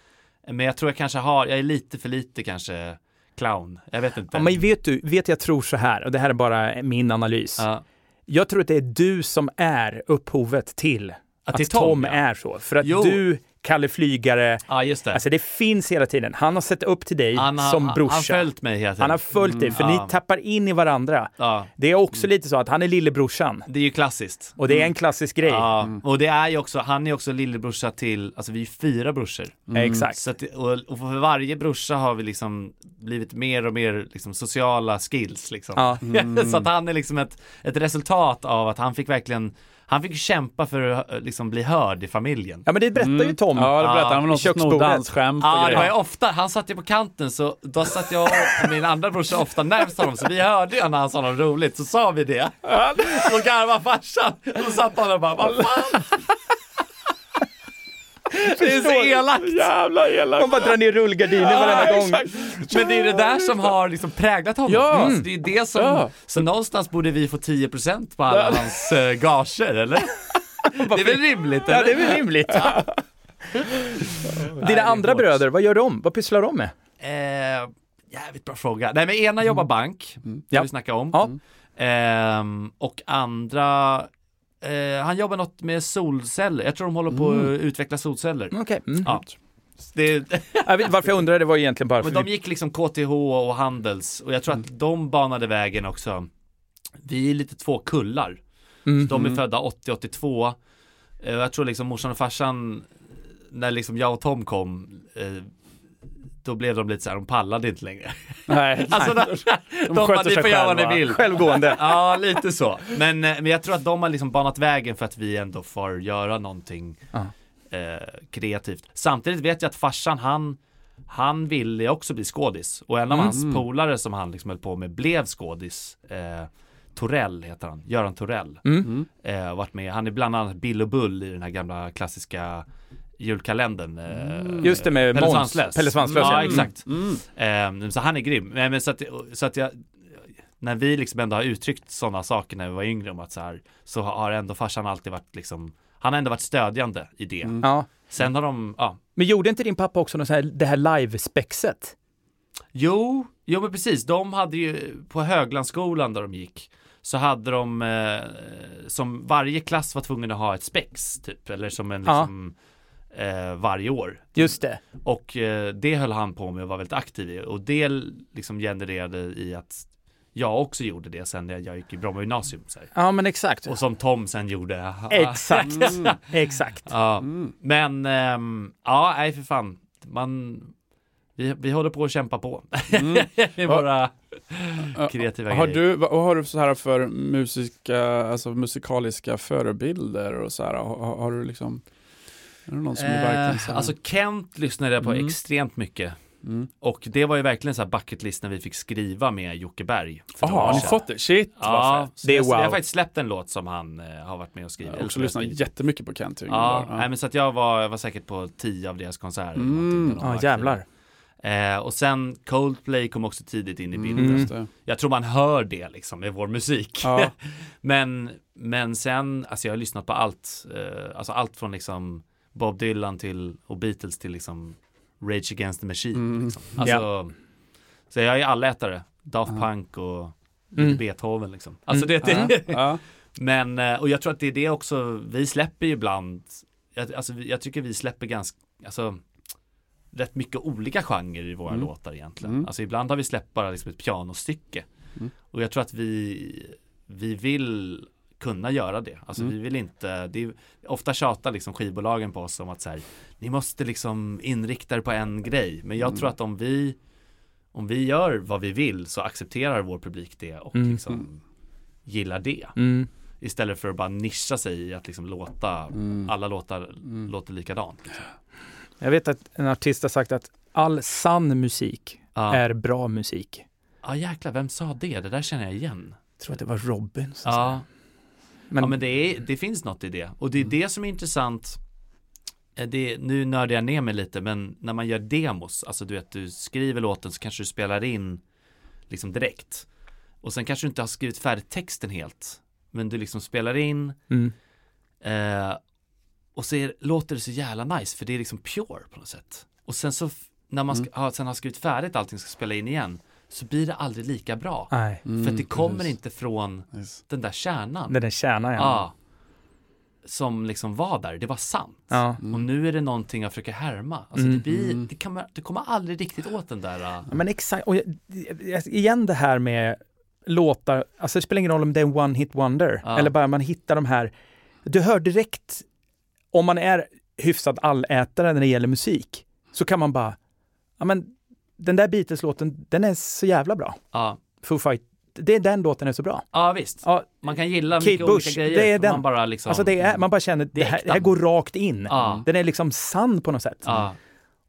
Speaker 3: Men jag tror jag kanske har, jag är lite för lite kanske clown. Jag vet inte.
Speaker 2: Ja, men vet du, vet jag tror så här, och det här är bara min analys.
Speaker 3: Ja.
Speaker 2: Jag tror att det är du som är upphovet till att,
Speaker 3: det är
Speaker 2: Tom,
Speaker 3: Tom, ja.
Speaker 2: är så. För att
Speaker 3: Jo.
Speaker 2: du, Kalle Flygare,
Speaker 3: Ja, just det.
Speaker 2: alltså det finns hela tiden. Han har sett upp till dig
Speaker 3: han, har-
Speaker 2: som
Speaker 3: han-
Speaker 2: brorsa.
Speaker 3: han följt mig hela tiden.
Speaker 2: Han har följt dig, för
Speaker 3: ja. Mm.
Speaker 2: ni tappar in i varandra.
Speaker 3: ja.
Speaker 2: Det är också lite så att han är lillebrorsan.
Speaker 3: Det är ju klassiskt.
Speaker 2: Och det är en klassisk grej.
Speaker 3: Mm. Ja, och det är ju också, han är också lillebrorsa till, alltså vi är fyra brorsor.
Speaker 2: Exakt.
Speaker 3: Så att, det- och, och för varje brorsa har vi liksom blivit mer och mer liksom sociala skills liksom.
Speaker 2: Ja.
Speaker 3: så att han är liksom ett, ett resultat av att han fick verkligen Han fick ju kämpa för att eh, liksom, bli hörd i familjen.
Speaker 2: Ja men det berättar ju Tom.
Speaker 4: Ja, det berättade
Speaker 3: Ah,
Speaker 4: han väl någon som snodde
Speaker 2: köksbordet.
Speaker 4: hans skämt
Speaker 3: Ja,
Speaker 4: och
Speaker 3: det var ju
Speaker 4: grejer.
Speaker 3: ofta, han satt ju på kanten så då satt jag och min andra brorsa ofta närmst honom så vi hörde ju när han sa något roligt så sa vi det. Så garvade farsan och då satt han där och bara vad fan. Det är så elakt.
Speaker 4: Jävla elakt.
Speaker 2: Man bara drar ner rullgardinen varenda gång.
Speaker 3: Men det är det där som har liksom präglat honom.
Speaker 4: Ja.
Speaker 2: Mm.
Speaker 3: Så det är det som,
Speaker 4: Ja.
Speaker 3: så någonstans borde vi få 10% på alla hans äh, gager eller? Det är väl rimligt
Speaker 2: Ja,
Speaker 3: eller?
Speaker 2: det är väl rimligt. Dina andra bröder, vad gör de? Vad pysslar de med?
Speaker 3: Eh, jävligt bra fråga. Nej men ena jobbar bank, det
Speaker 2: Mm. Ja.
Speaker 3: har vi snackat om.
Speaker 2: Ja.
Speaker 3: Ehm, och andra, eh, han jobbar något med solceller. Jag tror de håller på att utveckla solceller.
Speaker 2: Okej. Mm.
Speaker 3: Ja. Det,
Speaker 2: Jag vet, varför jag undrade var egentligen bara för Mm.
Speaker 3: men de gick liksom KTH och Handels och jag tror att de banade vägen också. Vi är lite två kullar.
Speaker 2: Mm.
Speaker 3: Så de är födda 80-82. Eh, Jag tror liksom morsan och farsan, när liksom jag och Tom kom, eh, då blev de lite så här, de pallade inte längre.
Speaker 4: Nej,
Speaker 3: Alltså, de, de, bara,
Speaker 4: sköter
Speaker 3: ni
Speaker 4: sig
Speaker 3: får göra vad
Speaker 4: själva."
Speaker 3: ni vill.
Speaker 2: Självgående.
Speaker 3: Ja, lite så. Men, eh, men jag tror att de har liksom banat vägen för att vi ändå får göra någonting
Speaker 2: Ja.
Speaker 3: eh, kreativt. Samtidigt vet jag att farsan, han, han ville också bli skådis. Och en av
Speaker 2: Mm.
Speaker 3: hans polare som han liksom höll på med blev skådis. Eh, Torell heter han, Göran Torell.
Speaker 2: Mm.
Speaker 3: Eh, och varit med, han är bland annat Bill och Bull i den här gamla klassiska julkalendern. Eh,
Speaker 2: Mm. Just det med
Speaker 3: Pelle
Speaker 2: Måns.
Speaker 3: Svanslös.
Speaker 2: Pelle Svanslös,
Speaker 3: Ja,
Speaker 2: ja. Mm.
Speaker 3: exakt. Ehm, så han är grym. Men, men så att, så att jag, när vi liksom ändå har uttryckt sådana saker när vi var yngre om att så här, så har ändå farsan alltid varit liksom, han har ändå varit stödjande i det.
Speaker 2: Mm. Ja.
Speaker 3: Sen har de, ja,
Speaker 2: Men gjorde inte din pappa också något sånt här, det här live-spexet?
Speaker 3: jo, jo men precis, de hade ju på Höglandsskolan där de gick så hade de, eh, som varje klass var tvungen att ha ett spex typ, eller som en
Speaker 2: Ja.
Speaker 3: liksom, eh, varje år.
Speaker 2: Just det.
Speaker 3: Och eh, det höll han på med och var väldigt aktiv i. Och det liksom genererade i att jag också gjorde det sen när jag gick i Bromma gymnasium. Så här.
Speaker 2: Ja, men exakt.
Speaker 3: Och som Tom sen gjorde.
Speaker 2: Exakt. Exakt.
Speaker 3: Ja.
Speaker 4: Mm.
Speaker 3: Men ehm, ja, nej för fan. Man, vi, vi håller på att kämpa på. I våra kreativa
Speaker 4: Mm. Har
Speaker 3: grejer.
Speaker 4: du, vad vad har du så här för musika, alltså musikaliska förebilder och så här? Har, har du liksom, är det någon som är verkligen så
Speaker 3: Eh,
Speaker 4: här?
Speaker 3: alltså Kent lyssnade jag på
Speaker 4: Mm.
Speaker 3: extremt mycket. Och det var ju verkligen så här bucket list när vi fick skriva med Jocke Berg. för
Speaker 4: Jaha,
Speaker 3: några år
Speaker 4: har ni
Speaker 3: sedan.
Speaker 4: fått det? Shit
Speaker 3: Ja,
Speaker 4: vad
Speaker 3: så
Speaker 2: Det är
Speaker 3: jag, jag har
Speaker 2: wow.
Speaker 3: faktiskt släppt en låt som han eh, har varit med och skrivit.
Speaker 4: fett. Jag också lyssnat jättemycket på Kent Yngve.
Speaker 3: Ja,
Speaker 4: Ja.
Speaker 3: Nej, men så att jag var, jag var säkert på tio av deras konserter. eller
Speaker 4: Mm.
Speaker 3: någonting när de
Speaker 2: Ja,
Speaker 3: var
Speaker 2: jävlar.
Speaker 3: aktiva. Eh, och sen Coldplay kom också tidigt in i bilden.
Speaker 4: Mm, just det.
Speaker 3: Jag tror man hör det liksom med vår musik.
Speaker 4: Ja.
Speaker 3: men, men sen, alltså jag har lyssnat på allt. Eh, alltså allt från liksom Bob Dylan till, och Beatles till liksom Rage Against the Machine.
Speaker 4: Mm.
Speaker 3: Alltså, Så jag är allätare. Daft
Speaker 4: Ja.
Speaker 3: Punk och
Speaker 2: Mm.
Speaker 3: Beethoven liksom. Alltså
Speaker 2: Mm.
Speaker 3: det, det,
Speaker 4: Ja.
Speaker 3: men, eh, och jag tror att det är det också, vi släpper ju ibland, jag, alltså, vi- jag tycker vi släpper ganska, alltså rätt mycket olika genrer i våra
Speaker 4: Mm.
Speaker 3: låtar egentligen.
Speaker 4: Mm.
Speaker 3: Alltså ibland har vi släppt bara liksom ett pianostycke.
Speaker 4: Mm.
Speaker 3: Och jag tror att vi, vi vill kunna göra det. Alltså
Speaker 4: Mm.
Speaker 3: vi vill inte, det är, ofta tjatar liksom skivbolagen på oss om att så här, ni måste liksom inrikta er på en grej. Men jag
Speaker 4: Mm.
Speaker 3: tror att om vi, om vi gör vad vi vill så accepterar vår publik det och
Speaker 2: Mm.
Speaker 3: liksom gillar det.
Speaker 2: Mm.
Speaker 3: Istället för att bara nischa sig i att liksom låta
Speaker 4: Mm.
Speaker 3: alla låtar låter likadant.
Speaker 2: Jag vet att en artist har sagt att all sann musik
Speaker 3: Ja,
Speaker 2: är bra musik.
Speaker 3: ah, jäklar, vem sa det? Det där känner jag igen.
Speaker 2: Jag tror att det var Robin som sa
Speaker 3: Ja,
Speaker 2: det. Men,
Speaker 3: ja men det, är, det finns något i det. Och det är det som är intressant. Eh, Det, nu nördar jag ner mig lite, men när man gör demos, alltså du vet, du skriver låten så kanske du spelar in liksom direkt. Och sen kanske du inte har skrivit färdigt texten helt, men du liksom spelar in,
Speaker 2: mm.
Speaker 3: Eh, och så är, låter det så jävla nice för det är liksom pure på något sätt. Och sen så f- när
Speaker 2: Mm.
Speaker 3: man ska, har- sen har skrivit färdigt allting ska spela in igen så blir det aldrig lika bra.
Speaker 2: Nej,
Speaker 4: Mm,
Speaker 3: för att det kommer
Speaker 4: precis.
Speaker 3: inte från
Speaker 4: Yes.
Speaker 3: den där kärnan.
Speaker 2: den där kärnan ja.
Speaker 3: Ja. som liksom var där, det var sant.
Speaker 2: Ja.
Speaker 3: Mm.
Speaker 2: Mm,
Speaker 3: Och nu är det någonting jag försöker härma. Alltså det, blir, det, kan, man- det kommer aldrig riktigt åt den där. äh,
Speaker 2: Ja, Men exakt, och jag- jag- igen det här med låtar, alltså det spelar ingen roll om det är en one hit wonder,
Speaker 3: Ja.
Speaker 2: eller bara man hittar de här, du hör direkt, om man är hyfsad allätare när det gäller musik, så kan man bara, ja men den där Beatles-låten, den är så jävla bra.
Speaker 3: ja.
Speaker 2: Foo Fight, det är den låten är så bra.
Speaker 3: Ja visst,
Speaker 2: Ja,
Speaker 3: man kan gilla
Speaker 2: Kate
Speaker 3: mycket
Speaker 2: Bush,
Speaker 3: olika grejer.
Speaker 2: det är
Speaker 3: men
Speaker 2: den.
Speaker 3: Man bara liksom...
Speaker 2: Alltså det är, man bara känner, det, här, det här går rakt in.
Speaker 3: Ja.
Speaker 2: Den är liksom sann på något sätt.
Speaker 3: Ja.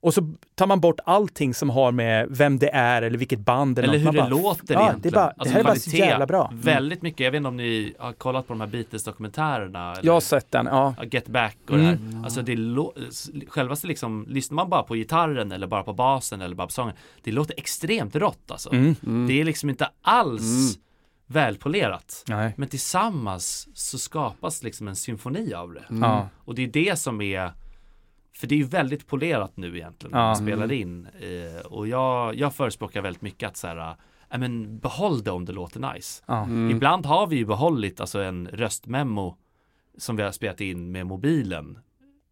Speaker 2: Och så tar man bort allting som har med vem det är eller vilket band eller,
Speaker 3: Eller
Speaker 2: något.
Speaker 3: hur
Speaker 2: Man
Speaker 3: det
Speaker 2: bara,
Speaker 3: låter
Speaker 2: ja,
Speaker 3: egentligen.
Speaker 2: det, är bara, det
Speaker 3: Alltså
Speaker 2: här är bara så
Speaker 3: kvalitet.
Speaker 2: jävla bra. Mm.
Speaker 3: Väldigt mycket, jag vet inte om ni har kollat på de här Beatles-dokumentärerna? eller-
Speaker 2: Jag har sett den, ja. Mm.
Speaker 3: Ja, Get Back och det här. Alltså det lå- självaste liksom, lyssnar man bara på gitarren eller bara på basen eller bara på sången, det låter extremt rått alltså.
Speaker 2: Mm.
Speaker 3: Det är liksom inte alls välpolerat.
Speaker 2: Nej.
Speaker 3: Men tillsammans så skapas liksom en symfoni av det.
Speaker 2: Ja.
Speaker 3: Och det är det som är för det är ju väldigt polerat nu egentligen när
Speaker 2: Ja.
Speaker 3: man spelar in. Eh, och jag, jag förespråkar väldigt mycket att så här, äh, men behåll det om det låter nice.
Speaker 2: Ja.
Speaker 3: Ibland har vi ju behållit alltså en röstmemo som vi har spelat in med mobilen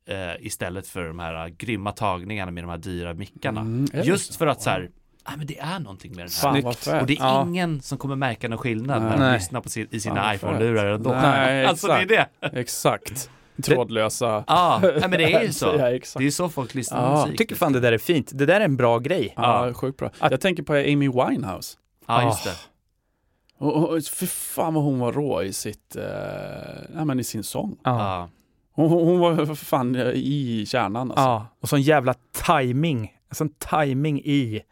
Speaker 3: eh, istället för de här eh, grymma tagningarna med de här dyra mickarna.
Speaker 4: Mm.
Speaker 3: Just för att så här, ah, men det är någonting med den här.
Speaker 4: Fan vad fett.
Speaker 3: Och det är
Speaker 2: Ja.
Speaker 3: ingen som kommer märka någon skillnad när de
Speaker 2: Nej.
Speaker 3: lyssnar på sin, i
Speaker 4: Fan,
Speaker 3: sina
Speaker 4: vad
Speaker 3: iPhone-lurar ändå.
Speaker 4: Nej,
Speaker 3: alltså det är det. Ja,
Speaker 4: Exakt. Trådlösa.
Speaker 3: ah, men det är ju så.
Speaker 4: Ja,
Speaker 3: det
Speaker 4: exakt.
Speaker 3: är ju så folk lyssnar på
Speaker 4: Ja.
Speaker 3: musik.
Speaker 2: Jag tycker fan det där är fint. Det där är en bra grej.
Speaker 4: Ja, sjukt bra. Jag tänker på Amy Winehouse.
Speaker 3: Ja, just det.
Speaker 4: Och, och, och, fy fan vad hon var rå i sitt, eh, nej men i sin sång.
Speaker 2: Ja.
Speaker 3: Ja.
Speaker 4: Hon, hon hon var för fan eh, i kärnan alltså.
Speaker 2: Ja. Och sån jävla timing. Sån timing i,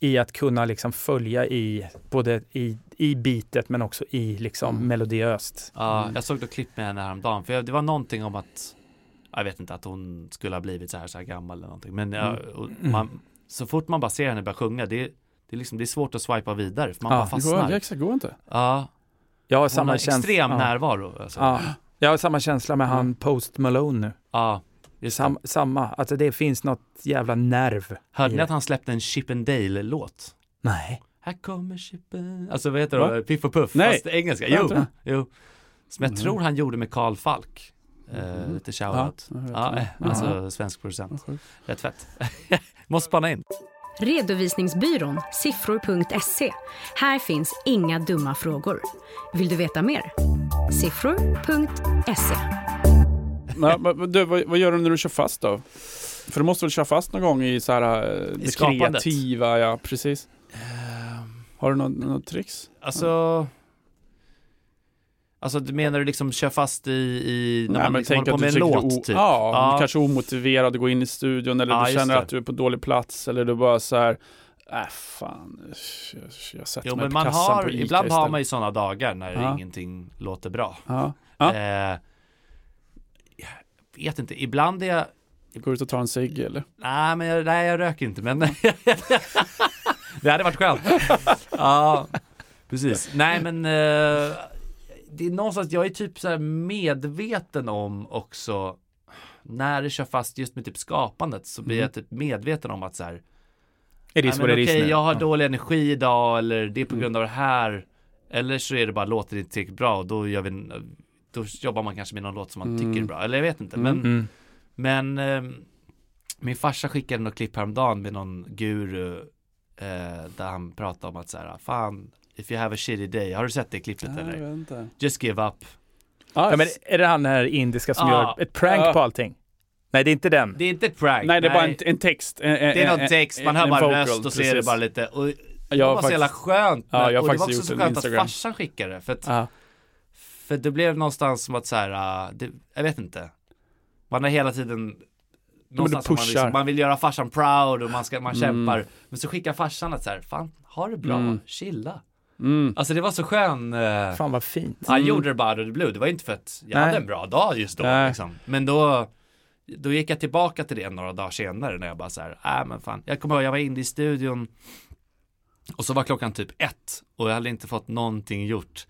Speaker 2: i att kunna liksom följa i, både i, i bitet men också i liksom melodiöst.
Speaker 3: Ja, jag såg då klipp med henne häromdagen, för jag- det var någonting om att jag vet inte att hon skulle ha blivit så här, så här gammal eller någonting, men jag, och
Speaker 4: Mm.
Speaker 3: man, så fort man bara ser henne börja sjunga, det, det, är liksom, det är svårt att swipa vidare för man
Speaker 2: Ja,
Speaker 3: bara
Speaker 4: Det går, ja,
Speaker 3: fastnar.
Speaker 4: exakt, går inte.
Speaker 3: Ja,
Speaker 2: Jag har
Speaker 3: hon har
Speaker 2: samma känsla.
Speaker 3: extrem
Speaker 2: Ja.
Speaker 3: närvaro. Alltså. Ja.
Speaker 2: Ja. Jag har samma känsla med han Post Malone nu.
Speaker 3: just det.
Speaker 2: Sam, samma, alltså det finns något jävla nerv.
Speaker 3: Hörde ni att han släppte en Chippendale-låt?
Speaker 2: Nej.
Speaker 3: Här kommer Chippen... Alltså vad heter
Speaker 4: Va?
Speaker 3: det? Piff och Puff,
Speaker 4: Nej.
Speaker 3: fast engelska.
Speaker 4: Jag
Speaker 3: Jo,
Speaker 4: tror Mm. det.
Speaker 3: jo. Som jag tror han gjorde med Karl Falk. Eh, lite shoutout.
Speaker 4: Mm. Ja, jag vet
Speaker 3: Ja,
Speaker 4: det.
Speaker 3: eh, alltså svensk producent.
Speaker 4: sjukt.
Speaker 3: Rätt fett. Måste spana in.
Speaker 5: Redovisningsbyrån, siffror.se. Här finns inga dumma frågor. Vill du veta mer? Siffror.se.
Speaker 4: Nej, men men du, vad, vad gör du när du kör fast då? För du måste väl köra fast någon gång i så här eh, det
Speaker 3: skapandet. Ehm.
Speaker 4: kreativa, ja precis. Har du någon, någon tricks?
Speaker 3: Alltså... Alltså du menar du liksom kör fast i, i när man liksom håller på med en
Speaker 4: tycker
Speaker 3: låt
Speaker 4: o-
Speaker 3: typ?
Speaker 4: Ja, om
Speaker 3: Ja.
Speaker 4: du kanske är omotiverad att gå in i studion eller
Speaker 3: Ja,
Speaker 4: du
Speaker 3: just
Speaker 4: känner
Speaker 3: det.
Speaker 4: att du är på dålig plats eller du bara så här, äh fan, jag, jag sätter
Speaker 3: Jo
Speaker 4: mig
Speaker 3: men
Speaker 4: på
Speaker 3: man
Speaker 4: kassan
Speaker 3: har,
Speaker 4: på Ica
Speaker 3: ibland har
Speaker 4: istället.
Speaker 3: man ju sådana dagar när
Speaker 4: Ja.
Speaker 3: ingenting låter bra.
Speaker 4: Ja. Ja.
Speaker 3: Eh, jag vet inte, ibland är jag,
Speaker 4: Går ut och tar en cigg eller?
Speaker 3: nej men jag, nej, jag röker inte men det hade varit skönt. ja, precis. Nej men eh, det är någonstans, jag är typ så här medveten om också när det kör fast just med typ skapandet så blir jag typ medveten om att så här,
Speaker 2: It
Speaker 3: Nej, men okej, jag har dålig energi idag eller det är på grund av det här. Eller så är det bara låter det inte tillräckligt bra och då, gör vi, en- då jobbar man kanske med någon låt som man tycker är bra. Eller jag vet inte. Men,
Speaker 2: Mm.
Speaker 3: men ehm, min farsa skickade något klipp häromdagen med någon guru eh, där han pratade om att så här, fan, if you have a shitty day, har du sett det klippet
Speaker 4: Ah.
Speaker 3: eller?
Speaker 4: inte.
Speaker 3: Just give up.
Speaker 2: Ja, men är det han här indiska som
Speaker 3: Ja.
Speaker 2: gör ett prank
Speaker 4: Ja.
Speaker 2: på allting? Nej, det är inte den.
Speaker 3: Det är inte ett prank.
Speaker 4: Nej, det är bara en, en text. En, en,
Speaker 3: det är någon
Speaker 4: en-
Speaker 3: text,
Speaker 4: en-
Speaker 3: man hör
Speaker 4: en
Speaker 3: bara
Speaker 4: vocal,
Speaker 3: röst och så är det
Speaker 4: precis.
Speaker 3: bara lite, och det
Speaker 4: Jag
Speaker 3: var
Speaker 4: har
Speaker 3: bara så jävla
Speaker 4: faktiskt...
Speaker 3: skönt.
Speaker 4: Ja, jag har
Speaker 3: och det var
Speaker 4: faktiskt
Speaker 3: också så
Speaker 4: gjort en
Speaker 3: skönt att
Speaker 4: Instagram.
Speaker 3: farsan skickade det. För att
Speaker 4: Ja.
Speaker 3: För det blev någonstans som att så här, äh, det, jag vet inte. Man har hela tiden någonstans som man,
Speaker 4: pushar. Mm.
Speaker 3: liksom, man vill göra farsan proud och man, ska, man kämpar. Men så skickar farsan att så här, fan, ha det bra, chilla.
Speaker 4: Mm.
Speaker 3: Alltså det var så skön, eh,
Speaker 2: Fan vad fint.
Speaker 3: han gjorde det bara out of the blue. Det var inte för att jag
Speaker 2: Nej.
Speaker 3: hade en bra dag just då.
Speaker 4: Nej.
Speaker 3: Liksom. Men då, då gick jag tillbaka till det några dagar senare när jag bara så här, äh, men fan. Jag kommer ihåg, jag var inne i studion och så var klockan typ ett och jag hade inte fått någonting gjort.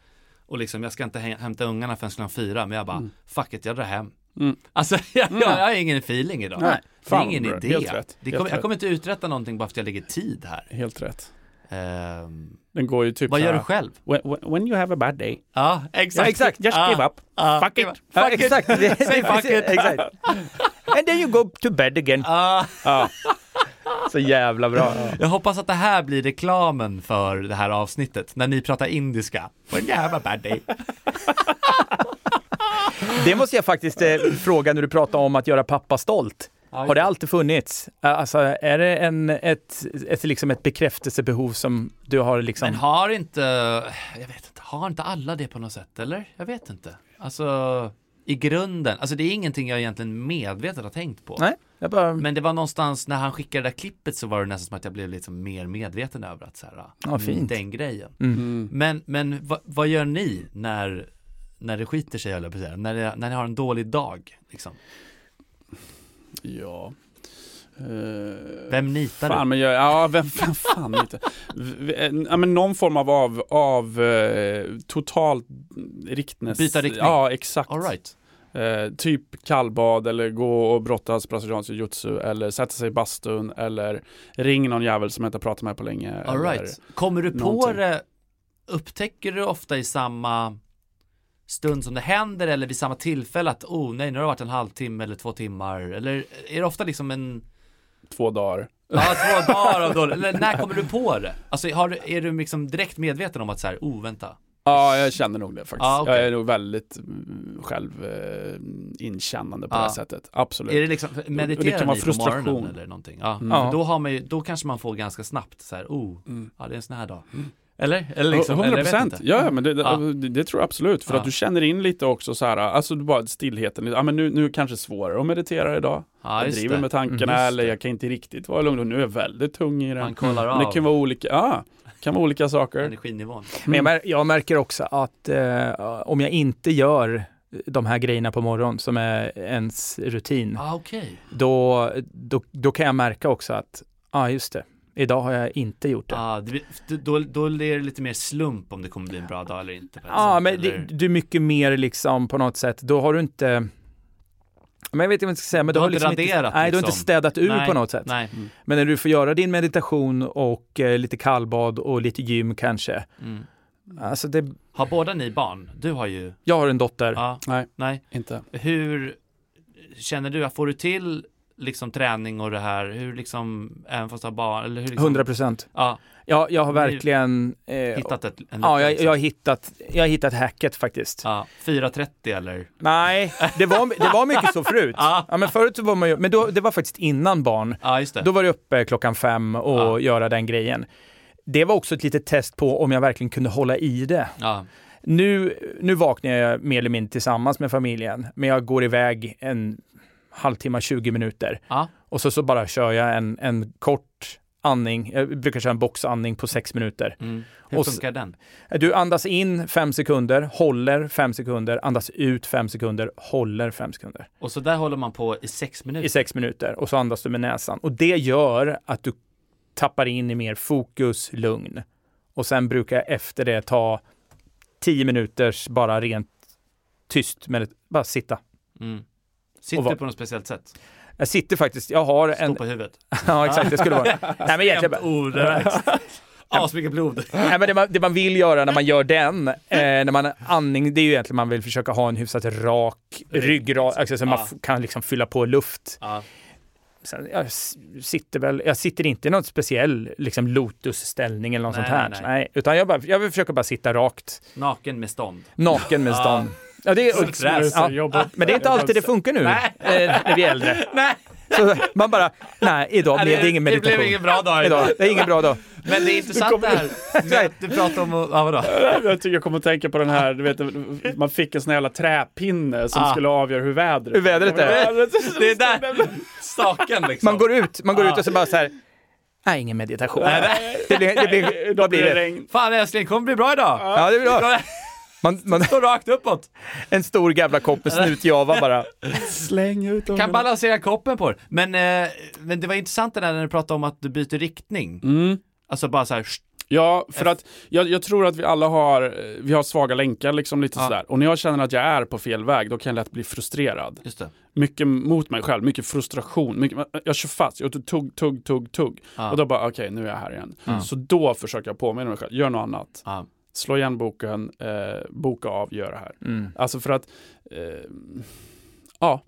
Speaker 3: Och liksom, jag ska inte hä- hämta ungarna förrän klockan fyra, men jag bara, fuck it, jag drar hem.
Speaker 4: Mm.
Speaker 3: Alltså jag, jag, jag har ingen feeling idag.
Speaker 4: Nej,
Speaker 3: det är
Speaker 4: fan,
Speaker 3: ingen
Speaker 4: bro.
Speaker 3: idé.
Speaker 4: Helt rätt,
Speaker 3: Det
Speaker 4: helt
Speaker 3: kommer, jag
Speaker 4: rätt.
Speaker 3: kommer inte uträtta någonting bara för att jag lägger tid här.
Speaker 4: Helt rätt.
Speaker 3: Ehm,
Speaker 4: Den går ju typ
Speaker 3: vad
Speaker 4: så
Speaker 3: gör
Speaker 4: här,
Speaker 3: du själv?
Speaker 4: When, when- when you have a bad day.
Speaker 3: Ja, exakt.
Speaker 2: Just
Speaker 3: Ah,
Speaker 2: give up.
Speaker 3: ah,
Speaker 2: fuck it.
Speaker 3: give up.
Speaker 2: Ja,
Speaker 3: Fuck it.
Speaker 2: exakt. Det- det-
Speaker 3: Say fuck it.
Speaker 2: exakt. And then you go to bed again.
Speaker 3: Ah.
Speaker 2: Så jävla bra.
Speaker 3: Jag hoppas att det här blir reklamen för det här avsnittet, när ni pratar indiska. When you have a bad day.
Speaker 2: Det måste jag faktiskt eh, fråga när du pratar om att göra pappa stolt. Har det alltid funnits? Alltså, är det en, ett, ett, liksom ett bekräftelsebehov som du har liksom?
Speaker 3: Men har inte, jag vet inte, har inte alla det på något sätt eller? Jag vet inte. Alltså i grunden, alltså det är ingenting jag egentligen medvetet har tänkt på.
Speaker 2: Nej, jag bara...
Speaker 3: Men det var någonstans när han skickade det där klippet så var det nästan som att jag blev lite mer medveten över att så här,
Speaker 2: Ja, fint.
Speaker 3: den grejen.
Speaker 4: Mm.
Speaker 3: Men, men vad, vad gör ni när, när det skiter sig, höll jag på att säga, när, det, när ni har en dålig dag? Liksom?
Speaker 4: Ja. Eh,
Speaker 3: Vem nitar
Speaker 4: fan,
Speaker 3: du?
Speaker 4: men jag, ja, vem, vem fan inte. V- eh, Ja, men någon form av, av, av eh, total riktnes.
Speaker 3: Byta riktning.
Speaker 4: Ja, exakt.
Speaker 3: All right.
Speaker 4: Eh, typ kallbad eller gå och brottas brasiliansk jujutsu eller sätta sig i bastun eller ring någon jävel som jag inte har pratat med på länge.
Speaker 3: All
Speaker 4: eller-
Speaker 3: right. Kommer du på
Speaker 4: någonting.
Speaker 3: det, upptäcker du ofta i samma stund som det händer eller vid samma tillfälle att oh nej nu har det varit en halvtimme eller två timmar eller är det ofta liksom en
Speaker 4: Två dagar.
Speaker 3: ja, två dagar av dålig eller när kommer du på det? Alltså har, du- är du liksom direkt medveten om att så här oh vänta
Speaker 4: Ja, jag känner nog det faktiskt.
Speaker 3: Ja, Ah, okej.
Speaker 4: Jag är nog väldigt mm, själv eh, inkännande på
Speaker 3: Ja.
Speaker 4: det här sättet. Absolut.
Speaker 3: Ah. Är det liksom, mediterar
Speaker 4: det kan vara
Speaker 3: ni
Speaker 4: frustration.
Speaker 3: på morgonen eller någonting? Mm. Ja.
Speaker 2: Ja.
Speaker 3: För Då, har man ju, då kanske man får ganska snabbt så här, oh, ja det är en sån här dag. Mm. Eller? Eller liksom, eller
Speaker 4: 100
Speaker 3: jag vet
Speaker 4: procent.
Speaker 3: inte.
Speaker 4: Ja, ja, men det, alltså,
Speaker 3: Ja.
Speaker 4: det, det tror jag absolut. För
Speaker 3: Ja.
Speaker 4: att du känner in lite också så här, alltså du bara stillheten. Ja, men nu, nu kanske det är svårare att meditera idag.
Speaker 3: ja,
Speaker 4: jag
Speaker 3: just
Speaker 4: driver
Speaker 3: det.
Speaker 4: med tankarna
Speaker 3: Mm, just
Speaker 4: eller
Speaker 3: det.
Speaker 4: jag kan inte riktigt vara lugn och nu är jag väldigt tung i
Speaker 3: Man
Speaker 4: den.
Speaker 3: kollar
Speaker 4: Men
Speaker 3: av
Speaker 4: det kan vara olika, ja, kan vara olika saker.
Speaker 3: energinivån.
Speaker 2: Men jag, mär, jag märker också att eh, om jag inte gör de här grejerna på morgonen som är ens rutin,
Speaker 3: Ah, okej.
Speaker 2: då, då, då kan jag märka också att, ja ah, just det, idag har jag inte gjort det. Ja,
Speaker 3: Ah, det blir- då- då, då är det lite mer slump om det kommer bli en bra dag eller inte. på ett
Speaker 2: ah,
Speaker 3: sätt,
Speaker 2: men det,
Speaker 3: eller?
Speaker 2: du är mycket mer liksom på något sätt, då har du inte men jag vet inte vad jag ska säga, men
Speaker 3: Du
Speaker 2: du
Speaker 3: har
Speaker 2: har,
Speaker 3: inte
Speaker 2: liksom inte,
Speaker 3: raderat,
Speaker 2: nej, du har
Speaker 3: liksom.
Speaker 2: inte städat ur
Speaker 3: Nej,
Speaker 2: på något sätt.
Speaker 3: Nej.
Speaker 2: Men när du får göra din meditation och eh, lite kallbad och lite gym kanske.
Speaker 3: Mm.
Speaker 2: Alltså det,
Speaker 3: Har båda ni barn? Du har ju,
Speaker 2: jag har en dotter.
Speaker 3: ja,
Speaker 4: Nej.
Speaker 3: nej.
Speaker 4: Inte.
Speaker 3: Hur känner du, får du till liksom träning och det här, hur liksom, även fast du har barn, eller hur liksom?
Speaker 2: 100 procent.
Speaker 3: Ja,
Speaker 2: Ja, jag har
Speaker 3: Men det är ju
Speaker 2: verkligen... Eh,
Speaker 3: hittat ett, en
Speaker 2: Ja, jag,
Speaker 3: liksom.
Speaker 2: jag, har hittat, jag har hittat hacket faktiskt.
Speaker 3: Ja, 4.30 eller?
Speaker 2: Nej, det var, det var mycket så förut.
Speaker 3: Ja.
Speaker 2: Ja, men förut så var man ju, men då, det var faktiskt innan barn.
Speaker 3: Ja, just det.
Speaker 2: Då var det uppe klockan fem och
Speaker 3: Ja.
Speaker 2: göra den grejen. Det var också ett litet test på om jag verkligen kunde hålla i det.
Speaker 3: Ja,
Speaker 2: Nu, nu vaknar jag mer eller mindre tillsammans med familjen, men jag går iväg en halvtimme, 20 minuter.
Speaker 3: ja,
Speaker 2: Och så, så bara kör jag en, en kort andning, jag brukar köra en boxandning på sex minuter.
Speaker 3: mm. Hur
Speaker 2: Och s-
Speaker 3: funkar den?
Speaker 2: Du andas in fem sekunder, håller fem sekunder, andas ut fem sekunder, håller fem sekunder
Speaker 3: Och så där håller man på i sex minuter.
Speaker 2: i sex minuter och så andas du med näsan. Och det gör att du tappar in i mer fokus, lugn. Och sen brukar jag efter det ta tio minuters bara rent tyst, med bara sitta.
Speaker 3: Mm. Sitter
Speaker 2: Och vad-
Speaker 3: du på något speciellt sätt?
Speaker 2: Jag sitter faktiskt, jag har
Speaker 3: Står
Speaker 2: en...
Speaker 3: på huvudet?
Speaker 2: Ja, exakt, det skulle vara... Nej, men egentligen... bara-
Speaker 3: Orelaxed. Asmycket blod.
Speaker 2: Nej, men det, man, det man vill göra när man gör den, eh, när man andning, det är ju egentligen man vill försöka ha en hyfsat rak ryggrad, alltså, så man
Speaker 3: Ja.
Speaker 2: f- kan liksom fylla på luft.
Speaker 3: Ja,
Speaker 2: Sen, jag, s- sitter väl, jag sitter inte i någon speciell liksom, lotusställning eller något
Speaker 3: Nej,
Speaker 2: sånt här.
Speaker 3: nej,
Speaker 2: Nej,
Speaker 3: nej.
Speaker 2: utan jag, bara, jag vill försöka bara sitta rakt,
Speaker 3: naken med stånd.
Speaker 2: naken med stånd. Ja, det är, ja,
Speaker 4: Jobbigt.
Speaker 2: men det är inte alltid det funkar nu
Speaker 3: Nej.
Speaker 2: eh, när vi är äldre.
Speaker 3: Nej,
Speaker 2: Så man bara, nej, idag blev det ingen
Speaker 3: det
Speaker 2: meditation.
Speaker 3: blev ingen bra dag
Speaker 2: idag. Det är ingen bra dag.
Speaker 3: Men det är intressant det här med att du pratar om, att- ja vadå?
Speaker 4: Jag tycker jag kommer att tänka på den här, du vet, man fick en sån jävla träpinne som
Speaker 3: Ah.
Speaker 4: skulle avgöra hur vädret
Speaker 2: Hur vädret är.
Speaker 3: Det är där, staken liksom.
Speaker 2: Man går ut, man går
Speaker 3: Ja.
Speaker 2: ut och så bara så här, nej, ingen meditation.
Speaker 3: Nej, nej.
Speaker 2: Det blir, det blir, vad blir det?
Speaker 4: regn.
Speaker 3: Fan älskling, kommer bli bra idag.
Speaker 2: Ja, det blir bra. Man, man,
Speaker 3: Står rakt uppåt.
Speaker 2: en stor jävla kopp med snutjava bara.
Speaker 4: Släng ut
Speaker 3: Kan
Speaker 4: ungarna.
Speaker 3: balansera koppen på det. Men, eh, men det var intressant det där när du pratade om att du byter riktning.
Speaker 2: Mm.
Speaker 3: Alltså bara så här, sh-
Speaker 4: Ja, för att jag, jag tror att vi alla har, eh, vi har svaga länkar liksom lite
Speaker 3: Ja.
Speaker 4: sådär. Och när jag känner att jag är på fel väg, då kan jag lätt bli frustrerad.
Speaker 3: just det.
Speaker 4: Mycket mot mig själv, mycket frustration. Mycket, jag kör fast, jag tugg, tugg, tugg, tugg.
Speaker 3: Ja.
Speaker 4: Och då bara, okej, nu är jag här igen. Så då försöker jag påminna mig själv, gör något annat.
Speaker 3: Ja.
Speaker 4: Slå igen boken, eh, boka av, gör det här.
Speaker 2: Mm.
Speaker 4: Alltså för att, eh, ja,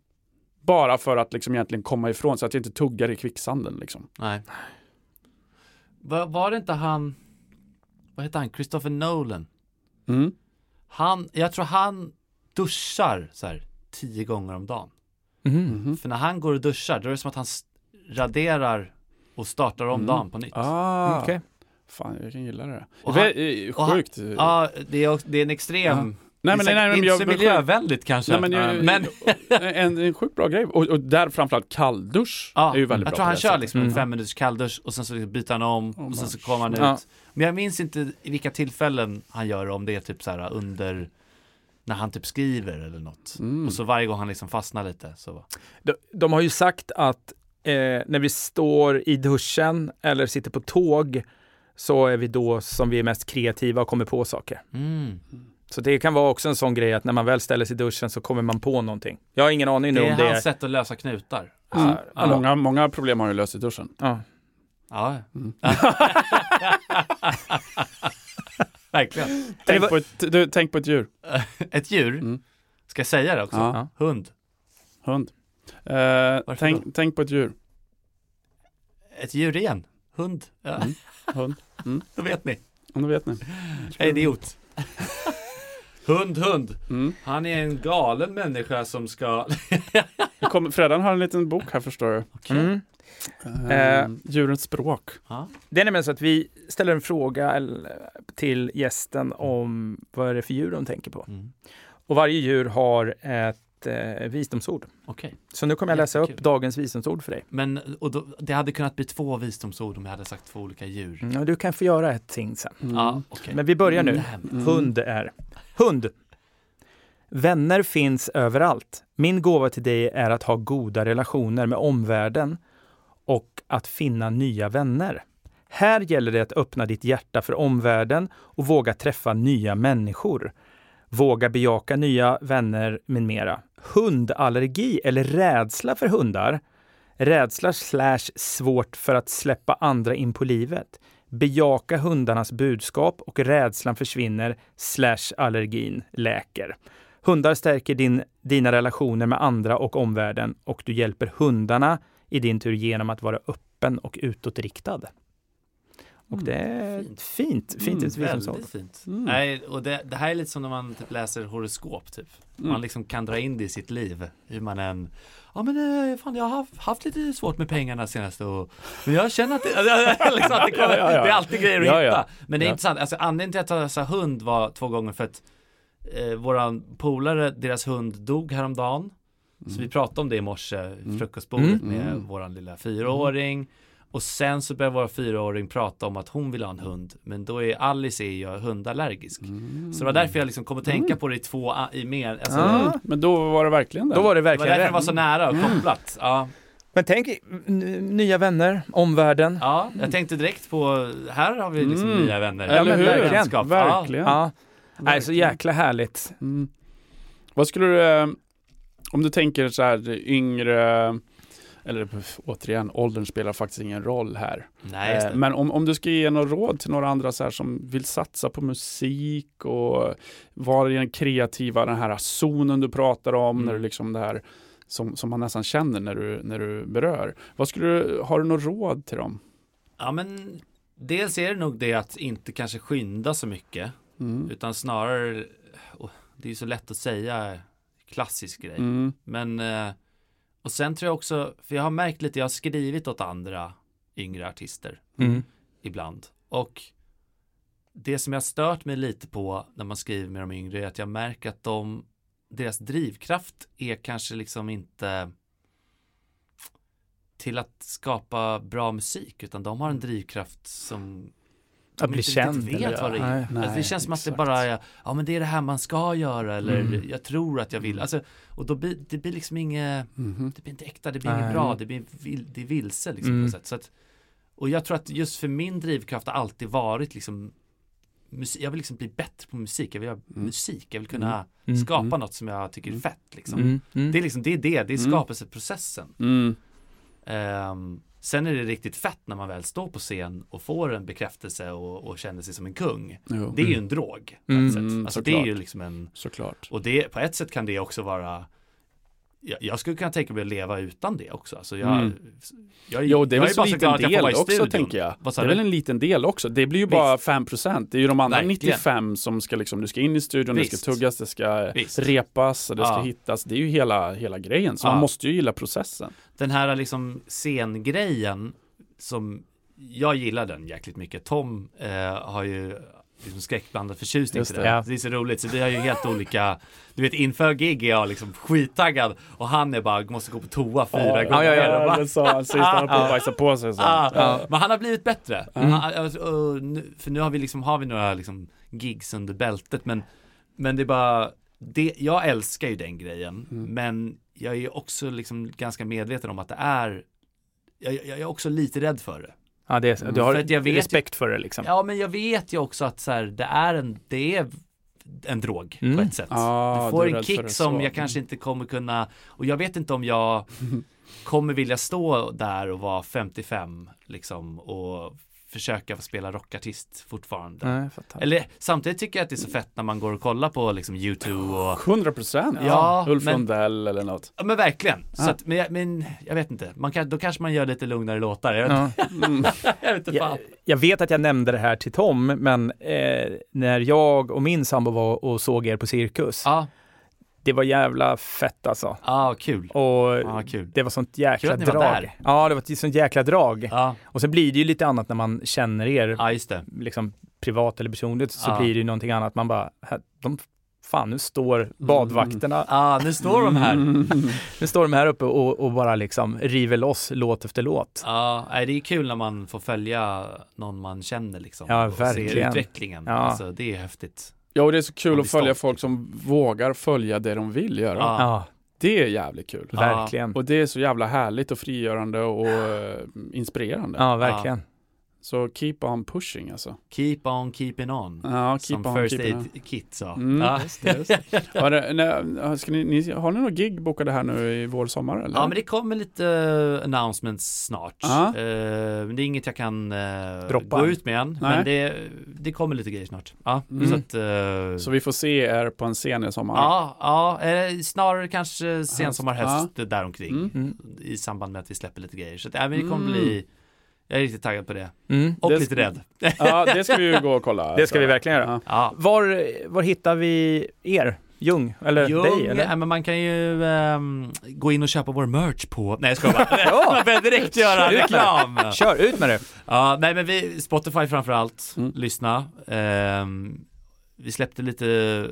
Speaker 4: bara för att liksom egentligen komma ifrån så att jag inte tuggar i kvicksanden liksom.
Speaker 3: Nej. Var, var det inte han, vad heter han, Christopher Nolan?
Speaker 4: Mm.
Speaker 3: Han, jag tror han duschar så här tio gånger om dagen.
Speaker 2: Mhm.
Speaker 4: Mm-hmm.
Speaker 3: För när han går och duschar, då är det som att han s- raderar och startar om dagen på nytt.
Speaker 4: Mm. Ah,
Speaker 2: Okej.
Speaker 4: Fan, jag kan gilla det.
Speaker 3: Och
Speaker 4: det
Speaker 3: han-
Speaker 4: är
Speaker 3: och han-
Speaker 4: sjukt.
Speaker 3: Ja, det är, också- det är en extrem,
Speaker 4: Ah. nej, men,
Speaker 3: det
Speaker 4: nej,
Speaker 3: är
Speaker 4: nej,
Speaker 3: säkert
Speaker 4: men
Speaker 3: inte
Speaker 4: jag-
Speaker 3: så
Speaker 4: men sjuk-
Speaker 3: miljövänligt kanske.
Speaker 4: Nej, men jag-
Speaker 3: men
Speaker 4: en, en sjukt bra grej. Och, och där framförallt kalldusch
Speaker 3: ja,
Speaker 4: är ju väldigt
Speaker 3: jag
Speaker 4: bra på
Speaker 3: tror han
Speaker 4: det
Speaker 3: kör
Speaker 4: sättet.
Speaker 3: liksom en
Speaker 2: Mm.
Speaker 3: fem minuters kalldusch och sen så liksom byter han om och sen så kommer han ut.
Speaker 4: Ja.
Speaker 3: Men jag minns inte i vilka tillfällen han gör det, om det är typ så här under när han typ skriver eller något.
Speaker 4: Mm.
Speaker 3: Och så varje gång han liksom fastnar lite så.
Speaker 2: De, de har ju sagt att eh, när vi står i duschen eller sitter på tåg så är vi då som vi är mest kreativa och kommer på saker.
Speaker 3: Mm.
Speaker 2: Så det kan vara också en sån grej att när man väl ställer sig i duschen så kommer man på någonting. Jag har ingen aning nu
Speaker 3: Det
Speaker 2: om
Speaker 3: är
Speaker 2: det
Speaker 3: hans sätt att lösa knutar.
Speaker 4: Mm.
Speaker 3: Ja.
Speaker 4: Många, många problem har ju löst i duschen.
Speaker 2: Ja.
Speaker 3: Ja.
Speaker 4: Mm.
Speaker 3: Verkligen.
Speaker 4: Tänk, på, ett, du, tänk på ett djur.
Speaker 3: Ett djur,
Speaker 4: Mm.
Speaker 3: ska jag säga det också?
Speaker 4: Ja.
Speaker 3: Hund.
Speaker 4: Hund. Eh,
Speaker 3: då?
Speaker 4: tänk, tänk på ett djur.
Speaker 3: Ett djur igen. Hund. Ja.
Speaker 4: Mm. Hund. Mm.
Speaker 3: Då vet ni.
Speaker 4: Ja, Då vet ni.
Speaker 3: Jag är idiot. hund, hund.
Speaker 4: Mm.
Speaker 3: Han är en galen människa som ska...
Speaker 4: Det Kom, Fredan har en liten bok här förstår du.
Speaker 2: Mm.
Speaker 4: Eh, djurens språk.
Speaker 3: Ja.
Speaker 2: Det är nämligen så att vi ställer en fråga eller- till gästen om vad är det för djur de tänker på.
Speaker 3: Mm.
Speaker 2: Och varje djur har ett eh, visdomsord.
Speaker 3: Okej.
Speaker 2: Så nu kommer jag läsa upp
Speaker 3: Jättekul.
Speaker 2: dagens visdomsord för dig.
Speaker 3: Men och då, det hade kunnat bli två visdomsord om jag hade sagt två olika djur.
Speaker 2: Mm, och du kan få göra ett ting sen.
Speaker 4: Mm.
Speaker 3: Ja, okej.
Speaker 2: Men vi börjar nu.
Speaker 3: Damn.
Speaker 2: Hund är. Hund. Vänner finns överallt. Min gåva till dig är att ha goda relationer med omvärlden och att finna nya vänner. Här gäller det att öppna ditt hjärta för omvärlden och våga träffa nya människor. Våga bejaka nya vänner med mera. Hundallergi eller rädsla för hundar. Rädsla slash svårt för att släppa andra in på livet. Bejaka hundarnas budskap och rädslan försvinner slash allergin läker. Hundar stärker din, dina relationer med andra och omvärlden och du hjälper hundarna i din tur genom att vara öppen och utåtriktad. Och det är
Speaker 3: Mm. fint.
Speaker 2: fint, fint, fint
Speaker 4: Mm,
Speaker 2: ett visdomsord.
Speaker 3: Väldigt fint.
Speaker 4: Mm.
Speaker 3: Nej, och det, det här är lite som när man typ läser horoskop typ.
Speaker 4: Mm.
Speaker 3: Man liksom kan dra in det i sitt liv. Hur man än, ja men eh, fan jag har haft, haft lite svårt med pengarna senaste och, men jag känner att det, liksom att det, kommer,
Speaker 4: Ja, ja, ja.
Speaker 3: det är alltid grejer att
Speaker 4: Ja, ja.
Speaker 3: hitta. Men det är
Speaker 4: Ja.
Speaker 3: intressant, alltså anledningen till att jag sa hund var två gånger för att eh, våran polare, deras hund dog häromdagen. Så vi pratade om det i morse, i frukostbordet
Speaker 2: Mm.
Speaker 3: med
Speaker 4: Mm.
Speaker 3: våran lilla fyraåring. Och sen så börjar vår fyraåring prata om att hon vill ha en hund, men då är Alice är ju hundallergisk.
Speaker 4: Mm.
Speaker 3: Så det var därför jag liksom kom att tänka på det i två, a- i mer, alltså,
Speaker 2: Ah,
Speaker 4: Men då var det verkligen det.
Speaker 2: Då var det
Speaker 3: det var
Speaker 2: verkligen
Speaker 3: därför det
Speaker 2: rätt.
Speaker 3: var så nära och kopplat. Ja,
Speaker 2: Men tänk n- nya vänner, omvärlden.
Speaker 3: ja, jag tänkte direkt på, här har vi liksom
Speaker 4: Mm.
Speaker 3: nya vänner.
Speaker 4: Eller
Speaker 2: Ja, men
Speaker 4: hur?
Speaker 2: verkligen.
Speaker 3: Vänskap. Ja.
Speaker 4: Verkligen.
Speaker 2: Ja. Nej, så jäkla härligt.
Speaker 4: Mm. Vad skulle du, eh, om du tänker så här yngre, eller pff, återigen, åldern spelar faktiskt ingen roll här.
Speaker 3: Nej, just
Speaker 4: Eh,
Speaker 3: det.
Speaker 4: Men om, om du ska ge något råd till några andra så här som vill satsa på musik och vara i den kreativa, den här zonen du pratar om,
Speaker 3: Mm.
Speaker 4: när du liksom det här som, som man nästan känner när du, när du berör. Vad skulle du, har du något råd till dem?
Speaker 3: Ja, men dels är det nog det att inte kanske skynda så mycket,
Speaker 4: Mm.
Speaker 3: utan snarare, åh, det är ju så lätt att säga klassisk grej.
Speaker 4: Mm.
Speaker 3: Men, eh, och sen tror jag också, för jag har märkt lite, jag har skrivit åt andra yngre artister
Speaker 2: Mm.
Speaker 3: ibland. Och det som jag har stört mig lite på när man skriver med de yngre är att jag märker att de, deras drivkraft är kanske liksom inte till att skapa bra musik, utan de har en drivkraft som
Speaker 2: Att
Speaker 3: de
Speaker 2: bli
Speaker 3: inte
Speaker 2: känd.
Speaker 3: riktigt vet
Speaker 2: eller-
Speaker 3: vad det är.
Speaker 2: Nej.
Speaker 3: Alltså det känns som att det bara är, ja men det är det här man ska göra eller
Speaker 2: Mm.
Speaker 3: jag tror att jag vill. Alltså, och då blir det blir liksom inget,
Speaker 4: Mhm.
Speaker 2: Mm-hmm.
Speaker 3: det blir inte äkta, det blir inget
Speaker 2: Nej.
Speaker 3: bra, det blir vil, det är vilse liksom på
Speaker 2: Mm.
Speaker 3: något sätt. Så att, och jag tror att just för min drivkraft har alltid varit liksom musik, jag vill liksom bli bättre på musik, jag vill göra
Speaker 4: Mm.
Speaker 3: musik, jag vill kunna
Speaker 2: Mm.
Speaker 3: skapa
Speaker 4: Mm.
Speaker 3: något som jag tycker är
Speaker 4: Mm.
Speaker 3: fett liksom.
Speaker 2: Mm. Mm.
Speaker 3: Det är liksom, det är det, det är
Speaker 4: Mm.
Speaker 3: skapelseprocessen.
Speaker 4: Mm.
Speaker 3: Ehm, sen är det riktigt fett när man väl står på scen och får en bekräftelse och, och känner sig som en kung.
Speaker 4: Jo.
Speaker 3: Det är ju en drog.
Speaker 2: Mm.
Speaker 3: På ett sätt.
Speaker 4: Mm,
Speaker 3: Alltså det
Speaker 4: såklart.
Speaker 3: är ju liksom en,
Speaker 4: Såklart.
Speaker 3: och det, på ett sätt kan det också vara jag, jag skulle kunna tänka mig att leva utan det också. Alltså jag,
Speaker 4: Mm.
Speaker 3: jag,
Speaker 4: Jo, det är
Speaker 3: jag
Speaker 4: väl så
Speaker 3: bara glad
Speaker 4: liten
Speaker 3: att jag får
Speaker 4: del
Speaker 3: vara i
Speaker 4: också
Speaker 3: studion.
Speaker 4: tänker jag. Det
Speaker 3: Vad sa
Speaker 4: är
Speaker 3: du?
Speaker 4: väl en liten del också. Det blir ju bara 5%. Det är ju de andra
Speaker 3: Verkligen.
Speaker 4: 95 som ska liksom, du ska in i studion, det
Speaker 3: Visst.
Speaker 4: ska tuggas, det ska
Speaker 3: Visst.
Speaker 4: repas, och det ska
Speaker 3: Ja.
Speaker 4: hittas. Det är ju hela, hela grejen. Så
Speaker 3: Ja.
Speaker 4: man måste ju gilla processen.
Speaker 3: den här liksom scengrejen som jag gillar den jäkligt mycket. Tom eh, har ju liksom skräckblandad förtjusning
Speaker 4: Just
Speaker 3: för
Speaker 4: det,
Speaker 3: det.
Speaker 2: ja.
Speaker 3: Det är så roligt, så vi har ju helt olika, du vet inför gig är jag liksom skittaggad och han är bara, måste gå på toa fyra gånger.
Speaker 2: ja, ja,
Speaker 3: Och bara,
Speaker 4: det sa han sist, han höll på att bajsa på sig. Så.
Speaker 3: Ah, Men han har blivit bättre. Han, alltså, och nu, för nu har vi liksom, har vi några liksom gigs under bältet men, men det är bara, det, jag älskar ju den grejen men jag är också liksom ganska medveten om att det är, jag, jag jag är också lite rädd för det.
Speaker 2: Ja, det, är- du har
Speaker 3: För att jag vet-
Speaker 2: respekt för det liksom.
Speaker 3: Ja men jag vet ju också att så här, det är en, det är en drog på
Speaker 2: Mm.
Speaker 3: ett sätt.
Speaker 4: Ah,
Speaker 3: du
Speaker 4: du är
Speaker 3: får en
Speaker 4: rädd för
Speaker 3: kick
Speaker 4: det,
Speaker 3: som
Speaker 4: så.
Speaker 3: jag kanske inte kommer kunna, och jag vet inte om jag kommer vilja stå där och vara 55 liksom och försöka spela rockartist fortfarande.
Speaker 2: Nej, jag fattar.
Speaker 3: Eller samtidigt tycker jag att det är så fett när man går och kollar på liksom YouTube och
Speaker 4: 100%
Speaker 3: Ja,
Speaker 4: Ulf
Speaker 3: men-
Speaker 4: Lundell eller något.
Speaker 3: Ja men verkligen, så att, men, jag, men jag vet inte, man kan, då kanske man gör lite lugnare låtar. Jag vet,
Speaker 2: Ja.
Speaker 3: jag vet inte fan.
Speaker 2: jag, jag vet att jag nämnde det här till Tom, men eh, när jag och min sambo var och såg er på Cirkus,
Speaker 3: Ja,
Speaker 2: det var jävla fett alltså.
Speaker 3: ja kul.
Speaker 2: Och
Speaker 3: Ja, kul.
Speaker 2: det var sånt jäkla
Speaker 3: Kul att ni var
Speaker 2: drag.
Speaker 3: där.
Speaker 2: Ja, det var ett sånt jäkla drag.
Speaker 3: Ja,
Speaker 2: Och sen blir det ju lite annat när man känner er,
Speaker 3: ja just det.
Speaker 2: liksom privat eller personligt, så
Speaker 3: Ja.
Speaker 2: blir det ju någonting annat. Man bara, här, de, fan nu står badvakterna,
Speaker 3: Ja, nu står de här.
Speaker 4: Mm.
Speaker 2: nu står de här uppe och, och bara liksom river loss låt efter låt.
Speaker 3: Ja, nej, det är kul när man får följa någon man känner liksom.
Speaker 2: Ja,
Speaker 3: och
Speaker 2: verkligen.
Speaker 3: Ser utvecklingen.
Speaker 2: Ja.
Speaker 3: Alltså, det är häftigt.
Speaker 4: Ja, och det är så
Speaker 3: Man
Speaker 4: kul
Speaker 3: blir
Speaker 4: att följa
Speaker 3: stolt,
Speaker 4: folk som vågar följa det de vill göra.
Speaker 3: Ja.
Speaker 2: Ja,
Speaker 4: Det är jävligt kul.
Speaker 3: Ja.
Speaker 2: verkligen.
Speaker 4: Och det är så jävla härligt och frigörande och eh, inspirerande.
Speaker 2: Ja, verkligen.
Speaker 4: Så keep on pushing alltså.
Speaker 3: Keep on keeping on.
Speaker 4: Ja, keep
Speaker 3: Mm. som
Speaker 4: on
Speaker 3: First
Speaker 4: keeping on.
Speaker 3: Aid Kit sa.
Speaker 4: Mm,
Speaker 3: ja.
Speaker 4: Har, det, nej, ska ni, ni, har ni några gig bokade här nu i vår, sommar eller?
Speaker 3: ja, men det kommer lite eh, announcements snart.
Speaker 4: Ja.
Speaker 3: Eh, men det är inget jag kan eh,
Speaker 2: Droppa.
Speaker 3: gå ut med än.
Speaker 4: Nej.
Speaker 3: Men det, det kommer lite grejer snart. Ja,
Speaker 4: Mm.
Speaker 3: så att, eh,
Speaker 4: Så vi får se er på en scen i sommar?
Speaker 3: Ja, ja eh, snarare kanske sensommar,
Speaker 4: Höst.
Speaker 3: höst däromkring.
Speaker 4: Mm.
Speaker 2: Mm.
Speaker 3: I samband med att vi släpper lite grejer. Så att, ja, men det kommer
Speaker 4: Mm.
Speaker 3: bli, jag är riktigt taggad på det.
Speaker 2: Mm.
Speaker 3: Och
Speaker 4: Det-
Speaker 3: lite rädd.
Speaker 4: ja, det ska vi ju gå och kolla.
Speaker 2: Det ska vi verkligen göra.
Speaker 4: Ja.
Speaker 3: Ja.
Speaker 2: Var, var hittar vi er? Ljung? Eller
Speaker 3: Ljung,
Speaker 2: dig? Eller?
Speaker 3: ja, men man kan ju ehm, gå in och köpa vår merch på, nej jag skojar bara. Jag börjar direkt göra reklam.
Speaker 2: Kör, ut med det!
Speaker 3: Ja, nej men vi, Spotify framförallt,
Speaker 4: Mm.
Speaker 3: lyssna. Ehm, vi släppte lite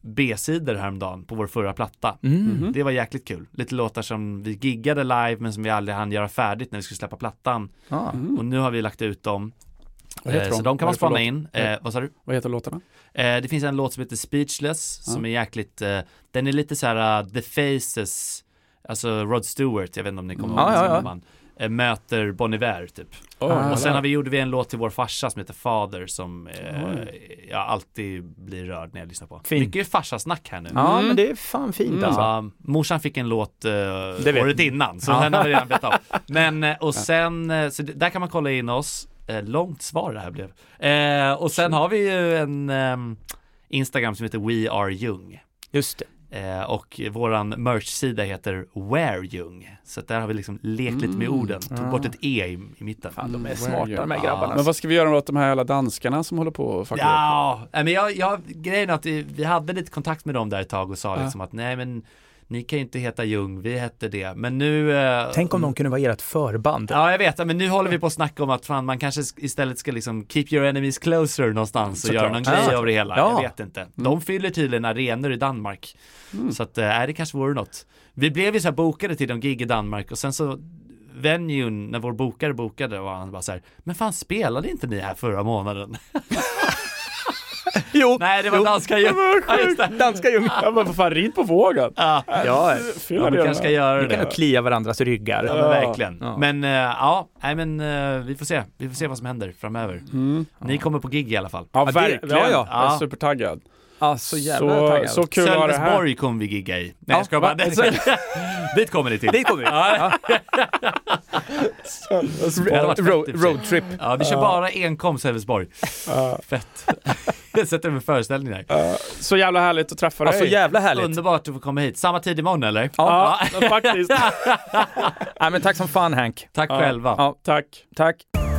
Speaker 3: B-sidor häromdagen på vår förra platta.
Speaker 2: Mm.
Speaker 4: Mhm.
Speaker 3: Det var jäkligt kul. Lite låtar som vi giggade live men som vi aldrig hann göra färdigt när vi skulle släppa plattan.
Speaker 2: Ah.
Speaker 4: Mm.
Speaker 3: Och nu har vi lagt ut dem.
Speaker 4: Vad heter
Speaker 3: Eh, så
Speaker 4: de?
Speaker 3: de kan
Speaker 4: Vad
Speaker 3: man
Speaker 4: är det för
Speaker 3: spana
Speaker 4: låt?
Speaker 3: in. Eh, vad sa du?
Speaker 4: Vad heter låtarna?
Speaker 3: Eh, det finns en låt som heter Speechless som är jäkligt, eh, den är lite så här uh, The Faces, alltså Rod Stewart, jag vet inte om ni kommer
Speaker 2: Mm.
Speaker 3: ihåg
Speaker 2: Ja,
Speaker 3: honom,
Speaker 2: ja, ja.
Speaker 3: man eh, möter Bon Iver typ.
Speaker 2: Ah,
Speaker 3: Och sen
Speaker 4: jävlar.
Speaker 3: har vi, gjorde vi en låt till vår farsa som heter Father som eh, jag alltid blir rörd när jag lyssnar på.
Speaker 2: Fint.
Speaker 3: Mycket farsasnack här nu.
Speaker 2: Ja, men det är fan fint
Speaker 4: Mm.
Speaker 2: alltså.
Speaker 3: Ja, morsan fick en låt eh,
Speaker 2: vet
Speaker 3: året innan, så den har vi redan bett av. Men, eh, och sen, eh, så det- där kan man kolla in oss. Eh, långt svar det här blev. Eh, och sen har vi ju en ehm, Instagram som heter We Are Young.
Speaker 2: Just det.
Speaker 3: Eh, och våran merch-sida heter Where Young. Så att där har vi liksom lekt lite med orden, tog bort ett E i, i
Speaker 2: Mm.
Speaker 3: mitten.
Speaker 2: Ah. Fan, de är
Speaker 4: Mm,
Speaker 2: smarta
Speaker 4: where
Speaker 2: de här
Speaker 3: you-
Speaker 2: grabbarna.
Speaker 4: Men vad ska vi göra åt de här jävla danskarna som håller på och fuckar upp?
Speaker 3: Ja, nej, men jag, jag, grejen är att vi, vi hade lite kontakt med dem där ett tag
Speaker 2: Ah.
Speaker 3: och sa liksom att nej men ni kan ju inte heta Ljung, vi hette det. Men nu... eh,
Speaker 2: Tänk om de kunde vara ert förband.
Speaker 3: Ja, jag vet, men nu håller vi på att snacka om att fan, man kanske sk- istället ska liksom keep your enemies closer någonstans och
Speaker 2: Såklart.
Speaker 3: göra någon grej
Speaker 2: Ja.
Speaker 3: av det hela.
Speaker 2: Ja. Mm.
Speaker 3: Jag vet inte. De fyller tydligen arenor i Danmark. Så att, eh, det kanske vore något. Vi blev ju så här bokade till de gig i Danmark och sen så venuen, när vår bokare bokade var han bara så här, men fan spelade inte ni här förra månaden?
Speaker 2: Jo,
Speaker 3: Nej, det var danska ju. Ja, just det.
Speaker 2: danska Ljung.
Speaker 4: Ja, men vad fan, rid på vågen!
Speaker 3: Ja,
Speaker 2: Ja,
Speaker 4: Fyll
Speaker 3: ja, vi
Speaker 4: det
Speaker 3: kanske ska
Speaker 4: med.
Speaker 3: göra
Speaker 2: vi kan
Speaker 3: det.
Speaker 2: nog klia varandras ryggar.
Speaker 3: Ja, men verkligen.
Speaker 2: Ja.
Speaker 3: Men eh, ja, nej men eh, vi får se. Vi
Speaker 2: Mm.
Speaker 4: Mm.
Speaker 3: får se vad som händer framöver. Ni kommer på gig i alla fall.
Speaker 4: Ja,
Speaker 2: det-
Speaker 4: verkligen.
Speaker 2: ja, ja.
Speaker 4: Jag
Speaker 3: Ja.
Speaker 4: är supertaggad.
Speaker 2: Ja, så jävla
Speaker 4: Så,
Speaker 2: taggad.
Speaker 4: så kul var det här.
Speaker 3: Sölvesborg kommer vi gigga i. Nej jag ska bara...
Speaker 2: va?
Speaker 3: Dit kommer ni till.
Speaker 2: Dit kommer vi. Ja.
Speaker 3: Det hade varit fett i och för
Speaker 2: Road,
Speaker 3: sig.
Speaker 2: roadtrip.
Speaker 3: Ja, vi kör bara enkom Sölvesborg. Fett. Jag sätter mig föreställning där.
Speaker 4: Så jävla härligt att träffa
Speaker 2: Ja, så
Speaker 4: dig.
Speaker 2: jävla härligt.
Speaker 3: Underbart att få komma hit. Samma tid imorgon eller?
Speaker 4: Ja, faktiskt.
Speaker 2: Nej, men tack som fan Hank.
Speaker 3: Tack själva.
Speaker 2: Ja.
Speaker 4: Tack.
Speaker 2: Tack.